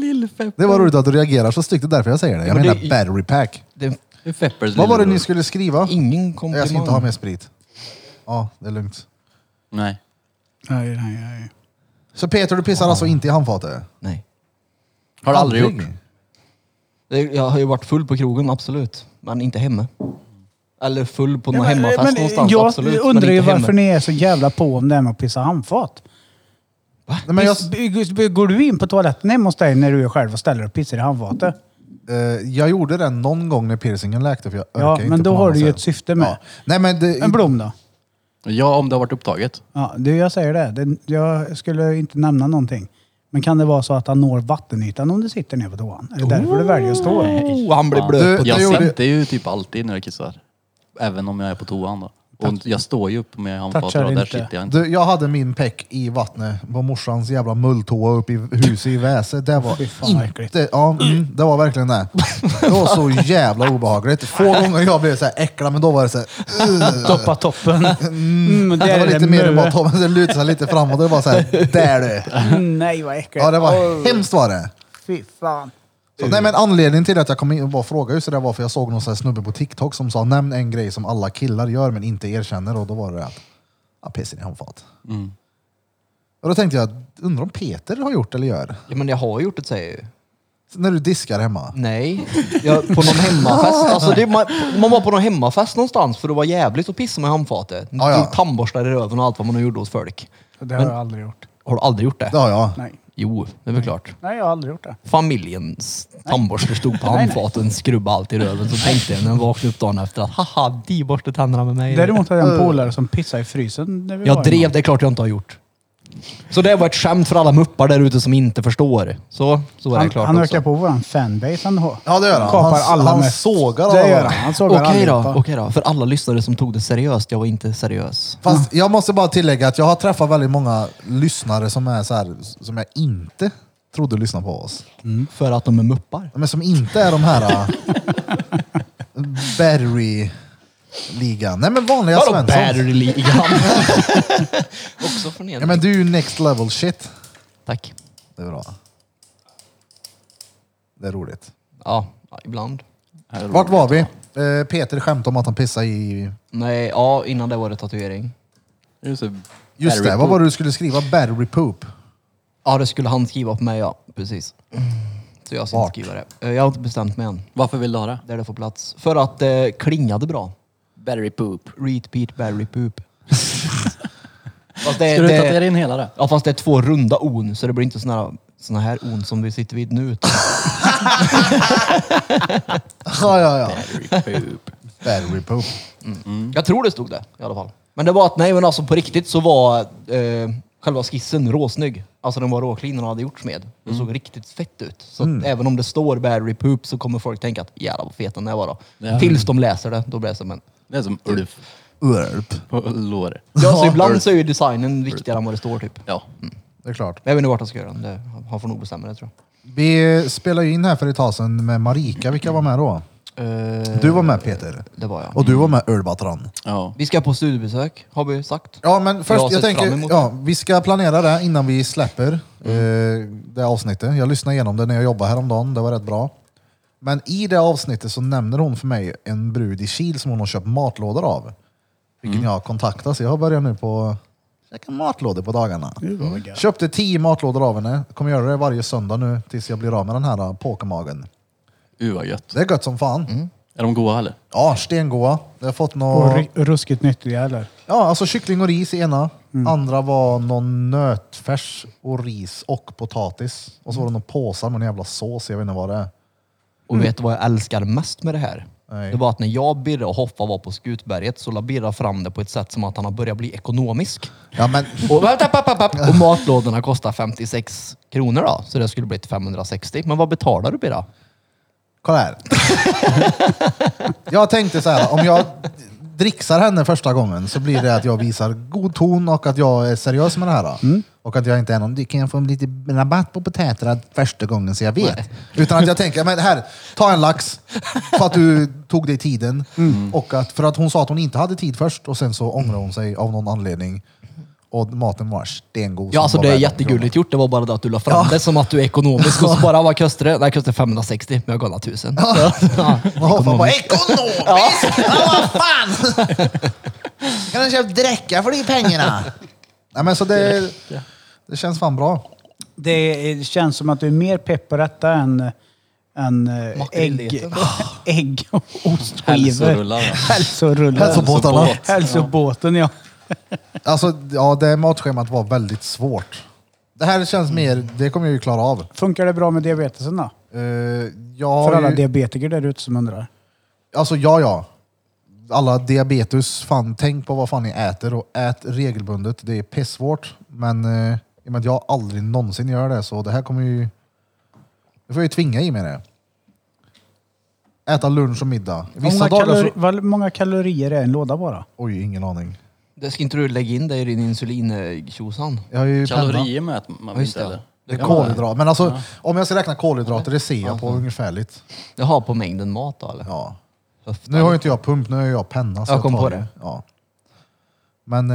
[SPEAKER 3] Lillfeppers.
[SPEAKER 4] Det var roligt att du reagerar så styggt, det är därför jag säger det. Jag
[SPEAKER 5] Men
[SPEAKER 4] menar
[SPEAKER 5] det-
[SPEAKER 4] battery pack.
[SPEAKER 5] Det är
[SPEAKER 3] Feppers
[SPEAKER 4] Vad var det
[SPEAKER 3] lillebror.
[SPEAKER 4] ni skulle skriva?
[SPEAKER 5] ingen komplimang.
[SPEAKER 4] Jag ska inte ha mer sprit. Ja, det är lugnt.
[SPEAKER 3] Nej.
[SPEAKER 2] Nej, nej, nej.
[SPEAKER 4] Så Peter, du pissar alltså inte i handfatet?
[SPEAKER 5] Nej.
[SPEAKER 3] Har du aldrig gjort?
[SPEAKER 5] Det- Jag har ju varit full på krogen, absolut. Men inte hemma. Eller full på någon
[SPEAKER 2] Men,
[SPEAKER 5] hemmafest
[SPEAKER 2] men
[SPEAKER 5] någonstans,
[SPEAKER 2] jag
[SPEAKER 5] absolut.
[SPEAKER 2] undrar
[SPEAKER 5] men
[SPEAKER 2] ju
[SPEAKER 5] inte
[SPEAKER 2] varför
[SPEAKER 5] hemma.
[SPEAKER 2] ni är så jävla på om det här med att pissa handfat.
[SPEAKER 4] Nej, men jag,
[SPEAKER 2] Går du in på toaletten hemma hos dig när du är själv och ställer dig och pissar i handfatet?
[SPEAKER 4] eh, jag gjorde det någon gång när piercingen läkte för jag
[SPEAKER 2] Ja,
[SPEAKER 4] orkar
[SPEAKER 2] men
[SPEAKER 4] inte
[SPEAKER 2] då
[SPEAKER 4] på
[SPEAKER 2] har
[SPEAKER 4] något
[SPEAKER 2] du ju
[SPEAKER 4] sätt.
[SPEAKER 2] ett syfte med.
[SPEAKER 4] Nej, men det,
[SPEAKER 2] En blom då?
[SPEAKER 3] Ja, om det har varit upptaget.
[SPEAKER 2] Ja, det jag säger det. det. Jag skulle inte nämna någonting. Men kan det vara så att han når vattenytan om du sitter ner på toan? Är det därför du väljer att stå? Mm,
[SPEAKER 5] Oh, han blir blöt.
[SPEAKER 4] Du-
[SPEAKER 5] på
[SPEAKER 4] jag
[SPEAKER 3] Jag
[SPEAKER 4] gjorde-
[SPEAKER 3] sitter ju typ alltid när jag kissar. Även om jag är på toan då. Och jag står ju upp med handfatet
[SPEAKER 2] Touchar
[SPEAKER 3] och där
[SPEAKER 2] inte.
[SPEAKER 3] sitter jag inte.
[SPEAKER 4] Du, jag hade min peck i vattnet på morsans jävla mulltoa uppe i huset i Väse. Det var
[SPEAKER 2] Fy fan, vad äckligt.
[SPEAKER 4] inte... Ja, mm, det var verkligen det. Det var så jävla obehagligt. Få gånger jag blev så här äcklad, men då var det så här... "Ugh."
[SPEAKER 2] Toppa
[SPEAKER 4] (laughs)
[SPEAKER 2] toppen. Mm, där
[SPEAKER 4] det
[SPEAKER 2] är
[SPEAKER 4] var lite mer än bara
[SPEAKER 2] mö.
[SPEAKER 4] toppen, det lutade sig lite framåt. Det var så här, där du!
[SPEAKER 2] Mm, Nej, vad äckligt.
[SPEAKER 4] Ja, det var hemskt var det.
[SPEAKER 2] Fy fan.
[SPEAKER 4] Så, nej, men anledningen till att jag kom in och bara frågade just det där var för jag såg någon så här snubbe på TikTok som sa nämn en grej som alla killar gör men inte erkänner och då var det att ja, pissen i handfat. Och då tänkte jag, undrar om Peter har gjort eller gör?
[SPEAKER 5] Ja, men jag har gjort det säger jag ju.
[SPEAKER 4] När du diskar hemma?
[SPEAKER 2] Typ.
[SPEAKER 5] Nej, jag, på någon hemmafest. Alltså, det, man, man var på någon hemmafest någonstans för det var jävligt och pissa med handfatet.
[SPEAKER 4] Ja, ja.
[SPEAKER 5] Drog Tandborstar i röven och allt vad man nu gjorde åt folk.
[SPEAKER 2] Det har jag aldrig gjort.
[SPEAKER 5] Har du aldrig gjort det?
[SPEAKER 4] Det har jag.
[SPEAKER 2] Nej,
[SPEAKER 5] Jo, det är väl klart.
[SPEAKER 2] nej jag har aldrig gjort det.
[SPEAKER 5] Familjens tandborste stod på handfaten, skrubbade allt i röven. Så tänkte jag när jag vaknade upp dagen efter att haha, de borste tänderna med mig.
[SPEAKER 2] Däremot har
[SPEAKER 4] Mm.
[SPEAKER 2] jag en polare som pissade i frysen. När vi
[SPEAKER 5] Mm. Jag
[SPEAKER 2] var
[SPEAKER 5] drev,
[SPEAKER 2] hemma.
[SPEAKER 5] det är klart jag inte har gjort. Så det var ett skämt för alla muppar där ute som inte förstår. Så, så är det
[SPEAKER 2] Han,
[SPEAKER 5] klart
[SPEAKER 2] han
[SPEAKER 5] också.
[SPEAKER 2] ökar på våran fanbase ändå.
[SPEAKER 4] Ja, det gör han.
[SPEAKER 2] Kapar
[SPEAKER 4] Han-
[SPEAKER 2] alla
[SPEAKER 4] han
[SPEAKER 2] mest.
[SPEAKER 4] sågar alla
[SPEAKER 2] Det gör
[SPEAKER 4] bara.
[SPEAKER 2] han. Han sågar
[SPEAKER 5] Okej då,
[SPEAKER 2] allihopa.
[SPEAKER 5] okej då. För alla lyssnare som tog det seriöst, jag var inte seriös.
[SPEAKER 4] Fast jag måste bara tillägga att jag har träffat väldigt många lyssnare som, är så här, som jag inte trodde lyssnade på oss.
[SPEAKER 5] För att de är muppar.
[SPEAKER 4] Men som inte är de här äh, berry ligan Nej men vanliga
[SPEAKER 5] Vadå
[SPEAKER 4] Svenssons.
[SPEAKER 5] Batteryligan? (laughs) Också förnedring.
[SPEAKER 4] Ja, men du är ju next level shit.
[SPEAKER 5] Tack.
[SPEAKER 4] Det är bra. Det är roligt.
[SPEAKER 5] Ja, ja, ibland.
[SPEAKER 4] Vart var vi? Eh, Peter skämtade om att han pissade i...
[SPEAKER 5] Nej, ja, innan det var det tatuering.
[SPEAKER 3] Just det.
[SPEAKER 4] Just
[SPEAKER 3] Battery
[SPEAKER 4] det, vad var det du skulle skriva? Battery poop. (laughs)
[SPEAKER 5] Ja, det skulle han skriva på mig, ja. Precis. Så jag ska
[SPEAKER 4] Vart?
[SPEAKER 5] inte skriva det. Eh, Jag har inte bestämt mig än.
[SPEAKER 3] Varför vill du ha det?
[SPEAKER 5] Där det får plats. För att det klingade bra.
[SPEAKER 3] Battery poop.
[SPEAKER 5] Repeat Barry
[SPEAKER 3] (laughs)
[SPEAKER 5] Poop. fast Eh, det,
[SPEAKER 3] Ska du tatuera
[SPEAKER 5] det,
[SPEAKER 3] in hela det?
[SPEAKER 5] ja, fast det är två runda on, så det blir inte såna här, såna här on som vi sitter vid nu. utan-
[SPEAKER 4] Ja, ja, ja.
[SPEAKER 3] Battery poop.
[SPEAKER 4] Battery poop.
[SPEAKER 5] Jag tror det stod det i alla fall. Men det var att, nej men alltså på riktigt så var eh, själva skissen råsnygg. Alltså den var råklin den hade gjorts med. Det såg riktigt fett ut. Så att även om det står Barry Poop så kommer folk tänka att jävlar vad fet den där var då.
[SPEAKER 3] Ja.
[SPEAKER 5] Tills de läser det, då blir det som en...
[SPEAKER 3] Det är som Ulf
[SPEAKER 4] Urp.
[SPEAKER 3] på lår.
[SPEAKER 5] Eh, Ja, så ibland så är ju designen viktigare än vad det står typ.
[SPEAKER 3] Ja.
[SPEAKER 4] Det är klart.
[SPEAKER 5] Men jag vet inte vart han ska göra den. Det, han får nog bestämma det tror jag.
[SPEAKER 4] Vi spelade ju in här för ett tag sedan med Marika. Vilka var med då?
[SPEAKER 5] Eh,
[SPEAKER 4] Du var med Peter.
[SPEAKER 5] Det var jag.
[SPEAKER 4] Och du var med Ölbatran.
[SPEAKER 3] ja.
[SPEAKER 5] Vi ska på studiebesök, har vi sagt.
[SPEAKER 4] Ja, men först,
[SPEAKER 5] har
[SPEAKER 4] jag
[SPEAKER 5] sett fram
[SPEAKER 4] tänker,
[SPEAKER 5] emot Mm.
[SPEAKER 4] ja, vi ska planera det innan vi släpper eh, det avsnittet. Jag lyssnade igenom det när jag jobbade häromdagen, det var rätt bra. Men i det avsnittet så nämner hon för mig en brud i Kil som hon har köpt matlådor av. Vilken
[SPEAKER 5] Mm.
[SPEAKER 4] jag har kontaktat, så jag börjar nu på käka matlådor på dagarna. Köpte tio matlådor av henne, kommer göra det varje söndag nu tills jag blir av med den här eh, pokermagen.
[SPEAKER 3] Uh vad gött.
[SPEAKER 4] Det är gött som fan.
[SPEAKER 5] Mm.
[SPEAKER 3] Är de goda eller?
[SPEAKER 4] Ja, stengoda. Jag har fått
[SPEAKER 2] Och
[SPEAKER 4] något...
[SPEAKER 2] ri- ruskigt nyttiga eller?
[SPEAKER 4] Ja, alltså kyckling och ris i ena. Andra var någon nötfärs och ris och potatis. Och så var det någon påsar med en jävla sås, jag vet inte vad det är.
[SPEAKER 5] Och vet du vad jag älskar mest med det här?
[SPEAKER 4] Mm. Nej.
[SPEAKER 5] Det var att när jag, Birre och Hoffa var på Skutberget så la Birra fram det på ett sätt som att han har börjat bli
[SPEAKER 4] (laughs)
[SPEAKER 5] ekonomisk.
[SPEAKER 4] Ja, men
[SPEAKER 5] Och, vänta, papp, papp, papp. och matlådorna kostar 56 kronor då, så det skulle bli till 560. Men vad betalar du Birra?
[SPEAKER 4] kolla här. Jag tänkte så här, om jag dricksar henne första gången så blir det att jag visar god ton och att jag är seriös med det här.
[SPEAKER 5] Mm.
[SPEAKER 4] Och att jag inte är någon, "Du, kan jag få lite rabatt på potäterna första gången så jag vet? Utan att jag tänker, men här, ta en lax för att du tog dig tiden.
[SPEAKER 5] Mm.
[SPEAKER 4] Och att, för att hon sa att hon inte hade tid först och sen så ångrade hon sig av någon anledning. Och maten var stengod.
[SPEAKER 5] Ja,
[SPEAKER 4] som
[SPEAKER 5] alltså
[SPEAKER 4] var
[SPEAKER 5] det är
[SPEAKER 4] värd de
[SPEAKER 5] jättegulligt gjort. Det var bara det att du la fram det som att du är ekonomisk och så bara, vad kostar det? Nej, kostar 560, men jag gav 1000. Ja.
[SPEAKER 4] Jaha, fan bara ekonomiskt! Ja. vad fan! kan du köpa dräcka för de pengarna? Nej men så det, det känns fan bra.
[SPEAKER 2] Det eh, känns som att du är mer pepp på detta än, än eh, ägg, (laughs)
[SPEAKER 4] (laughs)
[SPEAKER 5] Makrilleten.
[SPEAKER 2] ägg och ostskivor.
[SPEAKER 3] Hälsorullar, ja.
[SPEAKER 2] Hälsorullar.
[SPEAKER 4] Hälsobåtarna.
[SPEAKER 2] Hälsobåt. Hälsobåten, ja.
[SPEAKER 4] Alltså ja, det matschemat var väldigt svårt. Det här känns mer, det kommer jag ju klara av.
[SPEAKER 2] Funkar det bra med diabetesen då?
[SPEAKER 4] Eh, jag har
[SPEAKER 2] För alla
[SPEAKER 4] ju,
[SPEAKER 2] diabetiker där ute som undrar.
[SPEAKER 4] Alltså ja, ja. Alla diabetes, fan tänk på vad fan ni äter och ät regelbundet. Det är pissvårt. Men eh, i och med att jag aldrig någonsin gör det så det här kommer ju... Nu får jag ju tvinga i mig det. Äta lunch och middag.
[SPEAKER 2] Hur
[SPEAKER 4] Vissa
[SPEAKER 2] många,
[SPEAKER 4] dagar
[SPEAKER 2] kalori-
[SPEAKER 4] så...
[SPEAKER 2] vad många kalorier är en låda bara?
[SPEAKER 4] Oj, ingen aning.
[SPEAKER 5] Det ska inte du lägga in dig i din insulintjosan?
[SPEAKER 4] Jag har ju penna.
[SPEAKER 3] Kalorier mäter man
[SPEAKER 5] Just
[SPEAKER 3] inte
[SPEAKER 5] det.
[SPEAKER 3] eller?
[SPEAKER 4] Det är kolhydrater. Men alltså, om jag ska räkna kolhydrater, det ser jag på ungefärligt.
[SPEAKER 5] Jaha, på mängden mat då eller?
[SPEAKER 4] Ja.
[SPEAKER 5] Höftan.
[SPEAKER 4] Nu har ju inte jag pump, nu har jag penna. Så
[SPEAKER 5] Jag kom
[SPEAKER 4] tar
[SPEAKER 5] på det.
[SPEAKER 4] Ja. Men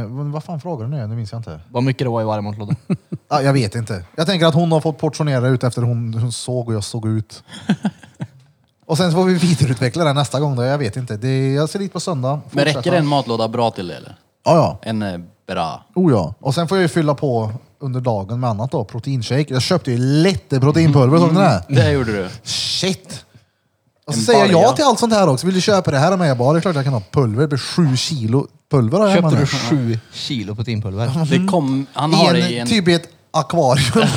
[SPEAKER 4] eh, vad fan frågar du nu? Nu minns jag inte.
[SPEAKER 5] Vad mycket det var i varje matlåda.
[SPEAKER 4] Ja, jag vet inte. Jag tänker att hon har fått portionera ut efter hon, hon såg och jag såg
[SPEAKER 3] (laughs)
[SPEAKER 4] ut. och sen så får vi vidareutveckla det nästa gång. Då. Jag vet inte. Det, jag ser dit på söndag.
[SPEAKER 3] Men räcker
[SPEAKER 4] Fortsätta.
[SPEAKER 3] en matlåda bra till det eller?
[SPEAKER 4] Ja, ja.
[SPEAKER 3] En eh, bra.
[SPEAKER 4] Oh, ja. Och sen får jag ju fylla på under dagen med annat då. Proteinshake. Jag köpte ju lite proteinpulver. Såg ni det?
[SPEAKER 3] Det gjorde du.
[SPEAKER 5] Mhm.
[SPEAKER 4] Shit! Och så
[SPEAKER 3] En
[SPEAKER 4] säger jag
[SPEAKER 3] balja.
[SPEAKER 4] ja till allt sånt här också. Vill du köpa det här av mig? Jag bara, det är klart jag kan ha pulver. Det blir sju kilo pulver har jag hemma
[SPEAKER 5] Köpte
[SPEAKER 4] nu.
[SPEAKER 5] du sju kilo proteinpulver?
[SPEAKER 3] Det kom, han har det i
[SPEAKER 4] I en,
[SPEAKER 3] en...
[SPEAKER 4] typ i ett akvarium.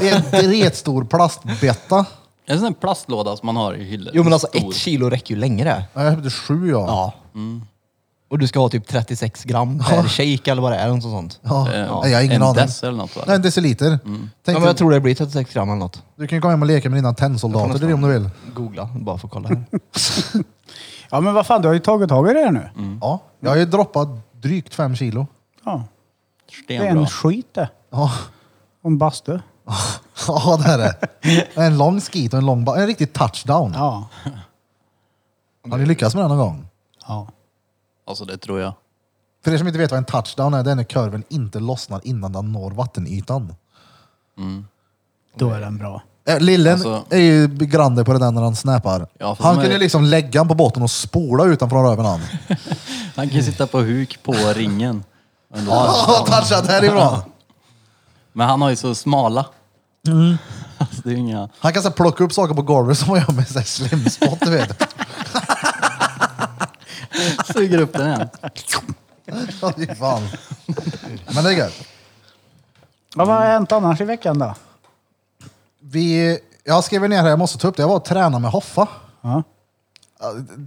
[SPEAKER 4] (laughs) I en dretstor plastbetta.
[SPEAKER 3] En sån här plastlåda som man har i hyllor.
[SPEAKER 5] Jo men alltså
[SPEAKER 3] Stor.
[SPEAKER 5] ett kilo räcker ju längre.
[SPEAKER 4] Nej, Jag köpte sju ja.
[SPEAKER 5] Ja. Och du ska ha typ 36 gram per shake eller vad det är. Något sånt.
[SPEAKER 4] Ja.
[SPEAKER 3] Eh,
[SPEAKER 4] Nej, jag har ingen
[SPEAKER 3] en Mm.
[SPEAKER 4] aning.
[SPEAKER 3] dess eller något va?
[SPEAKER 4] Nej, en deciliter.
[SPEAKER 5] Ja,
[SPEAKER 4] Tänkte,
[SPEAKER 5] men jag tror det blir 36 gram eller något.
[SPEAKER 4] Du kan ju komma hem och leka med dina tennsoldater det är det om du vill.
[SPEAKER 5] Googla bara för att kolla. här.
[SPEAKER 2] Ja men vad fan, du har ju tagit tag i det här nu.
[SPEAKER 3] Mm.
[SPEAKER 4] Ja. Jag har ju droppat drygt fem kilo.
[SPEAKER 2] Ja. Det är
[SPEAKER 3] Stenbra.
[SPEAKER 2] en skit det.
[SPEAKER 4] Ja, (laughs)
[SPEAKER 2] Och en bastu.
[SPEAKER 4] ja det är det. En lång skit och en lång ba- En riktig touchdown.
[SPEAKER 2] Ja.
[SPEAKER 4] Har ni lyckats med den någon gång?
[SPEAKER 2] ja.
[SPEAKER 3] Alltså det tror jag.
[SPEAKER 4] För er som inte vet vad en touchdown är, det är när kurven inte lossnar innan den når vattenytan.
[SPEAKER 2] Då är den bra.
[SPEAKER 4] Eh, Lillen
[SPEAKER 3] Alltså-
[SPEAKER 4] är ju grande på det där när han snappar.
[SPEAKER 3] Ja, för
[SPEAKER 4] han
[SPEAKER 3] de är-
[SPEAKER 4] kunde liksom lägga den på botten och spola utanför röven han.
[SPEAKER 3] Han kan ju sitta på huk på ringen. Ändå. alltså.
[SPEAKER 4] (laughs) Ja, touchat härifrån!
[SPEAKER 3] Men han har ju så smala. Alltså det är ju inga...
[SPEAKER 4] Han kan så här plocka upp saker på golvet som man gör med så här slimspott, du vet.
[SPEAKER 3] Suger upp den igen.
[SPEAKER 4] Ja, fy fan. Men det är gött.
[SPEAKER 2] Ja, vad har hänt annars i veckan då?
[SPEAKER 4] Vi, jag skriver ner här, jag måste ta upp det. Jag var och tränade med Hoffa.
[SPEAKER 2] Ja.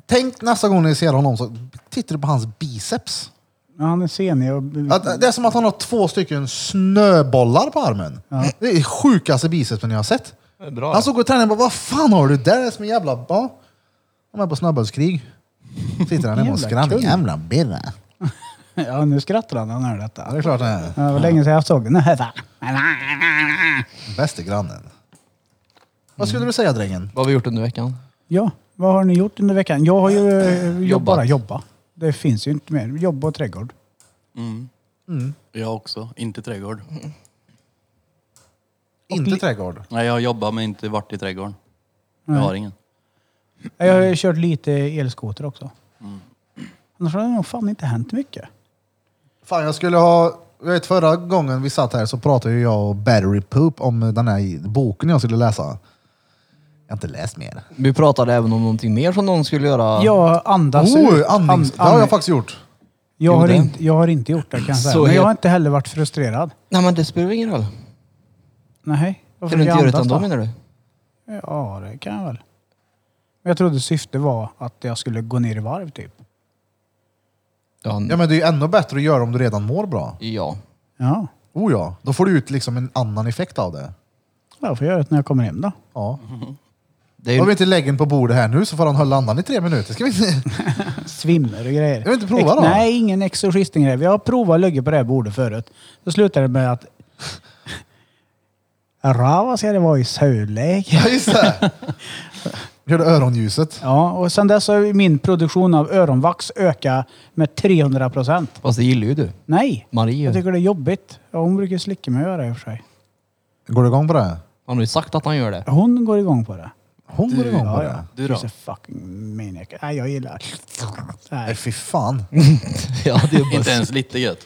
[SPEAKER 4] Tänk nästa gång ni ser honom så tittar du på hans biceps.
[SPEAKER 2] Ja, Han är senig och...
[SPEAKER 4] Att, det är som att han har två stycken snöbollar på armen. Det är sjukaste bicepsen jag har sett.
[SPEAKER 5] Det är (laughs) bra.
[SPEAKER 4] Han såg och tränade och bara, vad fan har du där? Det är som en jävla... Ja. De är på snöbollskrig. Sitter han hemma och
[SPEAKER 2] Jävla
[SPEAKER 4] skrattar.
[SPEAKER 2] kung.
[SPEAKER 4] Jävla birre.
[SPEAKER 2] (laughs) Ja, nu skrattar han när han hör detta.
[SPEAKER 4] Ja, det är klart han är.
[SPEAKER 2] Ja, Det var länge sedan jag såg den.
[SPEAKER 4] Bäste grannen. Vad skulle du säga drängen?
[SPEAKER 5] Vad har vi gjort under veckan?
[SPEAKER 2] Ja, vad har ni gjort under veckan? Jag har ju eh,
[SPEAKER 5] Jobbat.
[SPEAKER 2] bara jobbat. Det finns ju inte mer. Jobb och trädgård.
[SPEAKER 3] Jag också. Inte trädgård.
[SPEAKER 4] Inte trädgård.
[SPEAKER 3] Nej, jag har jobbat men inte varit i trädgården. Jag har ingen.
[SPEAKER 2] Jag har ju kört lite elskoter också. Annars har det nog fan inte hänt mycket.
[SPEAKER 4] Fan jag skulle ha... Jag vet förra gången vi satt här så pratade ju jag och Battery Poop om den här boken jag skulle läsa. Jag har inte läst mer.
[SPEAKER 5] Vi pratade även om någonting mer som någon skulle göra.
[SPEAKER 2] Jag andas
[SPEAKER 4] Oh,
[SPEAKER 2] ut.
[SPEAKER 4] andnings...
[SPEAKER 2] And-
[SPEAKER 4] Det har
[SPEAKER 2] and-
[SPEAKER 4] jag faktiskt gjort.
[SPEAKER 2] jag,
[SPEAKER 5] Jo,
[SPEAKER 2] har
[SPEAKER 5] det.
[SPEAKER 2] inte, jag har inte gjort det kan jag säga.
[SPEAKER 5] Så
[SPEAKER 2] Men jag
[SPEAKER 5] helt-
[SPEAKER 2] har inte heller varit frustrerad.
[SPEAKER 5] Nej men det spelar väl ingen roll.
[SPEAKER 2] Nej.
[SPEAKER 5] Kan du inte göra det
[SPEAKER 2] andas
[SPEAKER 5] ändå
[SPEAKER 2] då?
[SPEAKER 5] menar du?
[SPEAKER 2] Ja, det kan jag väl. Men jag trodde syftet var att jag skulle gå ner i varv typ.
[SPEAKER 5] Ja.
[SPEAKER 4] Ja men det är ju ännu bättre att göra om du redan mår bra.
[SPEAKER 5] ja.
[SPEAKER 2] Ja,
[SPEAKER 4] Oh ja. Då får du ut liksom en annan effekt av det.
[SPEAKER 2] Mm. jag får göra det när jag kommer hem då.
[SPEAKER 4] Ja.
[SPEAKER 5] Det är
[SPEAKER 4] Om vi
[SPEAKER 5] ju,
[SPEAKER 4] inte lägger den på bordet här nu så får han hålla andan i tre minuter. Ska vi inte?
[SPEAKER 2] (laughs) Svimmer och grejer.
[SPEAKER 4] Jag vill inte prova då.
[SPEAKER 2] Nej, ingen exorcistgrej. Vi har provat att ligga på det här bordet förut. Då slutade det med att... (laughs) Rava ska det vara i söläge.
[SPEAKER 4] Ja, just det. Hörde öronljuset.
[SPEAKER 2] Ja, och sen dess har ju min produktion av öronvax ökat med 300 procent.
[SPEAKER 5] fast det gillar ju du.
[SPEAKER 2] Nej!
[SPEAKER 5] Marie,
[SPEAKER 2] Jag tycker det är jobbigt. Ja, hon brukar slicka mig i örat i och för sig.
[SPEAKER 4] Går du igång på det?
[SPEAKER 5] han har ju sagt att han gör det.
[SPEAKER 2] Hon går igång på det.
[SPEAKER 4] Hon går igång på
[SPEAKER 2] Ja,
[SPEAKER 4] det?
[SPEAKER 2] ja.
[SPEAKER 3] Du då?
[SPEAKER 2] She's a fucking maniac. Nej, jag gillar...
[SPEAKER 4] Nej,
[SPEAKER 2] Nej,
[SPEAKER 4] fy fan.
[SPEAKER 5] (laughs) ja, (laughs) det är
[SPEAKER 3] Inte
[SPEAKER 5] bara...
[SPEAKER 3] ens lite gött.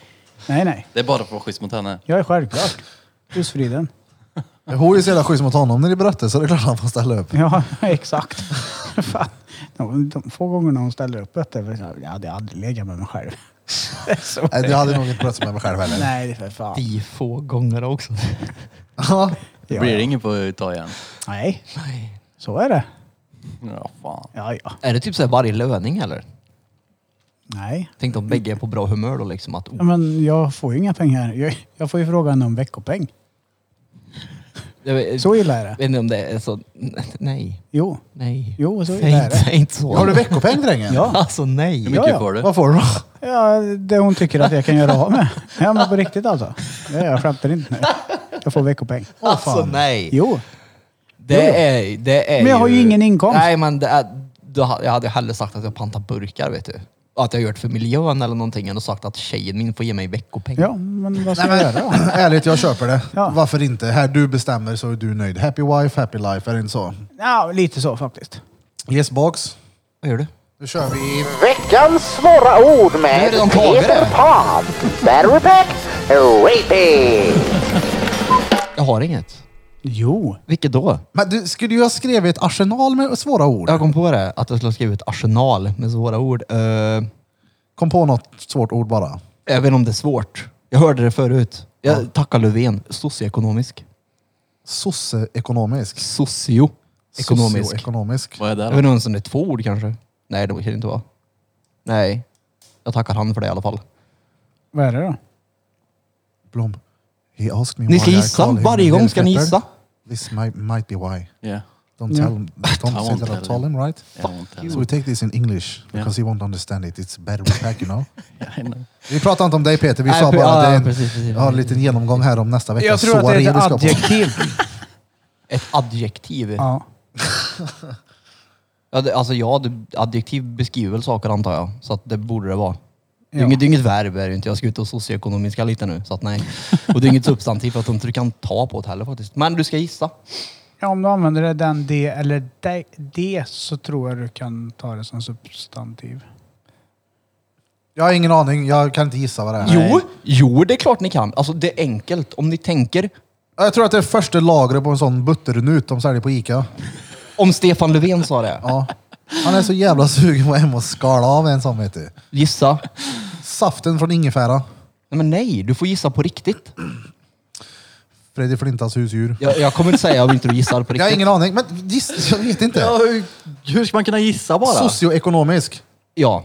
[SPEAKER 2] nej. nej.
[SPEAKER 3] Det är bara för att vara schysst mot henne.
[SPEAKER 2] Jag är självklart. Husfriden.
[SPEAKER 4] Hon är ju så jävla schysst mot honom när ni berättar så det är klart att han får ställa upp.
[SPEAKER 2] Ja, (laughs) exakt. Fan. De, de få gångerna hon ställer upp vet du, jag hade aldrig legat med mig själv. (laughs) Det är så.
[SPEAKER 4] Nej, det hade nog inte pratat med mig själv heller.
[SPEAKER 2] Nej, det är för fan.
[SPEAKER 5] De få gånger också.
[SPEAKER 4] Ja.
[SPEAKER 3] Det
[SPEAKER 2] Ja,
[SPEAKER 3] blir
[SPEAKER 2] ja.
[SPEAKER 3] ingen på att ta igen.
[SPEAKER 2] Nej, så är det.
[SPEAKER 3] Ja, fan.
[SPEAKER 2] Ja, ja.
[SPEAKER 5] Är det typ så här varje löning eller?
[SPEAKER 2] Nej.
[SPEAKER 5] Tänk om bägge är på bra humör då liksom. Att,
[SPEAKER 3] Mm.
[SPEAKER 2] Ja, Men jag får ju inga pengar. Jag, jag får ju frågan om veckopeng.
[SPEAKER 5] jag vet,
[SPEAKER 2] Så illa är det.
[SPEAKER 5] vet inte om det är så... Nej.
[SPEAKER 2] Jo.
[SPEAKER 5] Nej.
[SPEAKER 2] Jo, så
[SPEAKER 5] Säg
[SPEAKER 2] illa är
[SPEAKER 5] inte,
[SPEAKER 2] det.
[SPEAKER 5] säg inte så.
[SPEAKER 4] Har du veckopeng drängen?
[SPEAKER 2] Ja.
[SPEAKER 5] (laughs) Alltså nej.
[SPEAKER 3] Hur mycket
[SPEAKER 2] Ja, ja.
[SPEAKER 3] får du?
[SPEAKER 4] Vad får du då?
[SPEAKER 2] ja, det hon tycker att jag kan göra av med. Ja, men på riktigt alltså. Ja, jag skämtar inte nu. Jag får veckopeng. Åh,
[SPEAKER 5] Alltså,
[SPEAKER 2] fan.
[SPEAKER 5] nej.
[SPEAKER 2] Jo.
[SPEAKER 5] Det är, det är
[SPEAKER 2] Men jag har ju ingen inkomst.
[SPEAKER 5] Nej, men det är, då, ha- jag hade hellre sagt att jag pantar burkar, vet du. Och Att jag gjort för miljön eller någonting än att sagt att tjejen min får ge mig veckopeng.
[SPEAKER 2] Ja, men vad ska
[SPEAKER 4] Nej,
[SPEAKER 2] jag
[SPEAKER 4] men,
[SPEAKER 2] göra då?
[SPEAKER 4] ärligt, jag köper det.
[SPEAKER 2] Ja.
[SPEAKER 4] Varför inte? Här du bestämmer så är du nöjd. Happy wife, happy life. Är det inte så?
[SPEAKER 2] (laughs) Ja, lite så faktiskt.
[SPEAKER 4] Yes box.
[SPEAKER 5] Vad gör du?
[SPEAKER 4] Nu kör vi.
[SPEAKER 7] Veckans svåra ord
[SPEAKER 5] Nu är
[SPEAKER 7] med
[SPEAKER 5] det de klagade.
[SPEAKER 7] Peter Pan. Battery pack, raping.
[SPEAKER 5] Jag har inget.
[SPEAKER 2] Jo.
[SPEAKER 5] Vilket då?
[SPEAKER 4] Men du, skulle ju ha skrivit ett arsenal med svåra ord.
[SPEAKER 5] Jag kom på det, att jag skulle ha skrivit arsenal med svåra ord. Eh,
[SPEAKER 4] Kom på något svårt ord bara.
[SPEAKER 5] jag vet inte om det är svårt. Jag hörde det förut. Jag tackar Löfven. Socioekonomisk.
[SPEAKER 4] Sosseekonomisk.
[SPEAKER 5] Socioekonomisk.
[SPEAKER 4] Socioekonomisk.
[SPEAKER 3] Vad är det
[SPEAKER 5] Jag
[SPEAKER 3] då?
[SPEAKER 5] vet inte ens om det är två ord kanske. Nej, det kan det inte vara. Nej. Jag tackar han för det i alla fall.
[SPEAKER 2] Vad är det då?
[SPEAKER 4] Blom. He asked me
[SPEAKER 5] Ni ska
[SPEAKER 4] why I
[SPEAKER 5] gissa.
[SPEAKER 4] call him
[SPEAKER 5] Varje
[SPEAKER 4] a
[SPEAKER 5] gång ska ni
[SPEAKER 4] little
[SPEAKER 5] gissa.
[SPEAKER 4] pepper. This might, might be why.
[SPEAKER 3] Yeah.
[SPEAKER 4] Don't tell him. Don't say
[SPEAKER 3] won't
[SPEAKER 4] that I
[SPEAKER 3] tell
[SPEAKER 4] told him, right?
[SPEAKER 3] Jag har
[SPEAKER 5] Alltså.
[SPEAKER 3] inte
[SPEAKER 4] So we
[SPEAKER 3] heller.
[SPEAKER 4] take this in English because he won't understand it. It's better with pack, you
[SPEAKER 5] (laughs)
[SPEAKER 4] know.
[SPEAKER 3] I know.
[SPEAKER 4] Vi pratar inte om dig Peter, vi
[SPEAKER 5] Nej,
[SPEAKER 4] sa
[SPEAKER 5] pre-
[SPEAKER 4] bara
[SPEAKER 5] ja,
[SPEAKER 4] att det är
[SPEAKER 5] ja,
[SPEAKER 4] en,
[SPEAKER 5] precis, precis.
[SPEAKER 4] ja, en liten genomgång här om nästa vecka.
[SPEAKER 2] Jag tror att det är ett adjektiv.
[SPEAKER 5] Ett adjektiv.
[SPEAKER 2] (laughs) Ja.
[SPEAKER 5] Ja, det, alltså ja, det, adjektiv beskriver väl saker antar jag. Så att det borde det vara. Det,
[SPEAKER 2] Ja.
[SPEAKER 5] är inget, det är inget verb är det inte. Jag ska ut och socioekonomiska lite nu. Så att nej. Och det (laughs) är inget substantiv för att de inte kan ta på det heller faktiskt. Men du ska gissa.
[SPEAKER 2] ja, om du använder det, den, det eller de, det så tror jag du kan ta det som substantiv.
[SPEAKER 4] Jag har ingen aning, jag kan inte gissa vad det är.
[SPEAKER 5] Jo, jo, det är klart ni kan. Alltså det är enkelt. Om ni tänker,
[SPEAKER 4] Jag tror att det är första lagret på en sån butternut de säljer på Ica.
[SPEAKER 5] om Stefan Löfven sa det.
[SPEAKER 4] Ja. Han är så jävla sugen på att hem och skala av en sån vet du.
[SPEAKER 5] Gissa.
[SPEAKER 4] Saften från ingefära.
[SPEAKER 5] Nej, men nej, du får gissa på riktigt.
[SPEAKER 4] Freddy Flintas husdjur.
[SPEAKER 5] Jag, jag kommer inte säga om inte du gissar på
[SPEAKER 4] Jag har
[SPEAKER 5] riktigt.
[SPEAKER 4] ingen aning, men giss, jag vet inte.
[SPEAKER 3] Hur ska man kunna gissa bara?
[SPEAKER 4] Socioekonomisk.
[SPEAKER 5] Ja.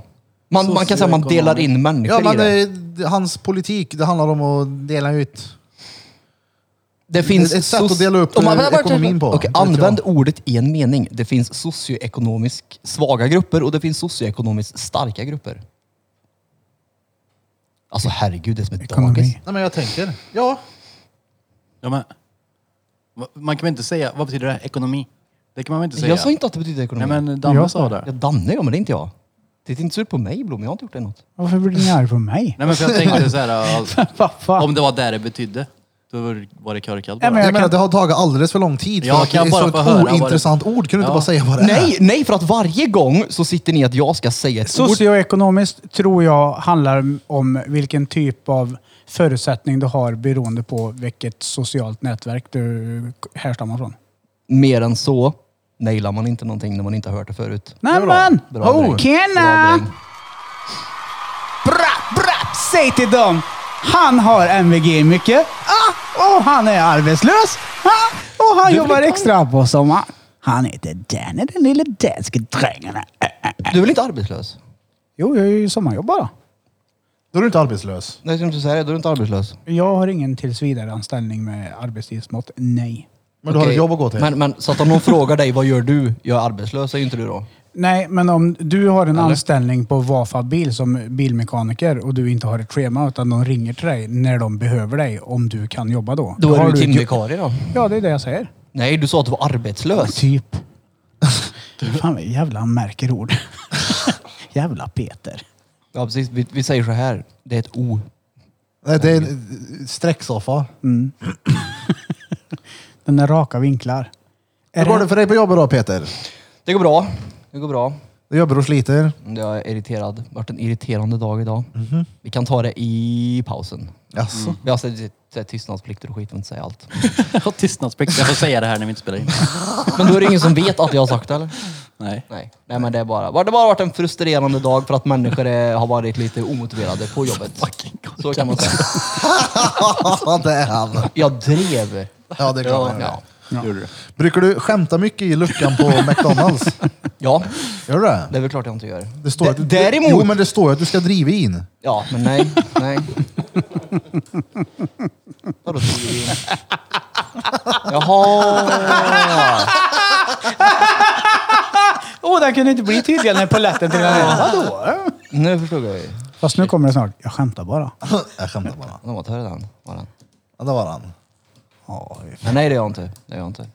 [SPEAKER 5] Man, man kan säga att man delar in människor
[SPEAKER 4] Ja, men
[SPEAKER 5] i det.
[SPEAKER 4] eh, d- hans politik, det handlar om att dela ut.
[SPEAKER 5] Det finns
[SPEAKER 4] Ett sätt
[SPEAKER 5] soc-
[SPEAKER 4] att dela upp,
[SPEAKER 5] Om
[SPEAKER 4] eh, ekonomin på.
[SPEAKER 5] Okej,
[SPEAKER 4] Vet
[SPEAKER 5] använd
[SPEAKER 4] jag.
[SPEAKER 5] ordet i en mening. Det finns socioekonomiskt svaga grupper och det finns socioekonomiskt starka grupper. Alltså herregud, det är som ett dagis.
[SPEAKER 2] Ekonomi.
[SPEAKER 4] Nej, men jag tänker. Ja.
[SPEAKER 3] Ja, men, Va- man kan väl inte säga, vad betyder det? här? Ekonomi? Det kan man väl inte säga?
[SPEAKER 5] Jag sa inte att det betyder ekonomi.
[SPEAKER 3] Nej men Danne
[SPEAKER 2] Jag
[SPEAKER 3] sa
[SPEAKER 2] sa
[SPEAKER 3] det.
[SPEAKER 5] Jag Danne, ja, men det är inte jag. Titta inte sur på mig Blom, jag har inte gjort det något.
[SPEAKER 2] Varför blir ni arg på mig?
[SPEAKER 3] Nej men för jag tänkte så här, alltså,
[SPEAKER 2] (laughs) Vad fan?
[SPEAKER 3] om det var där det betydde, då var det- var det korkat
[SPEAKER 2] Nej,
[SPEAKER 3] bara. (laughs)
[SPEAKER 2] men
[SPEAKER 4] Jag,
[SPEAKER 2] jag
[SPEAKER 4] menar,
[SPEAKER 2] kan-
[SPEAKER 4] det har tagit alldeles för lång tid. För
[SPEAKER 3] Ja,
[SPEAKER 4] att
[SPEAKER 3] kan jag
[SPEAKER 4] det är
[SPEAKER 3] bara
[SPEAKER 4] så
[SPEAKER 3] få höra
[SPEAKER 4] ett
[SPEAKER 3] vad det-
[SPEAKER 4] ointressant ord. Kan du inte
[SPEAKER 3] Ja.
[SPEAKER 4] bara säga vad det är?
[SPEAKER 5] Nej, nej, för att varje gång så sitter ni att jag ska säga ett ord.
[SPEAKER 2] Socioekonomiskt tror jag handlar om vilken typ av förutsättning du har beroende på vilket socialt nätverk du härstammar från.
[SPEAKER 5] Mer än så nailar man inte någonting när man inte har hört det förut.
[SPEAKER 2] Nämen!
[SPEAKER 5] Bra dräng. Bra
[SPEAKER 2] Kena!
[SPEAKER 5] dräng.
[SPEAKER 2] Bra, bra! Säg till dem! Han har MVG mycket. Ah, och han är arbetslös. Ah, och han jobbar extra på sommaren. Han heter Danny, den lille danske drängen. Äh, äh.
[SPEAKER 5] Du är väl inte arbetslös?
[SPEAKER 2] Jo, jag är ju sommarjobbare. då.
[SPEAKER 4] Då är du inte arbetslös.
[SPEAKER 5] Nej, jag tänkte säga det. Då är du inte arbetslös.
[SPEAKER 2] Jag har ingen tillsvidareanställning med arbetstidsmått. Nej.
[SPEAKER 4] Men du har
[SPEAKER 5] Okej.
[SPEAKER 4] ett jobb att gå till.
[SPEAKER 5] Men, men så att om någon frågar dig, vad gör du? Jag är arbetslös, är ju inte du då.
[SPEAKER 2] Nej, men om du har en anställning på Vafa Bil som bilmekaniker och du inte har ett schema utan de ringer till dig när de behöver dig om du kan jobba då. har
[SPEAKER 5] Då är du
[SPEAKER 2] ett jobb-
[SPEAKER 5] timvikarie då.
[SPEAKER 2] Ja, det är det jag säger.
[SPEAKER 5] Nej, du sa att du var arbetslös.
[SPEAKER 2] Typ. Fan vad jävla han märker ord. (laughs) jävla Peter.
[SPEAKER 5] Ja, precis. Vi, vi säger så här. Det är ett O.
[SPEAKER 4] Nej, det är en eh, sträcksoffa.
[SPEAKER 2] Den där raka vinklar.
[SPEAKER 4] Hur
[SPEAKER 2] Är
[SPEAKER 4] går
[SPEAKER 2] det,
[SPEAKER 4] det för dig på jobbet då Peter?
[SPEAKER 5] Det går bra. Det går bra.
[SPEAKER 4] Du jobbar och sliter.
[SPEAKER 5] Jag är irriterad. Det har varit en irriterande dag idag.
[SPEAKER 4] Mhm.
[SPEAKER 5] Vi kan ta det i pausen.
[SPEAKER 4] Jaså?
[SPEAKER 5] Vi har sett- sett tystnadsplikter och skit, vill inte säga allt.
[SPEAKER 3] Jag har tystnadsplikt. Jag får säga det här när vi inte spelar in.
[SPEAKER 5] Men då är det ingen som vet att jag har sagt det, eller?
[SPEAKER 3] Nej.
[SPEAKER 5] Nej, Nej men det är bara, det har bara varit en frustrerande dag för att människor är, har varit lite omotiverade
[SPEAKER 4] (laughs)
[SPEAKER 5] på jobbet. Så kan man säga.
[SPEAKER 4] (laughs) Ja, det är han.
[SPEAKER 5] Jag drev.
[SPEAKER 4] Ja, det är klart. han är.
[SPEAKER 5] Ja.
[SPEAKER 3] Gjorde du?
[SPEAKER 4] Brukar du skämta mycket i luckan (laughs) på McDonalds?
[SPEAKER 5] ja,
[SPEAKER 4] Gör du det?
[SPEAKER 5] det är väl klart jag inte gör.
[SPEAKER 4] det står att du,
[SPEAKER 5] Däremot-
[SPEAKER 4] Jo, men det står ju att du ska driva in. (laughs)
[SPEAKER 5] Ja, men nej. nej. Vadå driver in? Jaha!
[SPEAKER 2] Åh, den kunde inte bli tydligare när polletten trillade ner. Vadå?
[SPEAKER 5] Nu förstod jag ju.
[SPEAKER 2] Fast nu kommer det snart. Jag skämtar bara.
[SPEAKER 4] Jag skämtar bara.
[SPEAKER 5] Den var törr den. Var den.
[SPEAKER 4] Ja, det var han.
[SPEAKER 5] Men nej, det gör jag inte. Det gör jag inte. Men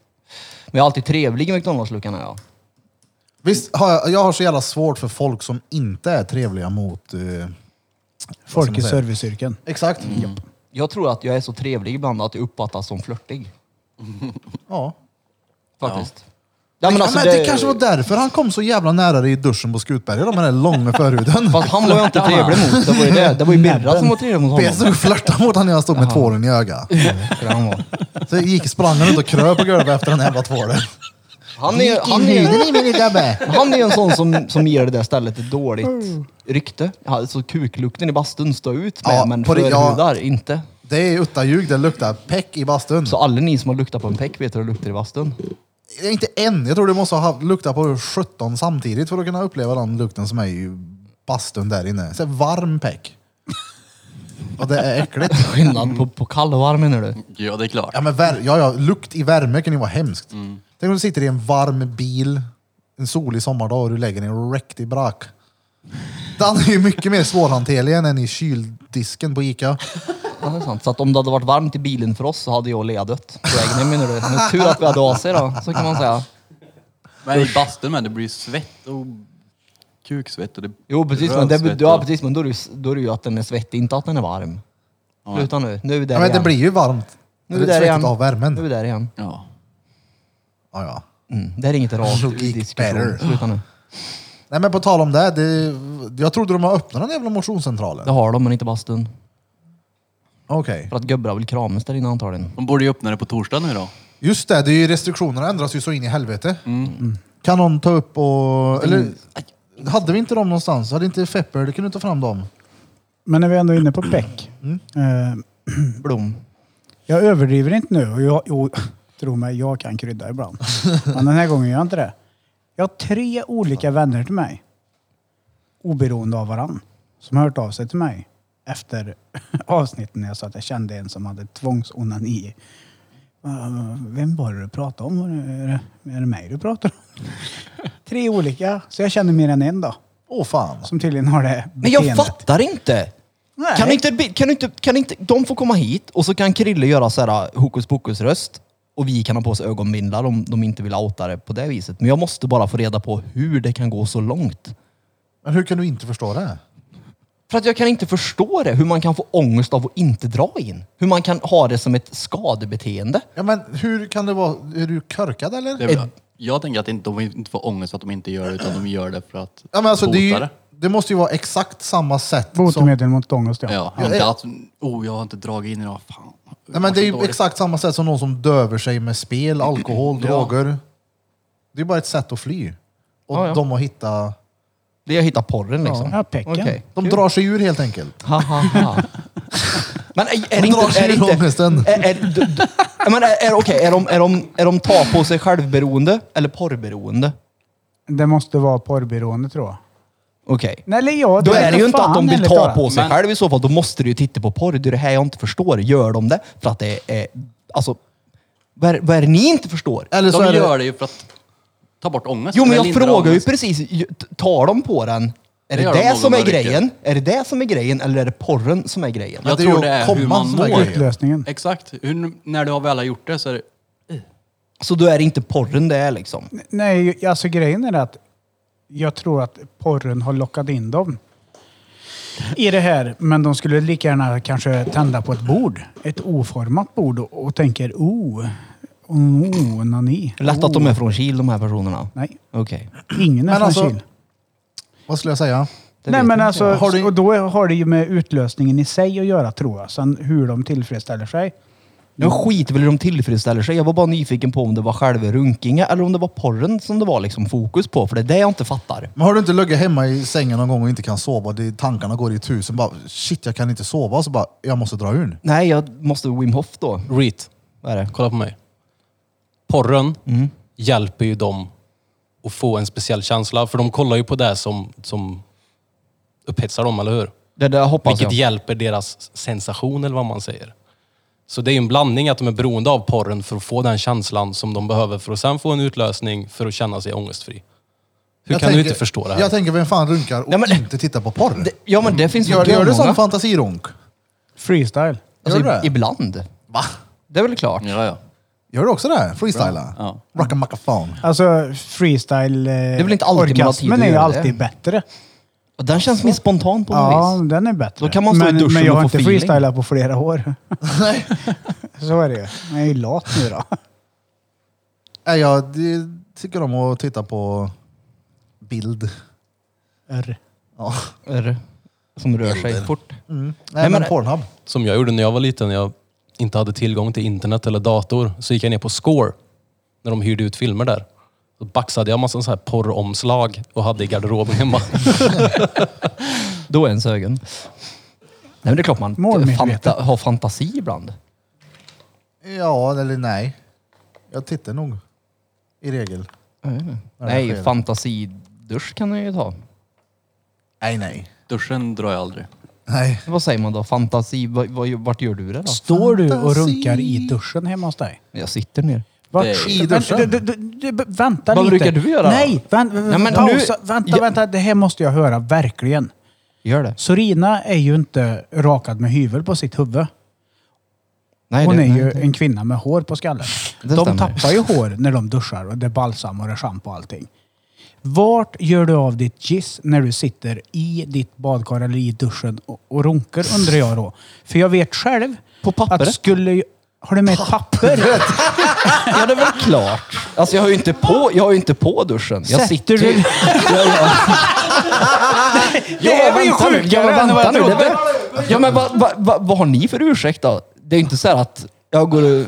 [SPEAKER 5] jag är alltid trevlig i McDonalds-luckan är jag.
[SPEAKER 4] Visst har jag, jag har så jävla svårt för folk som inte är trevliga mot... eh,
[SPEAKER 2] Folk i
[SPEAKER 4] man säga?
[SPEAKER 2] serviceyrken.
[SPEAKER 4] exakt.
[SPEAKER 5] Jag tror att jag är så trevlig ibland att jag uppfattas som flörtig.
[SPEAKER 4] Ja.
[SPEAKER 5] Faktiskt. alltså
[SPEAKER 4] Ja, men det, kanske var därför han kom så jävla nära dig i duschen på Skutberget, med den där långa förhuden.
[SPEAKER 5] Fast han var jag inte trevlig mot. Det var ju det. Det var ju Birra som var trevlig mot
[SPEAKER 4] Jag
[SPEAKER 5] honom.
[SPEAKER 4] stod och flörtade mot honom när jag stod med tvålen i ögat.
[SPEAKER 5] Han, var.
[SPEAKER 4] Så jag gick, sprang han ut och kröp på golvet efter den jävla tvålen.
[SPEAKER 5] han är han är,
[SPEAKER 4] i min gubbe!
[SPEAKER 5] han är en sån som, som ger det där stället ett dåligt rykte. Alltså kuklukten i bastun står ut med,
[SPEAKER 4] Mm. Ja,
[SPEAKER 5] men
[SPEAKER 4] på det- ja.
[SPEAKER 5] förhudar inte.
[SPEAKER 4] Det är utta ljug, det luktar peck i bastun.
[SPEAKER 5] Så alla ni som har luktat på en peck vet hur det luktar i bastun.
[SPEAKER 4] Det är Inte en, jag tror du måste ha luktat på 17 samtidigt för att kunna uppleva den lukten som är i bastun där inne. Så här varm peck. Och det är äckligt.
[SPEAKER 5] Skillnad på, på kall och varm menar du?
[SPEAKER 3] Ja, det är klart.
[SPEAKER 4] Ja, men vär- ja, ja, lukt i värme kan ju vara hemskt.
[SPEAKER 5] Mm.
[SPEAKER 4] Tänk om du sitter i en varm bil en solig sommardag och du lägger en riktig brak. Den är ju mycket mer svårhanterlig än en i kyldisken på Ica.
[SPEAKER 5] Ja, det är sant. Så att om det hade varit varmt i bilen för oss så hade jag och Lea dött på vägen hem menar du? Men tur att vi hade AC då, så kan man säga.
[SPEAKER 3] Men i bastun med, det blir ju svett och kuksvett och det
[SPEAKER 5] Jo precis, men, det,
[SPEAKER 3] rövsvett
[SPEAKER 5] ja,
[SPEAKER 3] och-
[SPEAKER 5] precis, men då, är det, ju- då är det ju att den är svettig, inte att den är varm. Sluta nu, nu är vi där
[SPEAKER 4] Ja, men det
[SPEAKER 5] igen.
[SPEAKER 4] blir ju varmt.
[SPEAKER 5] nu är vi där igen.
[SPEAKER 4] av
[SPEAKER 5] Nu är vi
[SPEAKER 4] värmen.
[SPEAKER 5] där igen.
[SPEAKER 3] Ja.
[SPEAKER 4] Ja, ja.
[SPEAKER 5] Mm, det är inget rakt i
[SPEAKER 4] Logik
[SPEAKER 5] diskussion.
[SPEAKER 4] better.
[SPEAKER 5] Sluta nu.
[SPEAKER 4] Nej, men på tal om det, det. Jag trodde de har öppnat den jävla motionscentralen.
[SPEAKER 5] Det har de, men inte bastun.
[SPEAKER 4] Okej.
[SPEAKER 5] För att gubbar vill kramas där inne antagligen.
[SPEAKER 3] De borde ju öppna det på torsdag nu då.
[SPEAKER 4] Just det, det är ju restriktionerna ändras ju så in i helvete.
[SPEAKER 5] Mm.
[SPEAKER 4] Kan någon ta upp och... Eller, hade vi inte dem någonstans? Hade inte Fepper, du kunde ta fram dem.
[SPEAKER 2] Men när vi ändå är inne på Beck.
[SPEAKER 4] Mm.
[SPEAKER 2] Eh,
[SPEAKER 5] Blom.
[SPEAKER 2] Jag överdriver inte nu. Och jag, jo, (laughs) tro mig, jag kan krydda ibland. Men den här gången gör jag inte det. Jag har tre olika vänner till mig, oberoende av varann, som har hört av sig till mig efter (laughs) avsnitten när jag sa att jag kände en som hade tvångsonani. Eh, Vem var det du pratade om? Var det- Är det, är det mig du pratar om? Tre olika, så jag känner mer än en då.
[SPEAKER 4] Åh fan.
[SPEAKER 2] Som tydligen har det
[SPEAKER 5] Men jag
[SPEAKER 2] beteendet.
[SPEAKER 5] fattar inte!
[SPEAKER 2] Nej.
[SPEAKER 5] Kan inte, kan inte, kan inte, de får komma hit och så kan Krille göra så här äh, hokus pokus röst och vi kan ha på oss ögonbindlar om de inte vill outa det på det viset. Men jag måste bara få reda på hur det kan gå så långt.
[SPEAKER 4] Men hur kan du inte förstå det?
[SPEAKER 5] För att jag kan inte förstå det, hur man kan få ångest av att inte dra in. Hur man kan ha det som ett skadebeteende.
[SPEAKER 4] Ja men hur kan det vara? Är du körkad eller?
[SPEAKER 3] Det är väl- Jag tänker att inte- de inte får ångest att de inte gör det, utan de gör det för att
[SPEAKER 4] ja, men alltså, det, är
[SPEAKER 3] bota
[SPEAKER 4] ju, det måste ju vara exakt samma sätt som...
[SPEAKER 2] Botemedel mot ångest, ja.
[SPEAKER 3] Ja, inte att, oh, jag har inte dragit in idag, fan.
[SPEAKER 4] Nej, men det är ju
[SPEAKER 3] Dåligt.
[SPEAKER 4] exakt samma sätt som någon som döver sig med spel, alkohol, droger. Det är bara ett sätt att fly. Och
[SPEAKER 5] Ja, ja.
[SPEAKER 4] de har hittat...
[SPEAKER 5] Det är att hitta porren liksom.
[SPEAKER 2] Ja, pecken.
[SPEAKER 5] Okej.
[SPEAKER 4] De drar sig ur helt enkelt.
[SPEAKER 5] Ha, ha,
[SPEAKER 2] (laughs)
[SPEAKER 5] ha. Men är, är
[SPEAKER 4] De
[SPEAKER 5] det
[SPEAKER 4] drar
[SPEAKER 5] inte... Är
[SPEAKER 4] sig
[SPEAKER 5] det
[SPEAKER 4] ur
[SPEAKER 5] inte
[SPEAKER 4] ångesten.
[SPEAKER 5] är, är, d, d, men är, är, okej, är, de, är, de, är de tar på sig självberoende eller porrberoende?
[SPEAKER 2] Det måste vara porrberoende tror jag.
[SPEAKER 5] Okej.
[SPEAKER 2] Nej, eller ja,
[SPEAKER 5] Då
[SPEAKER 2] det
[SPEAKER 5] är det ju
[SPEAKER 2] för
[SPEAKER 5] inte att
[SPEAKER 2] fan,
[SPEAKER 5] de vill
[SPEAKER 2] ärligt
[SPEAKER 5] ta
[SPEAKER 2] talat.
[SPEAKER 5] på sig
[SPEAKER 3] Men-
[SPEAKER 5] själv i så fall. Då måste du ju titta på porr. Det är det här jag inte förstår. Gör de det för att det är... Alltså, Vad är, vad är det ni inte förstår?
[SPEAKER 4] Eller så
[SPEAKER 3] De
[SPEAKER 4] är det,
[SPEAKER 3] gör det ju för att ta bort ångest.
[SPEAKER 5] Jo, men jag
[SPEAKER 3] lindrar
[SPEAKER 5] frågar ju
[SPEAKER 3] ångest.
[SPEAKER 5] precis. ju- t- Tar de på den? Är det
[SPEAKER 3] gör
[SPEAKER 5] det,
[SPEAKER 3] de
[SPEAKER 5] som är
[SPEAKER 3] någorlunda
[SPEAKER 5] grejen? Är det det som är grejen eller är det porren som är grejen?
[SPEAKER 4] Men
[SPEAKER 3] Jag
[SPEAKER 4] det är ju
[SPEAKER 3] tror det är
[SPEAKER 4] att
[SPEAKER 3] hur
[SPEAKER 4] komma
[SPEAKER 3] man
[SPEAKER 4] som är
[SPEAKER 3] mår.
[SPEAKER 4] grejen.
[SPEAKER 2] Utlösningen.
[SPEAKER 3] Exakt. Hur, när du har väl har gjort det så är det...
[SPEAKER 5] Så då är det inte porren det är liksom.
[SPEAKER 2] Nej, alltså grejen är att jag tror att porren har lockat in dem i det här. Men de skulle lika gärna kanske tända på ett bord. Ett oformat bord och, och tänker oh, oh, onani.
[SPEAKER 5] Lätt att de
[SPEAKER 3] Oh.
[SPEAKER 5] är från Kil de här personerna.
[SPEAKER 2] Nej,
[SPEAKER 5] Okej.
[SPEAKER 2] ingen är
[SPEAKER 4] Men
[SPEAKER 2] från
[SPEAKER 4] alltså,
[SPEAKER 2] Kil.
[SPEAKER 4] Vad skulle jag säga?
[SPEAKER 5] Det
[SPEAKER 2] Nej
[SPEAKER 5] vet
[SPEAKER 2] men
[SPEAKER 5] jag
[SPEAKER 2] alltså,
[SPEAKER 5] inte.
[SPEAKER 4] Har du-
[SPEAKER 2] och då har det ju med utlösningen i sig att göra tror jag. Sen hur de tillfredsställer sig.
[SPEAKER 5] Jag skiter väl i hur de tillfredsställer sig. Jag var bara nyfiken på om det var själva runkingen eller om det var porren som det var liksom fokus på. För det är det jag inte fattar.
[SPEAKER 4] Men har du inte legat hemma i sängen någon gång och inte kan sova? Det, tankarna går i tusen. Bara, shit, jag kan inte sova. Så bara, jag måste dra ur den.
[SPEAKER 5] Nej, jag måste Wim Hof då.
[SPEAKER 6] Reet,
[SPEAKER 5] Vad är det?
[SPEAKER 6] kolla på mig. Porren
[SPEAKER 4] Mm.
[SPEAKER 6] hjälper ju dem att få en speciell känsla. För de kollar ju på det som, som upphetsar dem, eller hur?
[SPEAKER 5] Det där hoppas
[SPEAKER 6] Vilket
[SPEAKER 5] jag.
[SPEAKER 6] hjälper deras sensation, eller vad man säger. Så det är ju en blandning att de är beroende av porren för att få den känslan som de behöver för att sen få en utlösning för att känna sig ångestfri. Hur
[SPEAKER 4] Jag
[SPEAKER 6] kan du
[SPEAKER 4] tänker-
[SPEAKER 6] inte förstå det här?
[SPEAKER 4] Jag tänker, vem fan runkar och
[SPEAKER 5] Nej, men-
[SPEAKER 4] inte tittar på porr?
[SPEAKER 5] Det, ja men det finns
[SPEAKER 4] gör,
[SPEAKER 5] väl
[SPEAKER 4] gör det
[SPEAKER 5] många.
[SPEAKER 4] som fantasirunk?
[SPEAKER 2] Freestyle.
[SPEAKER 5] Alltså,
[SPEAKER 4] Gör du
[SPEAKER 5] ib-
[SPEAKER 4] det?
[SPEAKER 5] ibland.
[SPEAKER 4] Va?
[SPEAKER 5] Det är väl klart.
[SPEAKER 3] Ja, ja.
[SPEAKER 4] Gör du också det? Freestyla?
[SPEAKER 3] Ja.
[SPEAKER 4] Rockamackaphone?
[SPEAKER 2] Alltså freestyle det
[SPEAKER 5] är väl inte alltid man har tid att
[SPEAKER 2] är ju
[SPEAKER 5] göra
[SPEAKER 2] alltid
[SPEAKER 5] det.
[SPEAKER 2] bättre.
[SPEAKER 5] Och den känns mer spontan på något
[SPEAKER 2] Ja,
[SPEAKER 5] vis.
[SPEAKER 2] den är bättre.
[SPEAKER 5] Då kan man stå i
[SPEAKER 2] men,
[SPEAKER 5] duschen
[SPEAKER 2] men jag har
[SPEAKER 5] och få
[SPEAKER 2] inte
[SPEAKER 5] feeling.
[SPEAKER 2] freestylat på flera
[SPEAKER 5] (laughs)
[SPEAKER 2] år. Så är det ju. Jag är ju lat nu då.
[SPEAKER 4] Nej, jag det- tycker om att titta på bild. Ja.
[SPEAKER 5] Är- Som rör sig fort.
[SPEAKER 4] Nej,
[SPEAKER 5] men-
[SPEAKER 4] men, Pornhub.
[SPEAKER 6] Som jag gjorde när jag var liten, när jag inte hade tillgång till internet eller dator, så gick jag ner på Score, när de hyrde ut filmer där. Då baxade jag massa så här porromslag och hade i garderoben hemma.
[SPEAKER 5] Då är ens ögon. Nej men det är klart man
[SPEAKER 2] Målmedveten.
[SPEAKER 5] fanta, har fantasi ibland.
[SPEAKER 4] Ja, eller nej. Jag tittar nog. I regel. det
[SPEAKER 5] Nej,
[SPEAKER 4] sker.
[SPEAKER 5] fantasidusch kan jag ju ta.
[SPEAKER 4] Nej, nej.
[SPEAKER 3] Duschen drar jag aldrig.
[SPEAKER 4] Nej.
[SPEAKER 5] Vad säger man då? Fantasi, vad, vad, vart gör du det då?
[SPEAKER 2] Står du och
[SPEAKER 4] Fantasi.
[SPEAKER 2] runkar i duschen hemma hos dig?
[SPEAKER 5] Jag sitter ner.
[SPEAKER 2] Vart?
[SPEAKER 3] Det är-
[SPEAKER 4] I duschen?
[SPEAKER 2] Vänta, du- du- du- vänta
[SPEAKER 5] Vad
[SPEAKER 2] lite.
[SPEAKER 5] brukar du göra?
[SPEAKER 2] Nej, vänt,
[SPEAKER 5] Nej, men
[SPEAKER 2] pausa.
[SPEAKER 5] nu-
[SPEAKER 2] Vänta,
[SPEAKER 5] Ja.
[SPEAKER 2] vänta. Det här måste jag höra, verkligen.
[SPEAKER 5] Gör det.
[SPEAKER 2] Sorina är ju inte rakad med hyvel på sitt huvud.
[SPEAKER 5] Nej,
[SPEAKER 2] Hon
[SPEAKER 5] det,
[SPEAKER 2] är
[SPEAKER 5] nej,
[SPEAKER 2] ju
[SPEAKER 5] det-
[SPEAKER 2] en kvinna med hår på skallen.
[SPEAKER 5] Det
[SPEAKER 2] De
[SPEAKER 5] stämmer.
[SPEAKER 2] tappar ju hår när de duschar och det är balsam och det är schampo och allting. Vart gör du av ditt giss när du sitter i ditt badkar eller i duschen och, och runkar undrar jag då. För jag vet själv
[SPEAKER 5] På pappret?
[SPEAKER 2] att skulle... jag- Har du med ett
[SPEAKER 5] (laughs)
[SPEAKER 2] papper?
[SPEAKER 5] Ja, det är väl klart. Alltså jag har ju inte på, jag har ju inte på duschen. Jag
[SPEAKER 2] Sätter
[SPEAKER 5] sitter ju...
[SPEAKER 2] du-
[SPEAKER 5] (laughs) Ja, ja.
[SPEAKER 2] Det här
[SPEAKER 5] Ja,
[SPEAKER 2] blir ju
[SPEAKER 5] vänta nu.
[SPEAKER 2] sjukare
[SPEAKER 5] Ja, men
[SPEAKER 2] än vad
[SPEAKER 5] vänta
[SPEAKER 2] jag
[SPEAKER 5] nu. Det är
[SPEAKER 2] trodde.
[SPEAKER 5] väl- Ja, men vad vad- vad- vad har ni för ursäkt då? Det är ju inte så här att jag går och...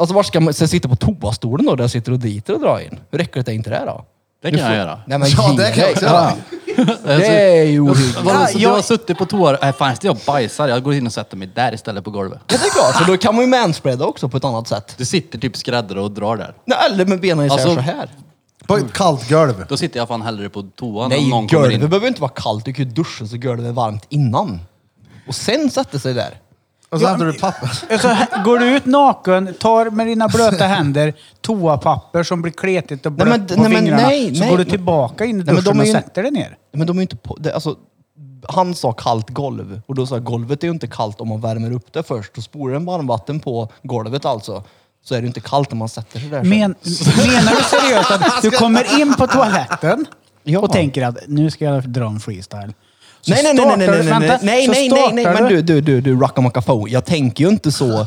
[SPEAKER 5] Alltså var ska man... Sen sitta på toastolen då, där jag sitter och driter och drar in. Hur äckligt är inte det då?
[SPEAKER 3] Det
[SPEAKER 5] Du
[SPEAKER 3] kan
[SPEAKER 5] får-
[SPEAKER 3] jag göra.
[SPEAKER 5] Nej, men
[SPEAKER 4] Ja,
[SPEAKER 5] ge
[SPEAKER 4] det kan jag
[SPEAKER 5] dig.
[SPEAKER 4] också göra.
[SPEAKER 5] Det är ju ohyggligt.
[SPEAKER 3] Vadå, så
[SPEAKER 2] Ja,
[SPEAKER 3] du har
[SPEAKER 2] jag-
[SPEAKER 3] suttit på toa? Nej, fan jag bajsar. Jag går in och sätter mig där istället på golvet.
[SPEAKER 5] Ja, det är klart. För då kan man ju manspreada också på ett annat sätt.
[SPEAKER 3] Du sitter typ skräddare och drar där.
[SPEAKER 5] Nej, Eller med benen isär
[SPEAKER 3] Alltså-
[SPEAKER 5] så här.
[SPEAKER 4] På ett kallt golv.
[SPEAKER 3] Då sitter jag fan hellre på toan om
[SPEAKER 5] Nej,
[SPEAKER 3] någon kommer
[SPEAKER 5] golvet
[SPEAKER 3] in.
[SPEAKER 5] behöver inte vara kallt. Du kan ju duscha så golvet är varmt innan. Och sen sätter sig där.
[SPEAKER 4] Och så
[SPEAKER 2] Ja,
[SPEAKER 4] hämtar du
[SPEAKER 2] men-
[SPEAKER 4] papper.
[SPEAKER 2] Alltså, här- går du ut naken, tar med dina blöta händer toapapper som blir kletigt och blött
[SPEAKER 5] Nej, men-
[SPEAKER 2] på
[SPEAKER 5] nej, men
[SPEAKER 2] fingrarna.
[SPEAKER 5] nej,
[SPEAKER 2] så
[SPEAKER 5] nej.
[SPEAKER 2] går du tillbaka in i
[SPEAKER 5] Nej, men de
[SPEAKER 2] duschen
[SPEAKER 5] är
[SPEAKER 2] och
[SPEAKER 5] ju-
[SPEAKER 2] sätter dig ner.
[SPEAKER 5] Men de är ju inte på... Det, alltså, han sa kallt golv och då sa jag golvet är ju inte kallt om man värmer upp det först. Då spolar den varmvatten på golvet alltså. Så är det ju inte kallt när man sätter sig där. sen.
[SPEAKER 2] Men, menar du seriöst
[SPEAKER 5] (laughs)
[SPEAKER 2] att du kommer in på toaletten
[SPEAKER 5] Ja.
[SPEAKER 2] och tänker att nu ska jag dra en freestyle? Så
[SPEAKER 5] nej, nej, nej, nej, nej, nej,
[SPEAKER 2] startar du-
[SPEAKER 5] nej,
[SPEAKER 2] vänta,
[SPEAKER 5] nej,
[SPEAKER 2] så
[SPEAKER 5] nej, nej, nej,
[SPEAKER 2] startar
[SPEAKER 5] men du, du, du, du, rackamakafo. Jag tänker ju inte så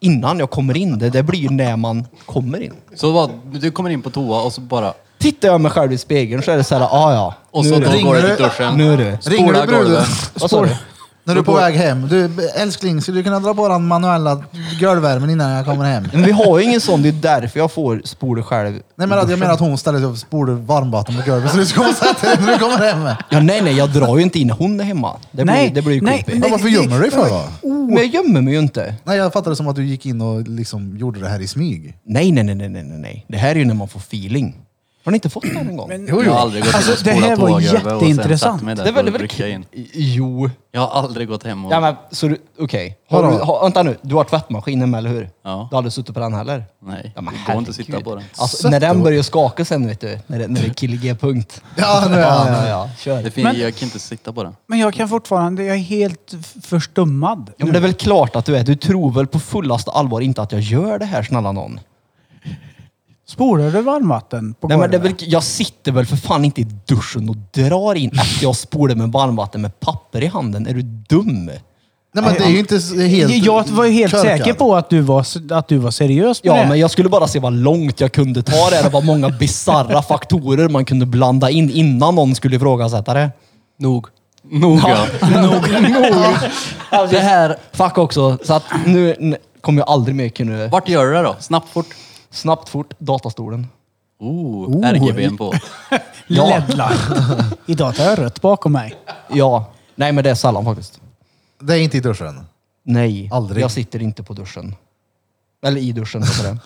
[SPEAKER 5] innan jag kommer in. Det, det blir ju när man kommer in.
[SPEAKER 3] Så vad, du kommer in på toa och så bara...
[SPEAKER 5] Tittar jag mig själv i spegeln så är det så här, ah, ja.
[SPEAKER 3] Och
[SPEAKER 5] nu
[SPEAKER 3] så
[SPEAKER 5] är det.
[SPEAKER 3] då går
[SPEAKER 4] Ringer
[SPEAKER 3] du
[SPEAKER 4] du-
[SPEAKER 3] till duschen.
[SPEAKER 5] Nu är det.
[SPEAKER 4] Ringer
[SPEAKER 3] spolar
[SPEAKER 4] du bruden?
[SPEAKER 3] golvet.
[SPEAKER 5] Vad sa du?
[SPEAKER 4] När du är på väg hem. Du, älskling, skulle du kunna dra på den manuella golvvärmen innan jag kommer hem?
[SPEAKER 5] Men vi har ju ingen sån. Det är därför jag får spola själv.
[SPEAKER 4] Nej men att jag menar att hon ställer sig upp och spolar varmvatten på golvet så du ska komma och sätta dig när du kommer hem.
[SPEAKER 5] Ja, nej, nej, jag drar ju inte in hon är hemma. Det blir,
[SPEAKER 2] Nej,
[SPEAKER 5] det blir ju
[SPEAKER 2] nej,
[SPEAKER 5] creepy.
[SPEAKER 4] Ja, varför gömmer du dig för då?
[SPEAKER 5] Men jag gömmer mig ju inte.
[SPEAKER 4] Nej jag fattade som att du gick in och liksom gjorde det här i smyg.
[SPEAKER 5] Nej, nej, nej, nej, nej, nej. Det här är ju när man får feeling. Har ni inte fått den en gång?
[SPEAKER 3] Jag har aldrig gått
[SPEAKER 2] Alltså,
[SPEAKER 3] in och
[SPEAKER 2] det här
[SPEAKER 3] spolat
[SPEAKER 2] var
[SPEAKER 3] tågöver och sen
[SPEAKER 2] jätteintressant.
[SPEAKER 3] satt mig där
[SPEAKER 5] det är väl, det
[SPEAKER 3] för
[SPEAKER 5] är
[SPEAKER 3] att
[SPEAKER 5] väl
[SPEAKER 3] rycka in.
[SPEAKER 5] Jo.
[SPEAKER 3] Jag har aldrig gått hem och...
[SPEAKER 5] Ja, men, så du, okej. Har
[SPEAKER 4] Vadå?
[SPEAKER 5] du- har- Vänta nu, du har tvättmaskinen med, eller hur?
[SPEAKER 3] Ja.
[SPEAKER 5] Du har aldrig suttit på den heller?
[SPEAKER 3] Nej,
[SPEAKER 5] Ja, men
[SPEAKER 3] det går inte att sitta
[SPEAKER 5] herregud.
[SPEAKER 3] på den.
[SPEAKER 5] Alltså, när den börjar skaka sen, vet du. När det, när det är kill G-punkt.
[SPEAKER 4] Ja, nu är han.
[SPEAKER 5] ja, ja. Kör.
[SPEAKER 3] Det fin-
[SPEAKER 2] Men-
[SPEAKER 3] Jag kan inte sitta (laughs) på den.
[SPEAKER 2] Men jag kan fortfarande, jag är helt f- förstummad.
[SPEAKER 5] Ja, men det är väl klart att du är. Du tror väl på fullaste allvar inte att jag gör det här, snälla någon.
[SPEAKER 2] Spolar du varmvatten på
[SPEAKER 5] Nej, men det är
[SPEAKER 2] golvet?
[SPEAKER 5] väl, jag sitter väl för fan inte i duschen och drar in efter jag spolar med varmvatten med papper i handen. Är du dum?
[SPEAKER 4] Nej men det är ju inte s- helt
[SPEAKER 2] jag var ju helt
[SPEAKER 4] körkad.
[SPEAKER 2] säker på att du var, att du var seriös med
[SPEAKER 5] Ja,
[SPEAKER 2] det.
[SPEAKER 5] men jag skulle bara se vad långt jag kunde ta det. Det var många bizarra faktorer man kunde blanda in innan någon skulle ifrågasätta det.
[SPEAKER 6] Nog.
[SPEAKER 3] Noga.
[SPEAKER 5] Nog, nog. Alltså, det här, fuck också. Så att nu n- kommer jag aldrig mer kunna...
[SPEAKER 3] Vart gör du det då? Snabbt, fort?
[SPEAKER 5] Snabbt, fort, datastolen.
[SPEAKER 3] Oh, RGB'n på.
[SPEAKER 5] Ja. (laughs)
[SPEAKER 2] LED-light. Idag tar jag rött bakom mig.
[SPEAKER 5] Ja. Nej, men det är sällan faktiskt.
[SPEAKER 4] Det är inte i duschen.
[SPEAKER 5] Nej.
[SPEAKER 4] Aldrig.
[SPEAKER 5] Jag sitter inte på duschen. Eller i duschen, heter det.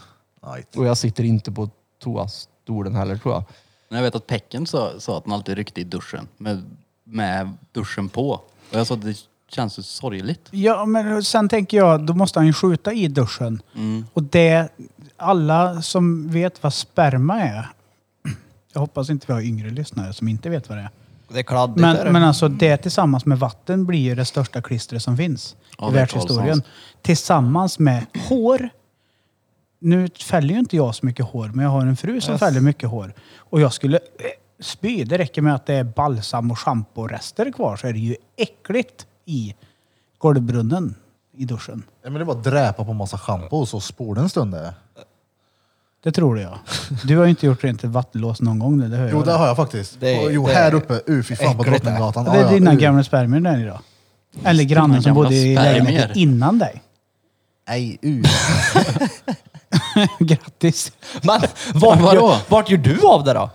[SPEAKER 4] Nej.
[SPEAKER 5] Och jag sitter inte på toastolen heller, tror jag.
[SPEAKER 3] Men jag vet att Pecken sa, sa att han alltid ryckte i duschen med, med duschen på. Och jag sa att det känns så sorgligt.
[SPEAKER 2] Ja, men sen tänker jag, då måste han ju skjuta i duschen.
[SPEAKER 5] Mm.
[SPEAKER 2] Och det, alla som vet vad sperma är, jag hoppas inte vi har yngre lyssnare som inte vet vad det är.
[SPEAKER 5] Det är kladdigt. är det.
[SPEAKER 2] Men, men alltså det tillsammans med vatten blir ju det största klistret som finns
[SPEAKER 3] Ja,
[SPEAKER 2] i
[SPEAKER 3] det är
[SPEAKER 2] världshistorien.
[SPEAKER 3] Karlssons.
[SPEAKER 2] Tillsammans med hår. Nu fäller ju inte jag så mycket hår, men jag har en fru som fäller mycket hår. Och jag skulle eh, spy. Det räcker med att det är balsam och schamporester kvar så är det ju äckligt i golvbrunnen i duschen.
[SPEAKER 4] Ja, men det är bara att dräpa på massa schampo och så spola en stund. det.
[SPEAKER 2] Det tror jag. Du har ju inte gjort rent ett vattenlås någon gång. Det, det hör
[SPEAKER 4] Jo
[SPEAKER 2] jag.
[SPEAKER 4] det har jag faktiskt.
[SPEAKER 5] Det är-
[SPEAKER 4] jo
[SPEAKER 5] det är
[SPEAKER 4] här uppe, uh, fy fan på
[SPEAKER 5] äckligt det.
[SPEAKER 4] Drottninggatan.
[SPEAKER 2] det
[SPEAKER 4] Ja,
[SPEAKER 2] är
[SPEAKER 4] ja,
[SPEAKER 2] dina
[SPEAKER 4] uh.
[SPEAKER 2] gamla spermier där idag. Eller grannen som
[SPEAKER 3] gamla
[SPEAKER 2] bodde i
[SPEAKER 3] spermier.
[SPEAKER 2] lägenheten innan dig. (laughs)
[SPEAKER 4] Nej, uh.
[SPEAKER 2] Grattis.
[SPEAKER 5] (laughs) Men vart,
[SPEAKER 3] Vadå?
[SPEAKER 5] gör, vart gör du av det då?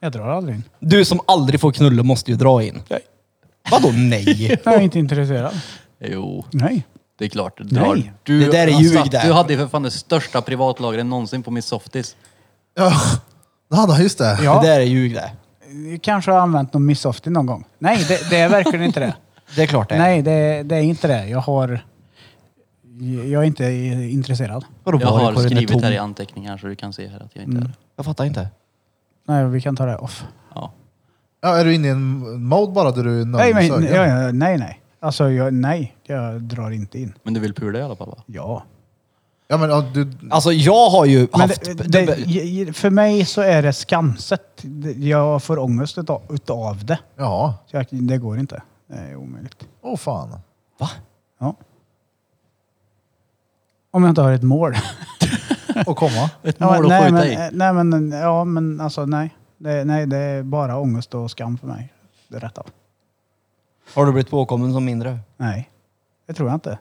[SPEAKER 2] Jag drar aldrig in.
[SPEAKER 5] Du som aldrig får knulla måste ju dra in. Vadå nej?
[SPEAKER 2] Jag är inte intresserad.
[SPEAKER 3] Jo,
[SPEAKER 2] Nej.
[SPEAKER 3] det är klart. Du, har,
[SPEAKER 2] Nej.
[SPEAKER 3] du,
[SPEAKER 5] Det där är
[SPEAKER 3] han
[SPEAKER 5] ljug
[SPEAKER 3] satt-
[SPEAKER 5] där.
[SPEAKER 3] du hade ju för fan det största privatlagret någonsin på min softis.
[SPEAKER 4] Ja, det hade han, just det.
[SPEAKER 2] (laughs)
[SPEAKER 5] Det
[SPEAKER 2] Ja,
[SPEAKER 5] där är ljug det.
[SPEAKER 2] kanske har använt någon missofti någon gång. Nej, det, det är verkligen inte det.
[SPEAKER 5] Det är klart det är.
[SPEAKER 2] Nej, det, det är inte det. Jag har... Jag är inte intresserad.
[SPEAKER 5] Vadå,
[SPEAKER 3] Jag
[SPEAKER 5] var det
[SPEAKER 3] har
[SPEAKER 5] på den
[SPEAKER 3] skrivit
[SPEAKER 5] tom? Mm.
[SPEAKER 3] här i anteckningar så du kan se här att jag inte är det.
[SPEAKER 5] Jag fattar inte.
[SPEAKER 2] Mm. Nej, vi kan ta det off.
[SPEAKER 3] Ja.
[SPEAKER 4] Ja, är du inne i en mode bara där du är
[SPEAKER 2] Nej,
[SPEAKER 4] nöjd
[SPEAKER 2] men,
[SPEAKER 4] med
[SPEAKER 2] ja,
[SPEAKER 4] sögen?
[SPEAKER 2] ja, nej, nej. Alltså, jag, nej. Jag drar inte in.
[SPEAKER 3] Men du vill pula i alla fall va?
[SPEAKER 2] Ja.
[SPEAKER 4] Ja, men, ja, du,
[SPEAKER 5] Alltså jag har ju
[SPEAKER 2] Men
[SPEAKER 5] haft...
[SPEAKER 2] det, det, j- för mig så är det skamset. Det- Jag får ångest utav, utav det.
[SPEAKER 4] ja.
[SPEAKER 2] Så jag, det går inte. Det är omöjligt.
[SPEAKER 4] Åh fan.
[SPEAKER 5] Va?
[SPEAKER 2] Ja. Om jag inte har ett (laughs) mål.
[SPEAKER 4] Och komma.
[SPEAKER 3] Ett
[SPEAKER 2] Ja,
[SPEAKER 3] mål att
[SPEAKER 2] nej,
[SPEAKER 3] skjuta
[SPEAKER 2] men,
[SPEAKER 3] i.
[SPEAKER 2] eh, nej, men, ja, men alltså nej. Det, nej, det är bara ångest och skam för mig. Det är Rätt av.
[SPEAKER 5] Har du blivit påkommen som mindre?
[SPEAKER 2] Nej, det tror jag inte.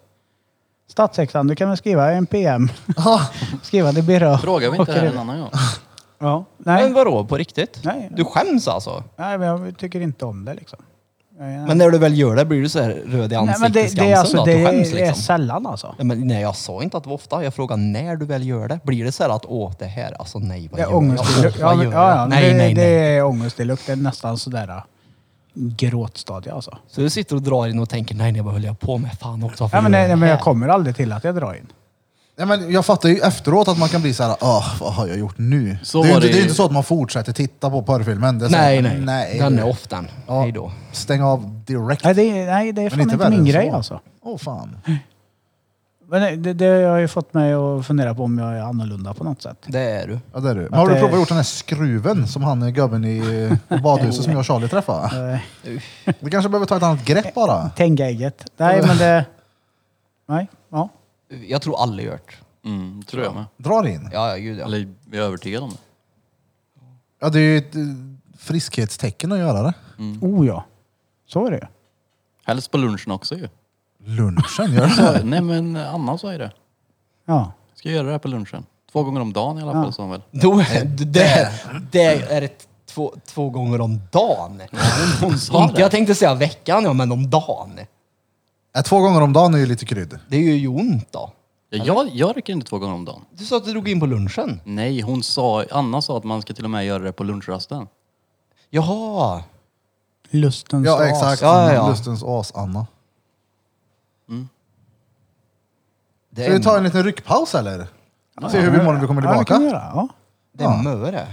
[SPEAKER 2] Statshäxan, du kan väl skriva en PM?
[SPEAKER 3] Ah.
[SPEAKER 4] Ja,
[SPEAKER 2] (laughs) skriva det berör.
[SPEAKER 3] Frågar vi inte det här
[SPEAKER 2] Okej.
[SPEAKER 3] en annan gång?
[SPEAKER 2] Ja,
[SPEAKER 5] Men
[SPEAKER 2] nej.
[SPEAKER 5] vadå, på riktigt?
[SPEAKER 2] Nej.
[SPEAKER 5] Du skäms alltså?
[SPEAKER 2] nej, men jag tycker inte om det liksom. Nej, nej.
[SPEAKER 5] Men när du väl gör det blir du så här röd
[SPEAKER 2] nej,
[SPEAKER 5] i ansiktet
[SPEAKER 2] men det, det, är alltså,
[SPEAKER 5] att
[SPEAKER 2] det
[SPEAKER 5] du skäms
[SPEAKER 2] är
[SPEAKER 5] liksom?
[SPEAKER 2] sällan alltså.
[SPEAKER 5] Nej, men, nej, jag sa inte att det var ofta. Jag frågade när du väl gör det. Blir det så här att åh, det här, alltså nej, vad
[SPEAKER 2] Det
[SPEAKER 5] gör
[SPEAKER 2] är
[SPEAKER 5] jag?
[SPEAKER 2] ångest i
[SPEAKER 5] Åh,
[SPEAKER 2] lukt. Ja,
[SPEAKER 5] vad
[SPEAKER 2] men-
[SPEAKER 5] gör
[SPEAKER 2] ja, ja,
[SPEAKER 5] jag? Nej,
[SPEAKER 2] det,
[SPEAKER 5] nej, nej.
[SPEAKER 2] det är ångest i lukt. Det är nästan sådär äh, gråtstadie alltså.
[SPEAKER 5] Så du sitter och drar in och tänker nej, nej, vad höll jag på med? Fan också, varför
[SPEAKER 2] Ja, men,
[SPEAKER 5] gör
[SPEAKER 2] nej, nej,
[SPEAKER 5] det
[SPEAKER 2] men jag
[SPEAKER 5] här?
[SPEAKER 2] kommer aldrig till att jag drar in.
[SPEAKER 4] Ja, men jag fattar ju efteråt att man kan bli så här, "Åh, vad har jag gjort nu?
[SPEAKER 3] Så
[SPEAKER 4] det, är ju
[SPEAKER 3] var
[SPEAKER 4] inte,
[SPEAKER 3] det
[SPEAKER 4] det är
[SPEAKER 3] ju.
[SPEAKER 4] inte så att man fortsätter titta på porrfilmen. Det är så här,
[SPEAKER 5] Nej, nej,
[SPEAKER 4] nej.
[SPEAKER 5] Den är off den.
[SPEAKER 4] Ja,
[SPEAKER 5] Hej då.
[SPEAKER 4] Stäng av direkt.
[SPEAKER 2] Nej, det, är- nej, det är fan inte,
[SPEAKER 4] värre
[SPEAKER 2] min
[SPEAKER 4] än
[SPEAKER 2] grej
[SPEAKER 4] så.
[SPEAKER 2] alltså.
[SPEAKER 4] Åh fan.
[SPEAKER 2] Men det- det, det har ju fått mig att fundera på om jag är annorlunda på något sätt.
[SPEAKER 5] Det är du.
[SPEAKER 4] Ja, det är du. Men har du
[SPEAKER 2] det-
[SPEAKER 4] provat att gjort den här skruven som han eh, gubben i
[SPEAKER 2] (laughs)
[SPEAKER 4] på badhuset som jag och Charlie träffade?
[SPEAKER 2] Eh,
[SPEAKER 4] Vi kanske behöver ta ett annat grepp bara.
[SPEAKER 2] Tänk ägget. Nej, men det... Nej, ja.
[SPEAKER 5] Jag tror alla gör det.
[SPEAKER 3] Mm, tror jag med.
[SPEAKER 4] Drar in.
[SPEAKER 5] Ja, ja, gud ja.
[SPEAKER 3] Eller jag är övertygad om det.
[SPEAKER 4] Ja, det är ju ett eh, friskhetstecken att göra det.
[SPEAKER 2] Oh ja. Så är det ju.
[SPEAKER 3] Helst på lunchen också ju.
[SPEAKER 4] Lunchen, gör det?
[SPEAKER 2] (laughs)
[SPEAKER 3] Nej men Anna sa ju det.
[SPEAKER 2] Ja.
[SPEAKER 3] Ska jag göra det här på lunchen. Två gånger om dagen i alla fall sa hon väl.
[SPEAKER 5] Då är det, det är ett två, två gånger om dagen.
[SPEAKER 3] Hon sa
[SPEAKER 5] Inte, jag
[SPEAKER 3] det.
[SPEAKER 5] tänkte säga veckan, ja, men om dagen.
[SPEAKER 4] Äh, Ja, Två gånger om dagen är ju lite krydd.
[SPEAKER 5] Det är ju ont då.
[SPEAKER 3] Ja, jag, jag röker inte två gånger om dagen.
[SPEAKER 5] Du sa att du drog in på lunchen.
[SPEAKER 3] Nej, hon sa, Anna sa att man ska till och med göra det på lunchrasten.
[SPEAKER 5] Jaha!
[SPEAKER 2] Lustens
[SPEAKER 4] Ja,
[SPEAKER 2] as.
[SPEAKER 4] exakt.
[SPEAKER 5] Ja, ja, ja.
[SPEAKER 4] Lustens as-Anna.
[SPEAKER 5] Det
[SPEAKER 4] Ska
[SPEAKER 5] är,
[SPEAKER 4] vi ta en liten ryckpaus eller? Se hur imorgon vi kommer
[SPEAKER 2] Ja, det
[SPEAKER 4] tillbaka.
[SPEAKER 2] kan vi göra. Ja.
[SPEAKER 5] det är mö det.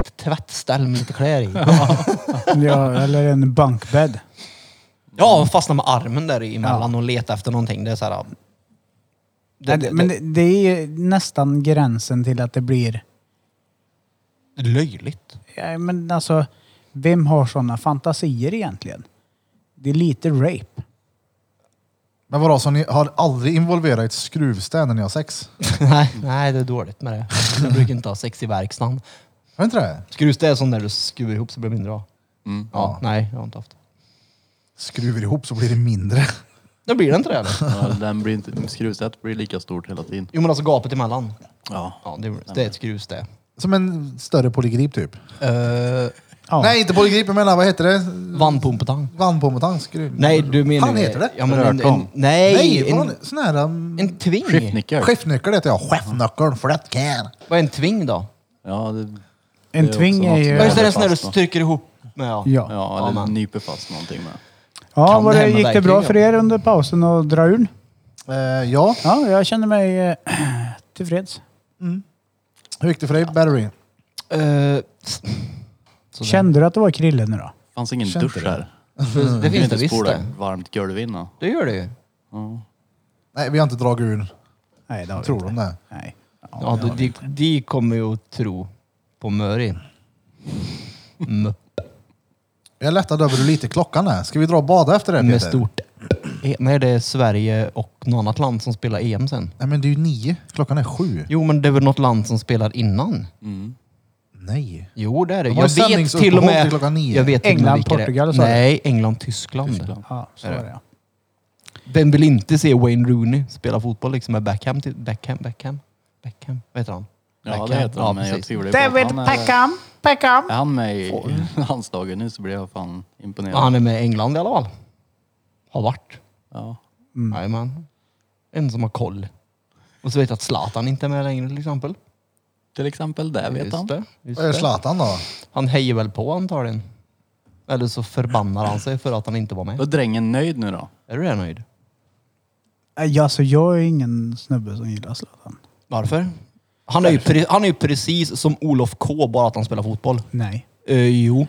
[SPEAKER 5] Ett tvättställ med lite kläder i.
[SPEAKER 2] Ja, eller en bankbädd.
[SPEAKER 5] Ja, fastna med armen där emellan och leta efter någonting. Det är så här... Det, det,
[SPEAKER 2] Men
[SPEAKER 5] det,
[SPEAKER 2] det, det är ju nästan gränsen till att det blir...
[SPEAKER 5] löjligt. (laughs)
[SPEAKER 2] Ja, men alltså, vem har sådana fantasier egentligen? Det är lite rape.
[SPEAKER 4] Men vadå, så ni har aldrig involverat ett skruvstäd när ni har sex?
[SPEAKER 5] nej, nej, det är dåligt med det. Jag brukar inte ha sex i verkstaden.
[SPEAKER 4] Har ni inte det?
[SPEAKER 5] Skruvstäd är sån där du skruvar ihop så blir det mindre av.
[SPEAKER 3] Mm.
[SPEAKER 5] Ja, nej, jag har inte haft.
[SPEAKER 4] Skruvar ihop så blir det mindre.
[SPEAKER 5] Det blir det inte det eller?
[SPEAKER 3] (laughs) Ja, den blir inte, skruvsätt blir lika stort hela tiden.
[SPEAKER 5] Jo men alltså gapet emellan.
[SPEAKER 3] Ja.
[SPEAKER 5] Ja, det, det är ett skruvstäd.
[SPEAKER 4] Som en större polygrip typ.
[SPEAKER 5] Uh,
[SPEAKER 2] Eh, Ja.
[SPEAKER 4] Nej, inte polygrip, jag menar vad heter det?
[SPEAKER 5] Vannpumpetang.
[SPEAKER 4] Vannpometang? Skruv...
[SPEAKER 5] Nej, du menar...
[SPEAKER 4] Fan heter det?
[SPEAKER 5] Ja, men en, en,
[SPEAKER 3] Rörtång.
[SPEAKER 5] nej,
[SPEAKER 4] Nej, vad
[SPEAKER 5] en,
[SPEAKER 4] var det? sån här... um,
[SPEAKER 5] en tving.
[SPEAKER 3] Skiftnyckel.
[SPEAKER 4] Chefnyckel heter jag. Chefnyckeln, för det kan.
[SPEAKER 5] Vad är en tving då?
[SPEAKER 3] Ja, det,
[SPEAKER 2] En
[SPEAKER 3] det är
[SPEAKER 2] twing
[SPEAKER 3] också
[SPEAKER 2] är
[SPEAKER 3] något
[SPEAKER 2] ju-
[SPEAKER 3] som
[SPEAKER 5] Ja, just
[SPEAKER 3] håller
[SPEAKER 5] det, det är sån där du
[SPEAKER 3] fast då.
[SPEAKER 5] stryker ihop med. Ja.
[SPEAKER 2] Ja.
[SPEAKER 3] Ja,
[SPEAKER 5] Ja,
[SPEAKER 3] eller
[SPEAKER 5] men.
[SPEAKER 3] nyper fast någonting med.
[SPEAKER 2] Ja,
[SPEAKER 5] Kan
[SPEAKER 2] var
[SPEAKER 5] det
[SPEAKER 2] det,
[SPEAKER 5] hända
[SPEAKER 2] gick det bra
[SPEAKER 5] verkligen?
[SPEAKER 2] för er under pausen att dra ur?
[SPEAKER 4] Eh, ja,
[SPEAKER 2] Ja, jag kände mig eh, (clears throat) tillfreds.
[SPEAKER 4] hur gick det för dig Battery?
[SPEAKER 5] Eh, sådär.
[SPEAKER 2] Kände du att det var krille nu då?
[SPEAKER 3] fanns ingen
[SPEAKER 4] Kände
[SPEAKER 3] dusch
[SPEAKER 4] det.
[SPEAKER 3] här.
[SPEAKER 5] För Det
[SPEAKER 3] Vi
[SPEAKER 5] finns
[SPEAKER 3] inte
[SPEAKER 5] det visst
[SPEAKER 3] spola
[SPEAKER 5] det.
[SPEAKER 3] ett varmt golv innan.
[SPEAKER 5] Det gör det ju.
[SPEAKER 4] Nej, vi har inte dragit ur.
[SPEAKER 2] Nej, det har vi
[SPEAKER 4] Tror
[SPEAKER 2] inte.
[SPEAKER 4] de det?
[SPEAKER 2] Nej.
[SPEAKER 5] Ja, de, de, de kommer ju att tro på Möri. Mm,
[SPEAKER 4] Jag lättade över hur lite klockan är. Ska vi dra och bada efter det Peter?
[SPEAKER 5] med stort... Nej, det är Sverige och något annat land som spelar EM sen.
[SPEAKER 4] Nej men det är ju nio. Klockan är sju.
[SPEAKER 5] Jo, men det är väl något land som spelar innan?
[SPEAKER 4] Nej.
[SPEAKER 5] Jo, det är det.
[SPEAKER 4] De har
[SPEAKER 5] Jag vet
[SPEAKER 4] sändningsuppehåll
[SPEAKER 5] till och med...
[SPEAKER 4] till klockan nio.
[SPEAKER 5] Jag vet till och med
[SPEAKER 2] England,
[SPEAKER 5] vilka det är.
[SPEAKER 2] Portugal, sa du?
[SPEAKER 5] Nej, England, Tyskland.
[SPEAKER 2] Ja, så var det ja.
[SPEAKER 5] Vem vill inte se Wayne Rooney spela fotboll liksom med Beckham? Till, Beckham? Beckham? Beckham? Vad heter han?
[SPEAKER 3] Ja, det heter han, men jag
[SPEAKER 5] precis.
[SPEAKER 3] tvivlar ju på
[SPEAKER 2] David
[SPEAKER 3] att han är...
[SPEAKER 2] Peckham, Peckham.
[SPEAKER 3] Är han med i (laughs) landslaget nu så blir jag fan imponerad.
[SPEAKER 5] Ja, Han är med i England i alla fall. Har varit.
[SPEAKER 3] Ja.
[SPEAKER 5] Jajamän. En som har koll. Och så vet jag att Zlatan inte är med längre till exempel.
[SPEAKER 3] Till exempel, det vet
[SPEAKER 5] Just
[SPEAKER 3] han.
[SPEAKER 5] det, just
[SPEAKER 4] Vad gör
[SPEAKER 5] det.
[SPEAKER 4] Zlatan då?
[SPEAKER 5] Han hejar väl på antagligen. Eller så förbannar han sig för att han inte var
[SPEAKER 3] Då är
[SPEAKER 5] med.
[SPEAKER 3] drängen nöjd nu då.
[SPEAKER 5] Är du det nöjd?
[SPEAKER 2] Nej, Alltså, jag är ingen snubbe som gillar Zlatan.
[SPEAKER 5] Varför? Han är, ju pre- han är ju precis som Olof K, bara att han spelar fotboll.
[SPEAKER 2] Nej.
[SPEAKER 5] Eh, jo.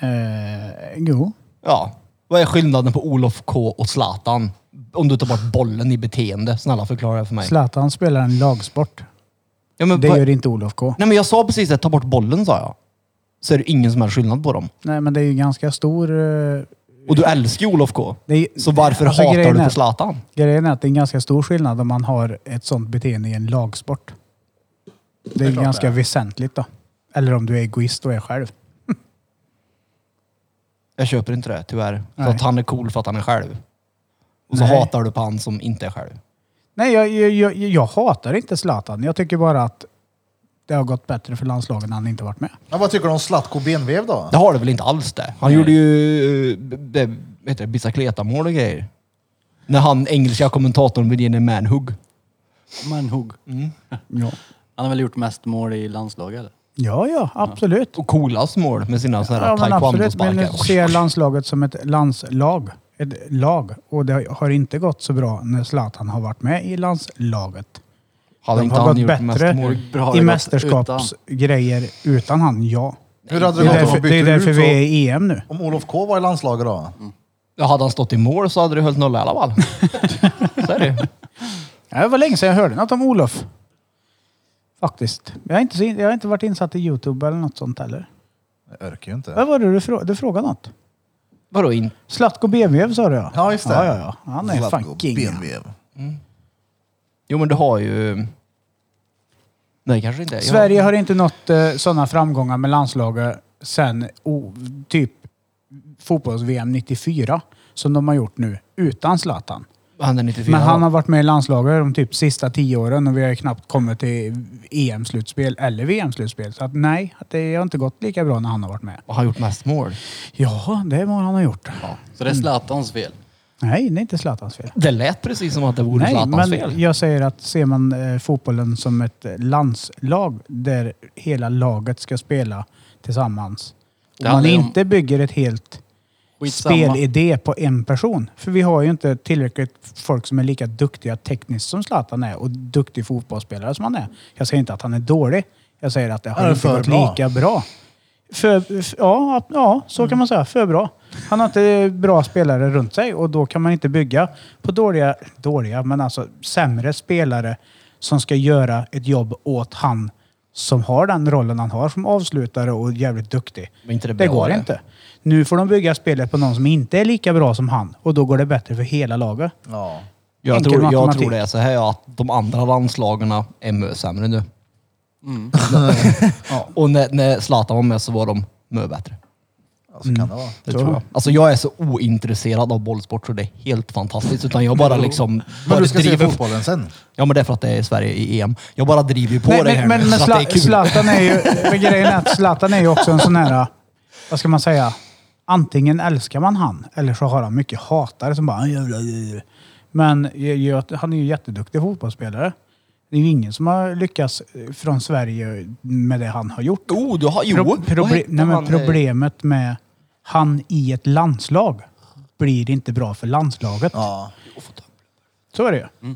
[SPEAKER 2] Eh, jo.
[SPEAKER 5] Ja. Vad är skillnaden på Olof K och Zlatan? Om du tar bort bollen i beteende. Snälla förklara det för mig.
[SPEAKER 2] Zlatan spelar en lagsport.
[SPEAKER 5] Ja, men
[SPEAKER 2] Det
[SPEAKER 5] vad-
[SPEAKER 2] gör inte Olof K.
[SPEAKER 5] Nej men jag sa precis det, ta bort bollen sa jag. Så är det ingen som helst skillnad på dem.
[SPEAKER 2] Nej, men det är ju ganska stor... eh,
[SPEAKER 5] Och du älskar ju Olof K.
[SPEAKER 2] Det är ju-
[SPEAKER 5] Så varför
[SPEAKER 2] Alltså,
[SPEAKER 5] hatar
[SPEAKER 2] grejen
[SPEAKER 5] du
[SPEAKER 2] är-
[SPEAKER 5] på Zlatan?
[SPEAKER 2] Grejen är att det är en ganska stor skillnad om man har ett sånt beteende i en lagsport. Det är, ganska väsentligt då. Eller om du är egoist och är själv.
[SPEAKER 5] Jag köper inte det, tyvärr. För
[SPEAKER 2] Nej.
[SPEAKER 5] att han är cool för att han är själv. Och så
[SPEAKER 2] Nej.
[SPEAKER 5] hatar du på han som inte är själv.
[SPEAKER 2] Nej, jag, jag, jag, jag hatar inte Zlatan. Jag tycker bara att det har gått bättre för landslagen när han inte varit med.
[SPEAKER 4] Ja, vad tycker du om Zlatko benvev då?
[SPEAKER 5] Det har du väl inte alls det? Han gjorde ju eh, det, vad heter det, bicicleta-mål och grejer. När han, engelska kommentatorn, vill ge en manhug.
[SPEAKER 3] Men hugg.
[SPEAKER 2] Ja,
[SPEAKER 3] Han har väl gjort mest mål i landslaget eller?
[SPEAKER 2] ja, ja absolut.
[SPEAKER 5] Och coolast mål med sina sådana här
[SPEAKER 2] Ja, men absolut. Men nu ser jag
[SPEAKER 5] taekwondo-sparkar.
[SPEAKER 2] landslaget som ett landslag. Ett lag. Och det har inte gått så bra när Zlatan har varit med i landslaget.
[SPEAKER 5] Hade
[SPEAKER 2] De
[SPEAKER 5] inte
[SPEAKER 2] har
[SPEAKER 5] han
[SPEAKER 2] gått
[SPEAKER 5] gjort mest
[SPEAKER 2] bättre.
[SPEAKER 5] mål?
[SPEAKER 3] Bra har
[SPEAKER 2] I
[SPEAKER 3] det gått
[SPEAKER 2] mästerskapsgrejer utan. han, ja.
[SPEAKER 4] Hur hade
[SPEAKER 2] Det
[SPEAKER 4] det
[SPEAKER 2] är
[SPEAKER 4] gått om
[SPEAKER 2] därför,
[SPEAKER 4] man bytte
[SPEAKER 2] det är därför
[SPEAKER 4] ut
[SPEAKER 2] vi är
[SPEAKER 4] så,
[SPEAKER 2] i EM nu.
[SPEAKER 4] om Olof K var i landslaget då?
[SPEAKER 5] Ja, hade han stått i mål så hade det hållit nolla i alla
[SPEAKER 2] (laughs)
[SPEAKER 5] fall. så är det ju.
[SPEAKER 2] Ja, det var länge sedan jag hörde något om Olof. Faktiskt. Jag har inte, så in- jag har inte varit insatt i Youtube eller något sånt heller.
[SPEAKER 4] Jag orkar ju inte.
[SPEAKER 2] Vad var det du, frå du frågade något?
[SPEAKER 5] Vadå in?
[SPEAKER 2] Zlatko BMW sa du ja.
[SPEAKER 4] Ja, just det.
[SPEAKER 2] Ja, ja, ja. Han är
[SPEAKER 4] Zlatko
[SPEAKER 2] fan king.
[SPEAKER 4] benvev.
[SPEAKER 5] Jo men du har ju... Nej kanske inte. Jag-
[SPEAKER 2] Sverige har inte nått eh, sådana framgångar med landslaget sen oh, typ fotbolls-VM 94 som de har gjort nu utan Zlatan.
[SPEAKER 5] Han är 94.
[SPEAKER 2] Men han har varit med i landslaget de typ sista tio åren och vi har ju knappt kommit till EM-slutspel eller VM-slutspel. Så att nej, det har inte gått lika bra när han har varit med.
[SPEAKER 5] Och har gjort mest mål.
[SPEAKER 2] Ja, det är vad han har gjort.
[SPEAKER 3] Så det är Zlatans fel.
[SPEAKER 2] Nej, det är inte Zlatans fel.
[SPEAKER 5] Det lät precis som att det vore
[SPEAKER 2] Nej,
[SPEAKER 5] Zlatans
[SPEAKER 2] men
[SPEAKER 5] fel.
[SPEAKER 2] jag säger att ser man eh, fotbollen som ett eh, landslag där hela laget ska spela tillsammans.
[SPEAKER 3] Det
[SPEAKER 2] Om man
[SPEAKER 3] handlar ju om-
[SPEAKER 2] inte bygger ett helt
[SPEAKER 3] Skitsamma.
[SPEAKER 2] spelidé på en person. För vi har ju inte tillräckligt folk som är lika duktiga tekniskt som Zlatan är och duktig fotbollsspelare som han är. Jag säger inte att han är dålig. Jag säger att det
[SPEAKER 4] Han
[SPEAKER 2] har
[SPEAKER 4] är
[SPEAKER 2] inte
[SPEAKER 4] för
[SPEAKER 2] gått
[SPEAKER 4] bra.
[SPEAKER 2] lika bra. För, f- ja, ja, så kan man säga. För bra. Han har inte bra spelare runt sig och då kan man inte bygga på dåliga, dåliga, men alltså sämre spelare som ska göra ett jobb åt han som har den rollen han har som avslutare och jävligt duktig.
[SPEAKER 5] Men inte det
[SPEAKER 2] det
[SPEAKER 5] bra,
[SPEAKER 2] går
[SPEAKER 5] det.
[SPEAKER 2] inte. Nu får de bygga spelet på någon som inte är lika bra som han och då går det bättre för hela laget.
[SPEAKER 4] Ja.
[SPEAKER 5] Jag
[SPEAKER 2] enkel
[SPEAKER 5] tror, jag
[SPEAKER 2] matematik.
[SPEAKER 5] tror det är så här att de andra landslagarna är mycket sämre nu.
[SPEAKER 2] Mm.
[SPEAKER 5] (laughs) Och när, när Zlatan var med så var de mycket bättre.
[SPEAKER 4] Ja,
[SPEAKER 5] Mm.
[SPEAKER 4] så alltså kan det vara.
[SPEAKER 5] Det tror jag. Alltså jag är så ointresserad av bollsport så det är helt fantastiskt. Utan jag bara liksom... Bara
[SPEAKER 4] Men du ska se
[SPEAKER 5] driver,
[SPEAKER 4] fotbollen sen.
[SPEAKER 5] Ja men det är för att det är Sverige i EM. Jag bara driver ju på
[SPEAKER 2] Nej,
[SPEAKER 5] det här
[SPEAKER 2] men, men,
[SPEAKER 5] nu
[SPEAKER 2] men
[SPEAKER 5] så att det är
[SPEAKER 2] Zla-
[SPEAKER 5] kul.
[SPEAKER 2] Zlatan är ju, men grejen är att Zlatan är ju också en sån här, vad ska man säga, antingen älskar man han eller så har han mycket hatare som bara jävla, jävla. Men jag- jag- han är ju jätteduktig fotbollsspelare. Det är ju ingen som har lyckats eh, från Sverige med det han har gjort.
[SPEAKER 5] Jo, Oh, du har... Jo!
[SPEAKER 2] Pro-
[SPEAKER 5] vad
[SPEAKER 2] proble-
[SPEAKER 5] heter
[SPEAKER 2] nej, men
[SPEAKER 5] han? eh,
[SPEAKER 2] problemet med han i ett landslag blir inte bra för landslaget.
[SPEAKER 4] Ja.
[SPEAKER 2] Så är det ju.
[SPEAKER 5] Mm. Nej,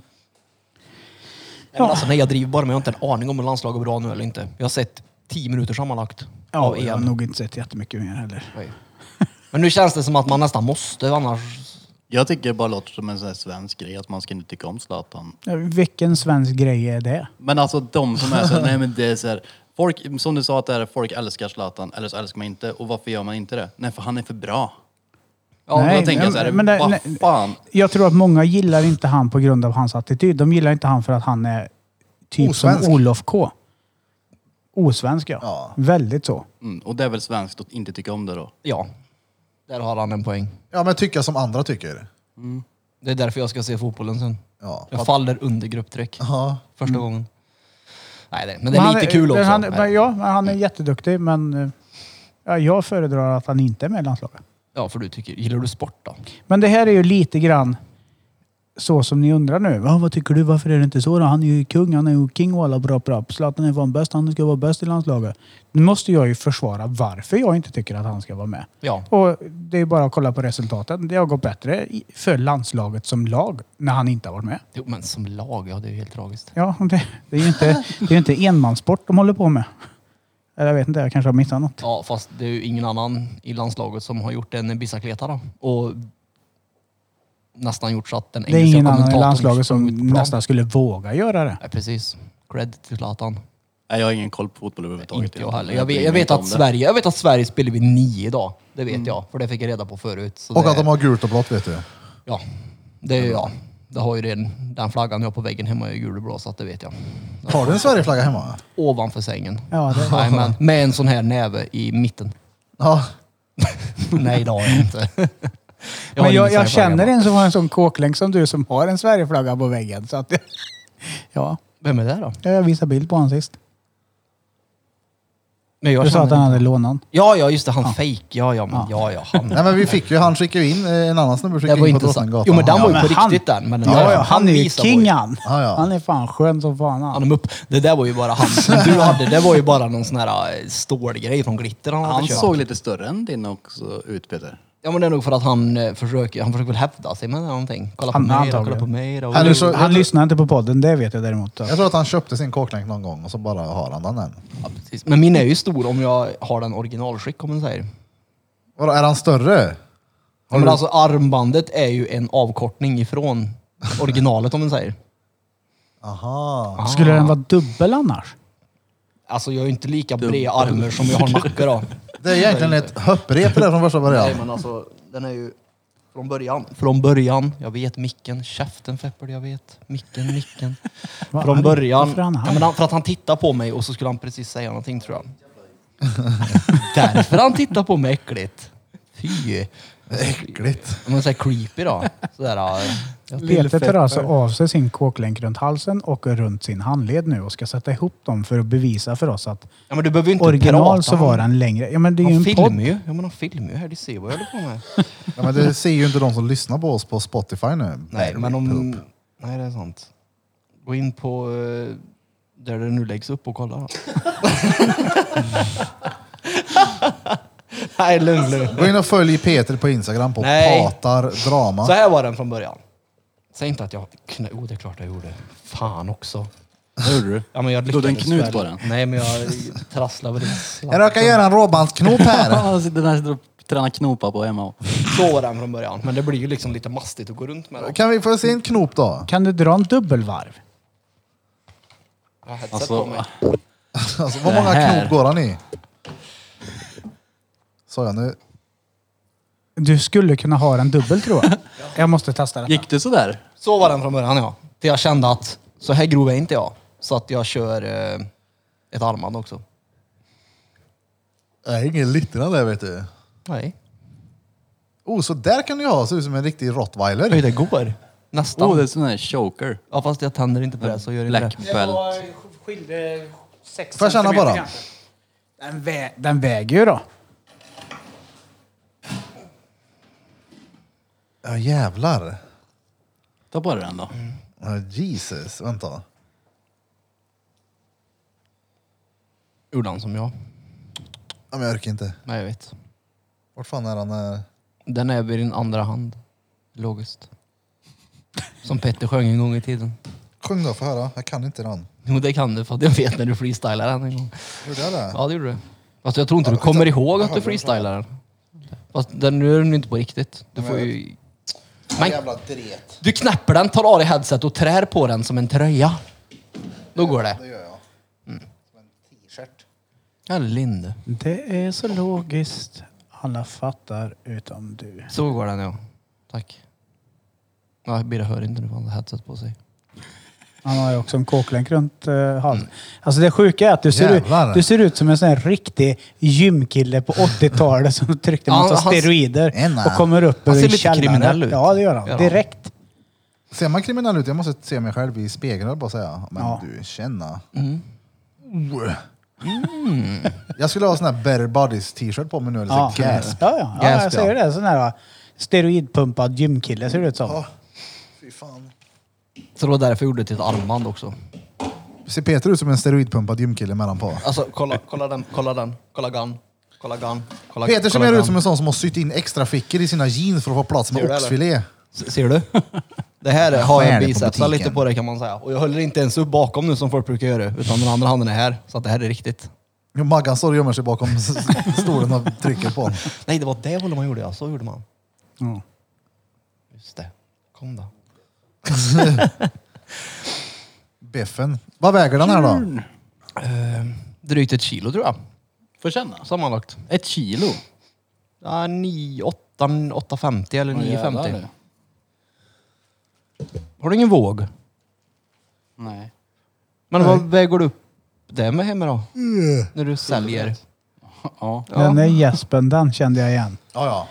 [SPEAKER 5] men alltså, nej, jag driver bara med. Jag har inte en aning om hur landslaget är bra nu eller inte. Jag har sett 10 minuter sammanlagt
[SPEAKER 2] Ja,
[SPEAKER 5] av
[SPEAKER 2] jag har
[SPEAKER 5] EM.
[SPEAKER 2] nog inte sett jättemycket mer heller.
[SPEAKER 5] Oj. Men nu känns det som att man nästan måste annars...
[SPEAKER 3] Jag tycker det bara låter som en sån här svensk grej att man ska inte tycka om Zlatan.
[SPEAKER 2] Ja, Vilken svensk grej är det?
[SPEAKER 3] Men alltså de som är så nej men det är så här, (laughs) folk, som du sa att det är, folk älskar Zlatan eller så älskar man inte. Och varför gör man inte det? Nej för han är för bra. Ja,
[SPEAKER 2] Nej,
[SPEAKER 3] då tänker jag så här,
[SPEAKER 2] men- men det-
[SPEAKER 3] vad
[SPEAKER 2] nej.
[SPEAKER 3] fan.
[SPEAKER 2] Jag tror att många gillar inte han på grund av hans attityd. De gillar inte han för att han är typ
[SPEAKER 4] Osvensk.
[SPEAKER 2] som Olof K. Osvensk ja.
[SPEAKER 4] Ja.
[SPEAKER 2] Väldigt så.
[SPEAKER 3] Mm, och det är väl svenskt att inte tycka om det då.
[SPEAKER 5] Ja. Där har han en poäng.
[SPEAKER 4] ja, men tycka som andra tycker.
[SPEAKER 5] Det är därför jag ska se fotbollen sen.
[SPEAKER 4] Ja.
[SPEAKER 5] Jag faller under grupptryck.
[SPEAKER 4] Ja.
[SPEAKER 5] Första gången. Nej, det, men det är
[SPEAKER 2] Mm. Men
[SPEAKER 5] lite
[SPEAKER 2] han
[SPEAKER 5] kul också.
[SPEAKER 2] Han,
[SPEAKER 5] Nej.
[SPEAKER 2] men ja, men han är jätteduktig men eh, ja, jag föredrar att han inte är med i landslaget.
[SPEAKER 5] Ja, för du tycker... Gillar du sport då?
[SPEAKER 2] Men det här är ju lite grann så som ni undrar nu. Ja, vad tycker du? Varför är det inte så då? Han är ju kung. Han är ju king och alla bra bra. Zlatan är fan bäst. Han ska vara bäst i landslaget. Nu måste jag ju försvara varför jag inte tycker att han ska vara med.
[SPEAKER 5] Ja.
[SPEAKER 2] Och det är bara att kolla på resultaten. Det har gått bättre i- för landslaget som lag när han inte har varit med.
[SPEAKER 5] Jo, men som lag, ja det är ju helt tragiskt.
[SPEAKER 2] Ja, det, det är ju inte, det är ju inte enmanssport de håller på med. Eller jag vet inte, jag kanske har missat något.
[SPEAKER 5] Ja, fast det är ju ingen annan i landslaget som har gjort en bicicleta då. Och nästan gjort så att den
[SPEAKER 2] Det är
[SPEAKER 5] engelska
[SPEAKER 2] ingen annan i
[SPEAKER 5] kommentatorn
[SPEAKER 2] landslaget
[SPEAKER 5] sprang
[SPEAKER 2] som
[SPEAKER 5] ut på plan.
[SPEAKER 2] nästan skulle våga göra det.
[SPEAKER 5] Nej, precis. Cred till Zlatan.
[SPEAKER 3] Nej, jag har ingen koll på fotboll överhuvudtaget.
[SPEAKER 5] Inte jag heller. Jag
[SPEAKER 3] bryr
[SPEAKER 5] vet,
[SPEAKER 3] mig
[SPEAKER 5] jag, vet
[SPEAKER 3] inte om
[SPEAKER 5] att
[SPEAKER 3] det.
[SPEAKER 5] Sverige, jag vet att Sverige spelar vid nio idag. Det vet jag, för det fick jag reda på förut. Så
[SPEAKER 4] Och
[SPEAKER 5] det,
[SPEAKER 4] att de har gult och blått vet du.
[SPEAKER 5] Ja, det är ju jag. Det har ju den, den flaggan jag har på väggen hemma är ju gul och blå, så att det vet jag.
[SPEAKER 4] Har du en Sverigeflagga hemma?
[SPEAKER 5] Ovanför sängen.
[SPEAKER 2] Ja,
[SPEAKER 5] (laughs)
[SPEAKER 2] det-
[SPEAKER 5] Jajamän. Med en sån här näve
[SPEAKER 2] (laughs)
[SPEAKER 5] i mitten.
[SPEAKER 4] Ja.
[SPEAKER 5] Nej, det har jag inte. har
[SPEAKER 2] men jag,
[SPEAKER 5] ingen
[SPEAKER 2] jag
[SPEAKER 5] Sverigeflagga
[SPEAKER 2] känner
[SPEAKER 5] hemma.
[SPEAKER 2] en som har en sån kåklänk som du som har en Sverigeflagga på väggen. Så att, (laughs) ja,
[SPEAKER 5] Vem är det då?
[SPEAKER 2] jag visade bild på honom sist.
[SPEAKER 5] Men jag
[SPEAKER 2] Du sa
[SPEAKER 5] känner
[SPEAKER 2] att han
[SPEAKER 5] inte.
[SPEAKER 2] hade lånat
[SPEAKER 5] Ja, ja, just det. Han fake. Ja, ja, men, ja, ja. Han.
[SPEAKER 4] Nej men vi fick ju, han skickade ju in, eh, en annan snubbe
[SPEAKER 5] Det
[SPEAKER 4] skickade
[SPEAKER 5] var
[SPEAKER 4] in på
[SPEAKER 5] inte så.
[SPEAKER 4] Drottninggatan.
[SPEAKER 5] Jo, men den var ju
[SPEAKER 2] Ja,
[SPEAKER 5] på
[SPEAKER 2] men han-
[SPEAKER 5] riktigt den. Men den
[SPEAKER 2] Ja,
[SPEAKER 5] där,
[SPEAKER 2] ja, han är ju
[SPEAKER 5] visar på-
[SPEAKER 2] king han.
[SPEAKER 4] Ja, ja.
[SPEAKER 2] Han är fan skön som fan han.
[SPEAKER 5] Han är upp. Det där var ju bara han. Men du hade, det var ju bara någon sån här eh, stålgrej från Glitter han hade
[SPEAKER 3] Han
[SPEAKER 5] köpt.
[SPEAKER 3] såg lite större än din också ut Peter.
[SPEAKER 5] Ja men det är nog för att han eh, försöker, han försöker väl hävda sig med någonting. Kolla på
[SPEAKER 2] Han-
[SPEAKER 5] mig då,
[SPEAKER 2] antagligen.
[SPEAKER 5] kolla på mig då.
[SPEAKER 4] Han är så-
[SPEAKER 2] Han lyssnar inte på podden, det vet jag däremot.
[SPEAKER 4] Jag tror att han köpte sin kåklänk någon gång och så bara har han den än.
[SPEAKER 5] Ja, precis. Men min är ju stor om jag har den originalskick om man säger.
[SPEAKER 4] Vadå, är han större?
[SPEAKER 5] Men alltså armbandet är ju en avkortning ifrån originalet om man säger.
[SPEAKER 4] Aha.
[SPEAKER 2] Skulle den vara dubbel annars?
[SPEAKER 5] Alltså jag är ju inte lika breda armar som jag har nacke då.
[SPEAKER 4] Det är egentligen ett hopprep det där från första
[SPEAKER 5] Nej
[SPEAKER 4] början.
[SPEAKER 5] men alltså den är ju från början. Från början. Jag vet micken, käften Feppel, jag vet. Micken, micken.
[SPEAKER 2] (laughs) Vad
[SPEAKER 5] från
[SPEAKER 2] arg.
[SPEAKER 5] början.
[SPEAKER 2] Varför är han
[SPEAKER 5] ja,
[SPEAKER 2] arg?
[SPEAKER 5] men han, för att han tittade på mig och så (laughs) skulle han precis säga någonting tror jag. Därför han tittar på mig äckligt. Fy.
[SPEAKER 4] Äckligt.
[SPEAKER 5] Om man säger creepy då. Sådär, ja.
[SPEAKER 2] Peter tar alltså av sig sin kåklänk runt halsen och runt sin handled nu och ska sätta ihop dem för att bevisa för oss att
[SPEAKER 5] ja men du behöver ju inte prata.
[SPEAKER 2] original så var den längre. Ja men det är ju
[SPEAKER 5] Han
[SPEAKER 2] en
[SPEAKER 5] filmar
[SPEAKER 2] podd.
[SPEAKER 5] ju. Ja men han filmar ju här. Du ser vad jag håller på med.
[SPEAKER 4] Ja, men det ser ju inte de som lyssnar på oss på Spotify nu.
[SPEAKER 5] Nej, men om... Nej, det är sant. Gå in på eh, där det nu läggs upp och kolla då. Nej, lugn, lugn.
[SPEAKER 4] Gå in och följ Peter på Instagram på
[SPEAKER 5] Nej.
[SPEAKER 4] Patar Drama.
[SPEAKER 5] Så här var den från början. Säg inte att jag... Kn- oh, det är klart jag gjorde. Fan också.
[SPEAKER 3] Vad gjorde du?
[SPEAKER 5] Ja, men jag
[SPEAKER 3] Du hade en
[SPEAKER 5] lyckades
[SPEAKER 3] knut
[SPEAKER 5] väl.
[SPEAKER 3] på
[SPEAKER 5] (laughs)
[SPEAKER 3] den.
[SPEAKER 5] Nej, men jag trasslade väl
[SPEAKER 4] Jag råkar göra en råbandsknop
[SPEAKER 5] (laughs)
[SPEAKER 4] här.
[SPEAKER 3] Han sitter där och tränar knopar på hemma.
[SPEAKER 5] Så var den från början. Men det blir ju liksom lite mastigt att gå runt med den.
[SPEAKER 4] Kan vi få se en knop då?
[SPEAKER 2] Kan du dra en dubbelvarv?
[SPEAKER 5] Jag har headset på mig.
[SPEAKER 3] Alltså,
[SPEAKER 4] Alltså, vad
[SPEAKER 3] Det
[SPEAKER 4] många
[SPEAKER 3] här.
[SPEAKER 4] knop går han i? Sa jag nu?
[SPEAKER 2] Du skulle kunna ha den dubbel tror (laughs) jag. Jag måste testa detta.
[SPEAKER 3] gick det sådär?
[SPEAKER 5] Så var den från början ja. Till jag kände att så här grov är inte jag. Så att jag kör eh, ett armband också.
[SPEAKER 4] Nej, ingen liten där vet du.
[SPEAKER 5] Nej.
[SPEAKER 4] Oh, så där kan du ha. Ser ut som en riktig rottweiler.
[SPEAKER 5] Oj, det går. Nästan.
[SPEAKER 3] Oh, det är sån där choker.
[SPEAKER 5] Ja, fast jag tänder inte på det så gör det inte
[SPEAKER 3] Black
[SPEAKER 5] det.
[SPEAKER 3] belt.
[SPEAKER 2] skilde sex
[SPEAKER 4] Får jag känna centimeter bara? kanske.
[SPEAKER 2] Den, vä- den väger ju då.
[SPEAKER 4] Ja, jävlar.
[SPEAKER 3] Ta på dig den då.
[SPEAKER 5] Mm.
[SPEAKER 4] Ja, Jesus, vänta.
[SPEAKER 5] Gjorde han som jag.
[SPEAKER 4] Ja, men jag orkar inte.
[SPEAKER 5] Nej, jag vet.
[SPEAKER 4] Vart fan är han? eh?
[SPEAKER 5] Den är vid din andra hand. Logiskt. Som Petter sjöng en gång i tiden.
[SPEAKER 4] Sjung då, få höra. Jag kan inte den.
[SPEAKER 5] Jo, det kan du för att jag vet när du freestylar den en gång.
[SPEAKER 4] Gjorde jag det?
[SPEAKER 5] Ja, det gjorde du. Fast jag tror inte du kommer ihåg att du freestylar den. Fast den, nu är den ju inte på riktigt. Du får ju... Men
[SPEAKER 4] Jävla dret.
[SPEAKER 5] du knäpper den, tar av dig headset och trär på den som en tröja. Då går det. Mm.
[SPEAKER 4] Det gör jag.
[SPEAKER 5] Ja, Linde.
[SPEAKER 2] Det är så logiskt. Alla fattar utom du.
[SPEAKER 5] Så går den ja. Tack. Ja, Birra hör inte nu för han har headset på sig.
[SPEAKER 2] Han har ju också en kåklänk runt eh,
[SPEAKER 5] Mm.
[SPEAKER 2] halsen. Alltså det sjuka är att du ser, ut,
[SPEAKER 4] Jävlar.
[SPEAKER 2] du ser ut som en sån här riktig gymkille på 80-talet som tryckte en
[SPEAKER 5] Ja,
[SPEAKER 2] massa
[SPEAKER 5] han-
[SPEAKER 2] steroider
[SPEAKER 4] Enna.
[SPEAKER 2] och kommer upp
[SPEAKER 5] Han
[SPEAKER 2] ur
[SPEAKER 5] ser
[SPEAKER 2] en
[SPEAKER 5] lite
[SPEAKER 2] källare.
[SPEAKER 5] kriminell ut.
[SPEAKER 2] Ja, det gör han.
[SPEAKER 5] Gör han.
[SPEAKER 2] Direkt.
[SPEAKER 4] Ser man kriminell ut? Jag måste se mig själv i spegeln och bara säga. Men
[SPEAKER 2] Ja.
[SPEAKER 4] du, känna. Oh. Mm. Jag skulle ha sån här Better Bodies t-shirt på mig nu. Eller
[SPEAKER 2] Ja,
[SPEAKER 4] så
[SPEAKER 2] ja,
[SPEAKER 4] gasp.
[SPEAKER 2] ja. ja jag
[SPEAKER 5] Gasp, ja.
[SPEAKER 2] säger det. Sån här eh, steroidpumpad gymkille ser det ut som.
[SPEAKER 4] Ja. Fy fan.
[SPEAKER 5] Så det var därför jag gjorde det till ett armband också.
[SPEAKER 4] Ser Peter ut som en steroidpumpad gymkille mellanpå?
[SPEAKER 5] Alltså kolla, kolla den, kolla den, kolla gun, kolla gun, kolla
[SPEAKER 4] Peter ser
[SPEAKER 5] kolla
[SPEAKER 4] mer
[SPEAKER 5] gun.
[SPEAKER 4] ut som en sån som har sytt in extra fickor i sina jeans för att få plats
[SPEAKER 5] Ser
[SPEAKER 4] med
[SPEAKER 5] du det,
[SPEAKER 4] oxfilé.
[SPEAKER 5] S- Ser du? (laughs) Det här är- har
[SPEAKER 4] Skär det
[SPEAKER 5] jag
[SPEAKER 4] på
[SPEAKER 5] bicepsar
[SPEAKER 4] butiken.
[SPEAKER 5] lite på det kan man säga. Och jag håller inte ens upp bakom nu som folk brukar göra. Utan den andra handen är här. Så att det här är riktigt.
[SPEAKER 4] Jo, Maggan står och gömmer sig bakom s- s- stolen och trycker på honom.
[SPEAKER 5] Nej, det var det hållet man gjorde ja. Så gjorde man.
[SPEAKER 2] Ja.
[SPEAKER 5] Just det. Kom då.
[SPEAKER 4] Biffen. Vad väger den här då?
[SPEAKER 5] Drygt ett kilo tror jag.
[SPEAKER 3] Får känna.
[SPEAKER 5] Sammanlagt.
[SPEAKER 3] Ett kilo.
[SPEAKER 5] Ja, 9, 8, 8,50 eller
[SPEAKER 3] Åh,
[SPEAKER 5] 9,50.
[SPEAKER 3] jävlar.
[SPEAKER 5] Har du ingen våg?
[SPEAKER 3] Nej.
[SPEAKER 5] Men vad väger du upp det med hemma då? När du säljer?
[SPEAKER 3] Ja.
[SPEAKER 2] Den där gäspen, den kände jag igen.
[SPEAKER 4] Ja, ja.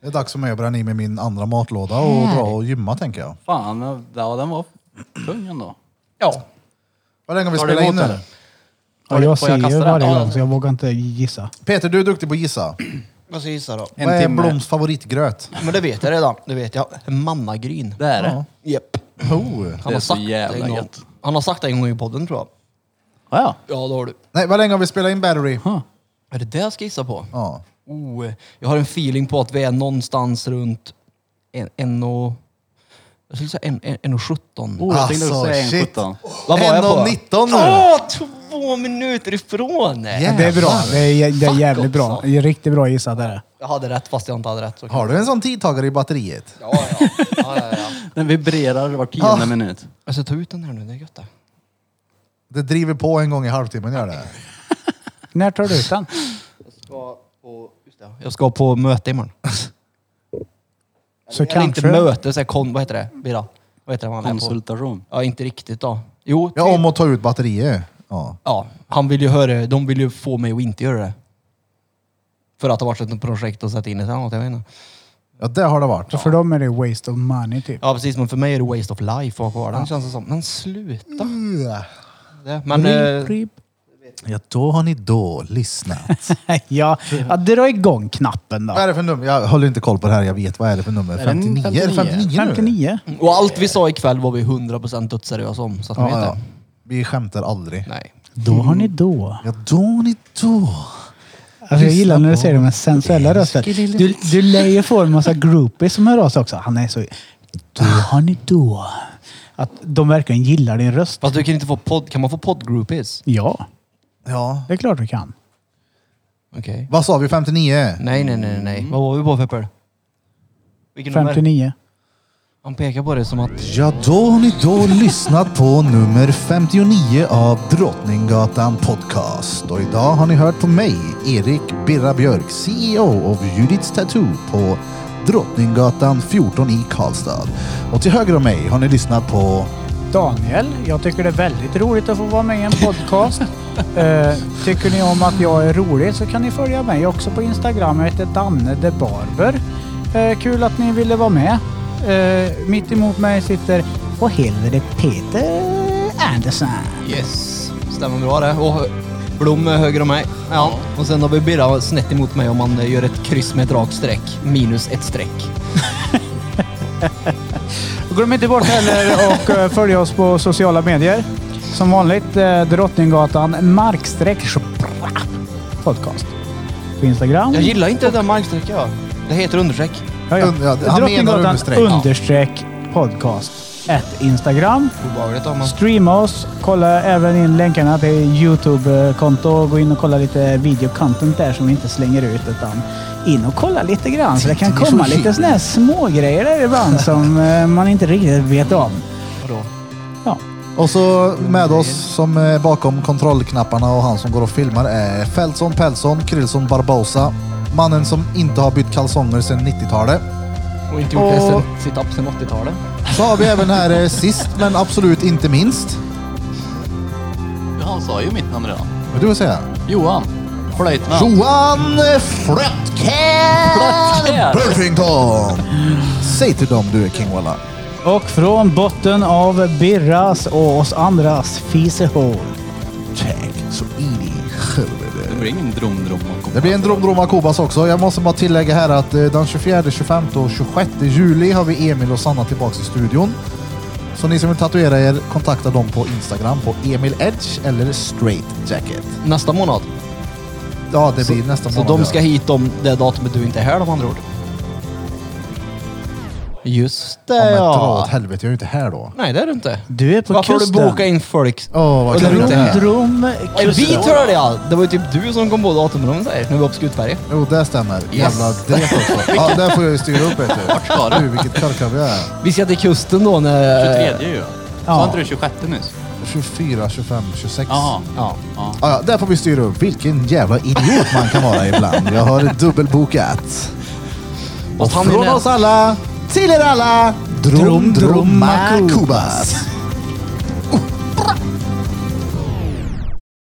[SPEAKER 4] Det är dags för mig att bränna i mig min andra matlåda och dra och gymma tänker jag.
[SPEAKER 3] Fan, ja, den var tung ändå.
[SPEAKER 5] Ja.
[SPEAKER 4] Vad länge har vi
[SPEAKER 3] Tar du
[SPEAKER 4] spelat in
[SPEAKER 3] emot
[SPEAKER 4] nu?
[SPEAKER 3] eller?
[SPEAKER 2] Ja, jag
[SPEAKER 3] får
[SPEAKER 2] ser
[SPEAKER 3] jag
[SPEAKER 2] ju
[SPEAKER 3] kasta den?
[SPEAKER 2] varje
[SPEAKER 3] Ja,
[SPEAKER 2] gång så jag vågar inte gissa.
[SPEAKER 4] Peter, du är duktig på att gissa.
[SPEAKER 5] Vad ska jag gissa då?
[SPEAKER 4] Vad
[SPEAKER 3] En
[SPEAKER 4] är
[SPEAKER 3] timme.
[SPEAKER 4] Bloms favoritgröt?
[SPEAKER 5] Men det vet jag redan. Det vet jag. Mannagryn.
[SPEAKER 3] Det är det.
[SPEAKER 5] Japp.
[SPEAKER 4] Oh.
[SPEAKER 5] Han
[SPEAKER 3] Det
[SPEAKER 5] har
[SPEAKER 3] är så
[SPEAKER 5] sagt det
[SPEAKER 3] jävla
[SPEAKER 5] en gång.
[SPEAKER 3] gött.
[SPEAKER 5] Han har sagt det en gång i podden tror jag.
[SPEAKER 3] Ja, ja.
[SPEAKER 5] Ja, det har du.
[SPEAKER 4] Nej, vad länge har vi spelat in Battery?
[SPEAKER 5] Är det det jag ska gissa på?
[SPEAKER 4] Ja.
[SPEAKER 5] Oh, jag har en feeling på att vi är någonstans runt en, en och... Jag skulle säga en, en, en och sjutton.
[SPEAKER 3] Oh, jag tänkte
[SPEAKER 4] Alltså,
[SPEAKER 3] säga en
[SPEAKER 4] shit.
[SPEAKER 3] 17.
[SPEAKER 5] Vad var jag på?
[SPEAKER 4] 1.19 nu.
[SPEAKER 5] Åh, två minuter ifrån!
[SPEAKER 4] Yeah.
[SPEAKER 2] Det är bra.
[SPEAKER 4] Jävlar.
[SPEAKER 2] Det är, jä- det är
[SPEAKER 5] Fuck
[SPEAKER 2] jävligt bra.
[SPEAKER 5] också.
[SPEAKER 2] Det är Riktigt bra gissat är det.
[SPEAKER 5] Jag hade rätt fast jag inte hade rätt. Så kan-
[SPEAKER 4] Har du en sån tidtagare i batteriet?
[SPEAKER 5] Ja, ja. ja, ja, ja.
[SPEAKER 3] Den vibrerar var tionde minut.
[SPEAKER 5] (laughs) Jag ska ta ut den här nu, det är gött det.
[SPEAKER 4] Det driver på en gång i halvtimmen gör det.
[SPEAKER 2] När tar du ut den?
[SPEAKER 5] Jag ska på, just det, jag ska på möte imorgon.
[SPEAKER 2] Så
[SPEAKER 5] Eller inte
[SPEAKER 2] kanske...
[SPEAKER 5] möte, så här kon, vad heter det? Bira? Vad heter det man är på?
[SPEAKER 3] Konsultation.
[SPEAKER 5] Ja, inte riktigt då. Jo,
[SPEAKER 4] Ja, om att ta ut batterier. Ja.
[SPEAKER 5] ja, han vill ju höra, de vill ju få mig att inte göra det. För att det har varit ett projekt att sätta in ett annat, jag vet inte.
[SPEAKER 4] Ja, det har det varit.
[SPEAKER 2] För dem är det waste of money typ.
[SPEAKER 5] Ja precis, men för mig är det waste of life att ha kvar den känns det som. Men sluta! Det- Men... eh,
[SPEAKER 2] Rip, rip.
[SPEAKER 4] Ja, då har ni då lyssnat.
[SPEAKER 2] (laughs) ja, ja, dra igång knappen
[SPEAKER 4] vad är
[SPEAKER 2] då.
[SPEAKER 4] det för nummer? Jag håller inte koll på det här. Jag vet vad är det för nummer.
[SPEAKER 3] det
[SPEAKER 4] 59? 59, 59 nu?
[SPEAKER 2] 59.
[SPEAKER 5] Och allt vi sa ikväll var vi 100% dödsseriösa om, så att ni
[SPEAKER 4] Ja,
[SPEAKER 5] vet
[SPEAKER 4] ja.
[SPEAKER 5] det.
[SPEAKER 4] Vi skämtar aldrig.
[SPEAKER 5] Nej.
[SPEAKER 2] Då har ni då.
[SPEAKER 4] Ja, då har ni då.
[SPEAKER 2] Alltså, jag gillar när du säger det med sensuella röster. Du, du lär ju få en massa groupies som hör av sig också. Han är så... Då har ni då. Att de verkligen gillar din röst.
[SPEAKER 5] Fast du kan inte få podd... Kan man få poddgroupies?
[SPEAKER 2] Ja,
[SPEAKER 4] Ja.
[SPEAKER 2] det är klart du kan.
[SPEAKER 5] Okej.
[SPEAKER 4] Vad sa vi? 59?
[SPEAKER 5] Nej, nej, nej, nej. Vad var vi på Pepper? Vilken nummer?
[SPEAKER 2] 59.
[SPEAKER 5] Han pekar på det som att...
[SPEAKER 4] Ja, då har ni då lyssnat på nummer 59 av Drottninggatan Podcast. Och idag har ni hört på mig, Erik Birra Björk, CEO av Judiths Tattoo på Drottninggatan 14 i Karlstad. Och till höger om mig har ni lyssnat på...
[SPEAKER 2] Daniel, jag tycker det är väldigt roligt att få vara med i en (laughs) podcast. Eh, tycker ni om att jag är rolig så kan ni följa mig också på Instagram. Jag heter Danne de Barber. Eh, kul att ni ville vara med. Eh, mitt emot mig sitter, vad heter det, Peter Andersson.
[SPEAKER 5] Yes. Stämmer bra det. Och hö- Blom är höger om mig. Ja. Och sen har vi Birra snett emot mig om man eh, gör ett kryss med ett rakt streck. Minus ett streck.
[SPEAKER 2] Glöm inte bort heller och eh, följa oss på sociala medier. Som vanligt eh, Drottninggatan markstreck podcast. På Instagram.
[SPEAKER 5] Jag gillar inte det där markstrecket. ja. Det heter understreck.
[SPEAKER 2] Ja, ja.
[SPEAKER 4] Und- ja, han menar
[SPEAKER 2] Drottninggatan
[SPEAKER 4] understreck.
[SPEAKER 2] understreck podcast. Ett Instagram.
[SPEAKER 5] Obehagligt om man...
[SPEAKER 2] Streama oss. Kolla även in länkarna till Youtube-konto. Gå in och kolla lite videocontent där som vi inte slänger ut. Utan in och kolla lite grann. Så det kan
[SPEAKER 4] Titta, vi är
[SPEAKER 2] komma
[SPEAKER 4] så
[SPEAKER 2] lite sådana här smågrejer där ibland som eh, man inte riktigt vet om.
[SPEAKER 5] Vadå?
[SPEAKER 2] Ja.
[SPEAKER 4] Och så med oss som är bakom kontrollknapparna och han som går och filmar är Feltson Pelson, Krillson Barbosa. Mannen som inte har bytt kalsonger sedan 90-talet.
[SPEAKER 5] Och inte gjort det
[SPEAKER 4] Och-
[SPEAKER 5] sen sitt upp sen 80-talet.
[SPEAKER 4] Så har vi även här eh, sist men absolut inte minst.
[SPEAKER 3] Han sa ju mitt namn redan.
[SPEAKER 4] Vad du vill säga?
[SPEAKER 3] Johan. Flöjtnant.
[SPEAKER 4] Johan Flötkär Burfington! Säg till dem du är King Walla.
[SPEAKER 2] Och från botten av Birras och oss andras fisehål.
[SPEAKER 4] Tack så in i helvete.
[SPEAKER 3] Det blir ingen dromdrom och kom.
[SPEAKER 4] Det blir en Dromdroma Kobas också. Jag måste bara tillägga här att eh, den 24, 25 och 26 juli har vi Emil och Sanna tillbaka i studion. Så ni som vill tatuera er, kontakta dem på Instagram på Emil Edge eller Straight Jacket.
[SPEAKER 5] Nästa månad.
[SPEAKER 4] Ja, det blir nästa
[SPEAKER 5] Så
[SPEAKER 4] månad.
[SPEAKER 5] de ska hit om det datumet du inte är här de andra ord. Just
[SPEAKER 4] Ja,
[SPEAKER 5] det
[SPEAKER 4] men dra åt
[SPEAKER 5] ja.
[SPEAKER 4] helvete, jag är ju inte här då.
[SPEAKER 5] Nej det är du inte.
[SPEAKER 2] Du är på
[SPEAKER 5] Varför
[SPEAKER 2] kusten.
[SPEAKER 5] har du bokat in folk?
[SPEAKER 4] Åh, vad
[SPEAKER 5] Och
[SPEAKER 4] kul.
[SPEAKER 5] när du inte är här?
[SPEAKER 2] Dromdrom
[SPEAKER 5] Är vi
[SPEAKER 2] kusten.
[SPEAKER 5] tror det ja. Det var ju typ du som kom på datumet de säger. När vi var på Skutberget.
[SPEAKER 4] Jo, det stämmer. Jävla det (laughs) också. Ja, där får jag ju styra upp vet du.
[SPEAKER 3] Var det?
[SPEAKER 4] Du, vilket karkav jag är.
[SPEAKER 5] Vi ska till kusten då när...
[SPEAKER 3] 23 ju. Sa inte du 26 nyss?
[SPEAKER 4] 24, 25, 26.
[SPEAKER 3] Jaha.
[SPEAKER 5] Ja.
[SPEAKER 4] Ja, ja, där får vi styra upp. Vilken jävla idiot man kan vara ibland. Jag har dubbelbokat.
[SPEAKER 5] Fast
[SPEAKER 4] Och
[SPEAKER 5] han är
[SPEAKER 4] från
[SPEAKER 5] nä-
[SPEAKER 4] oss alla, till er alla, Drom Droma Kubas.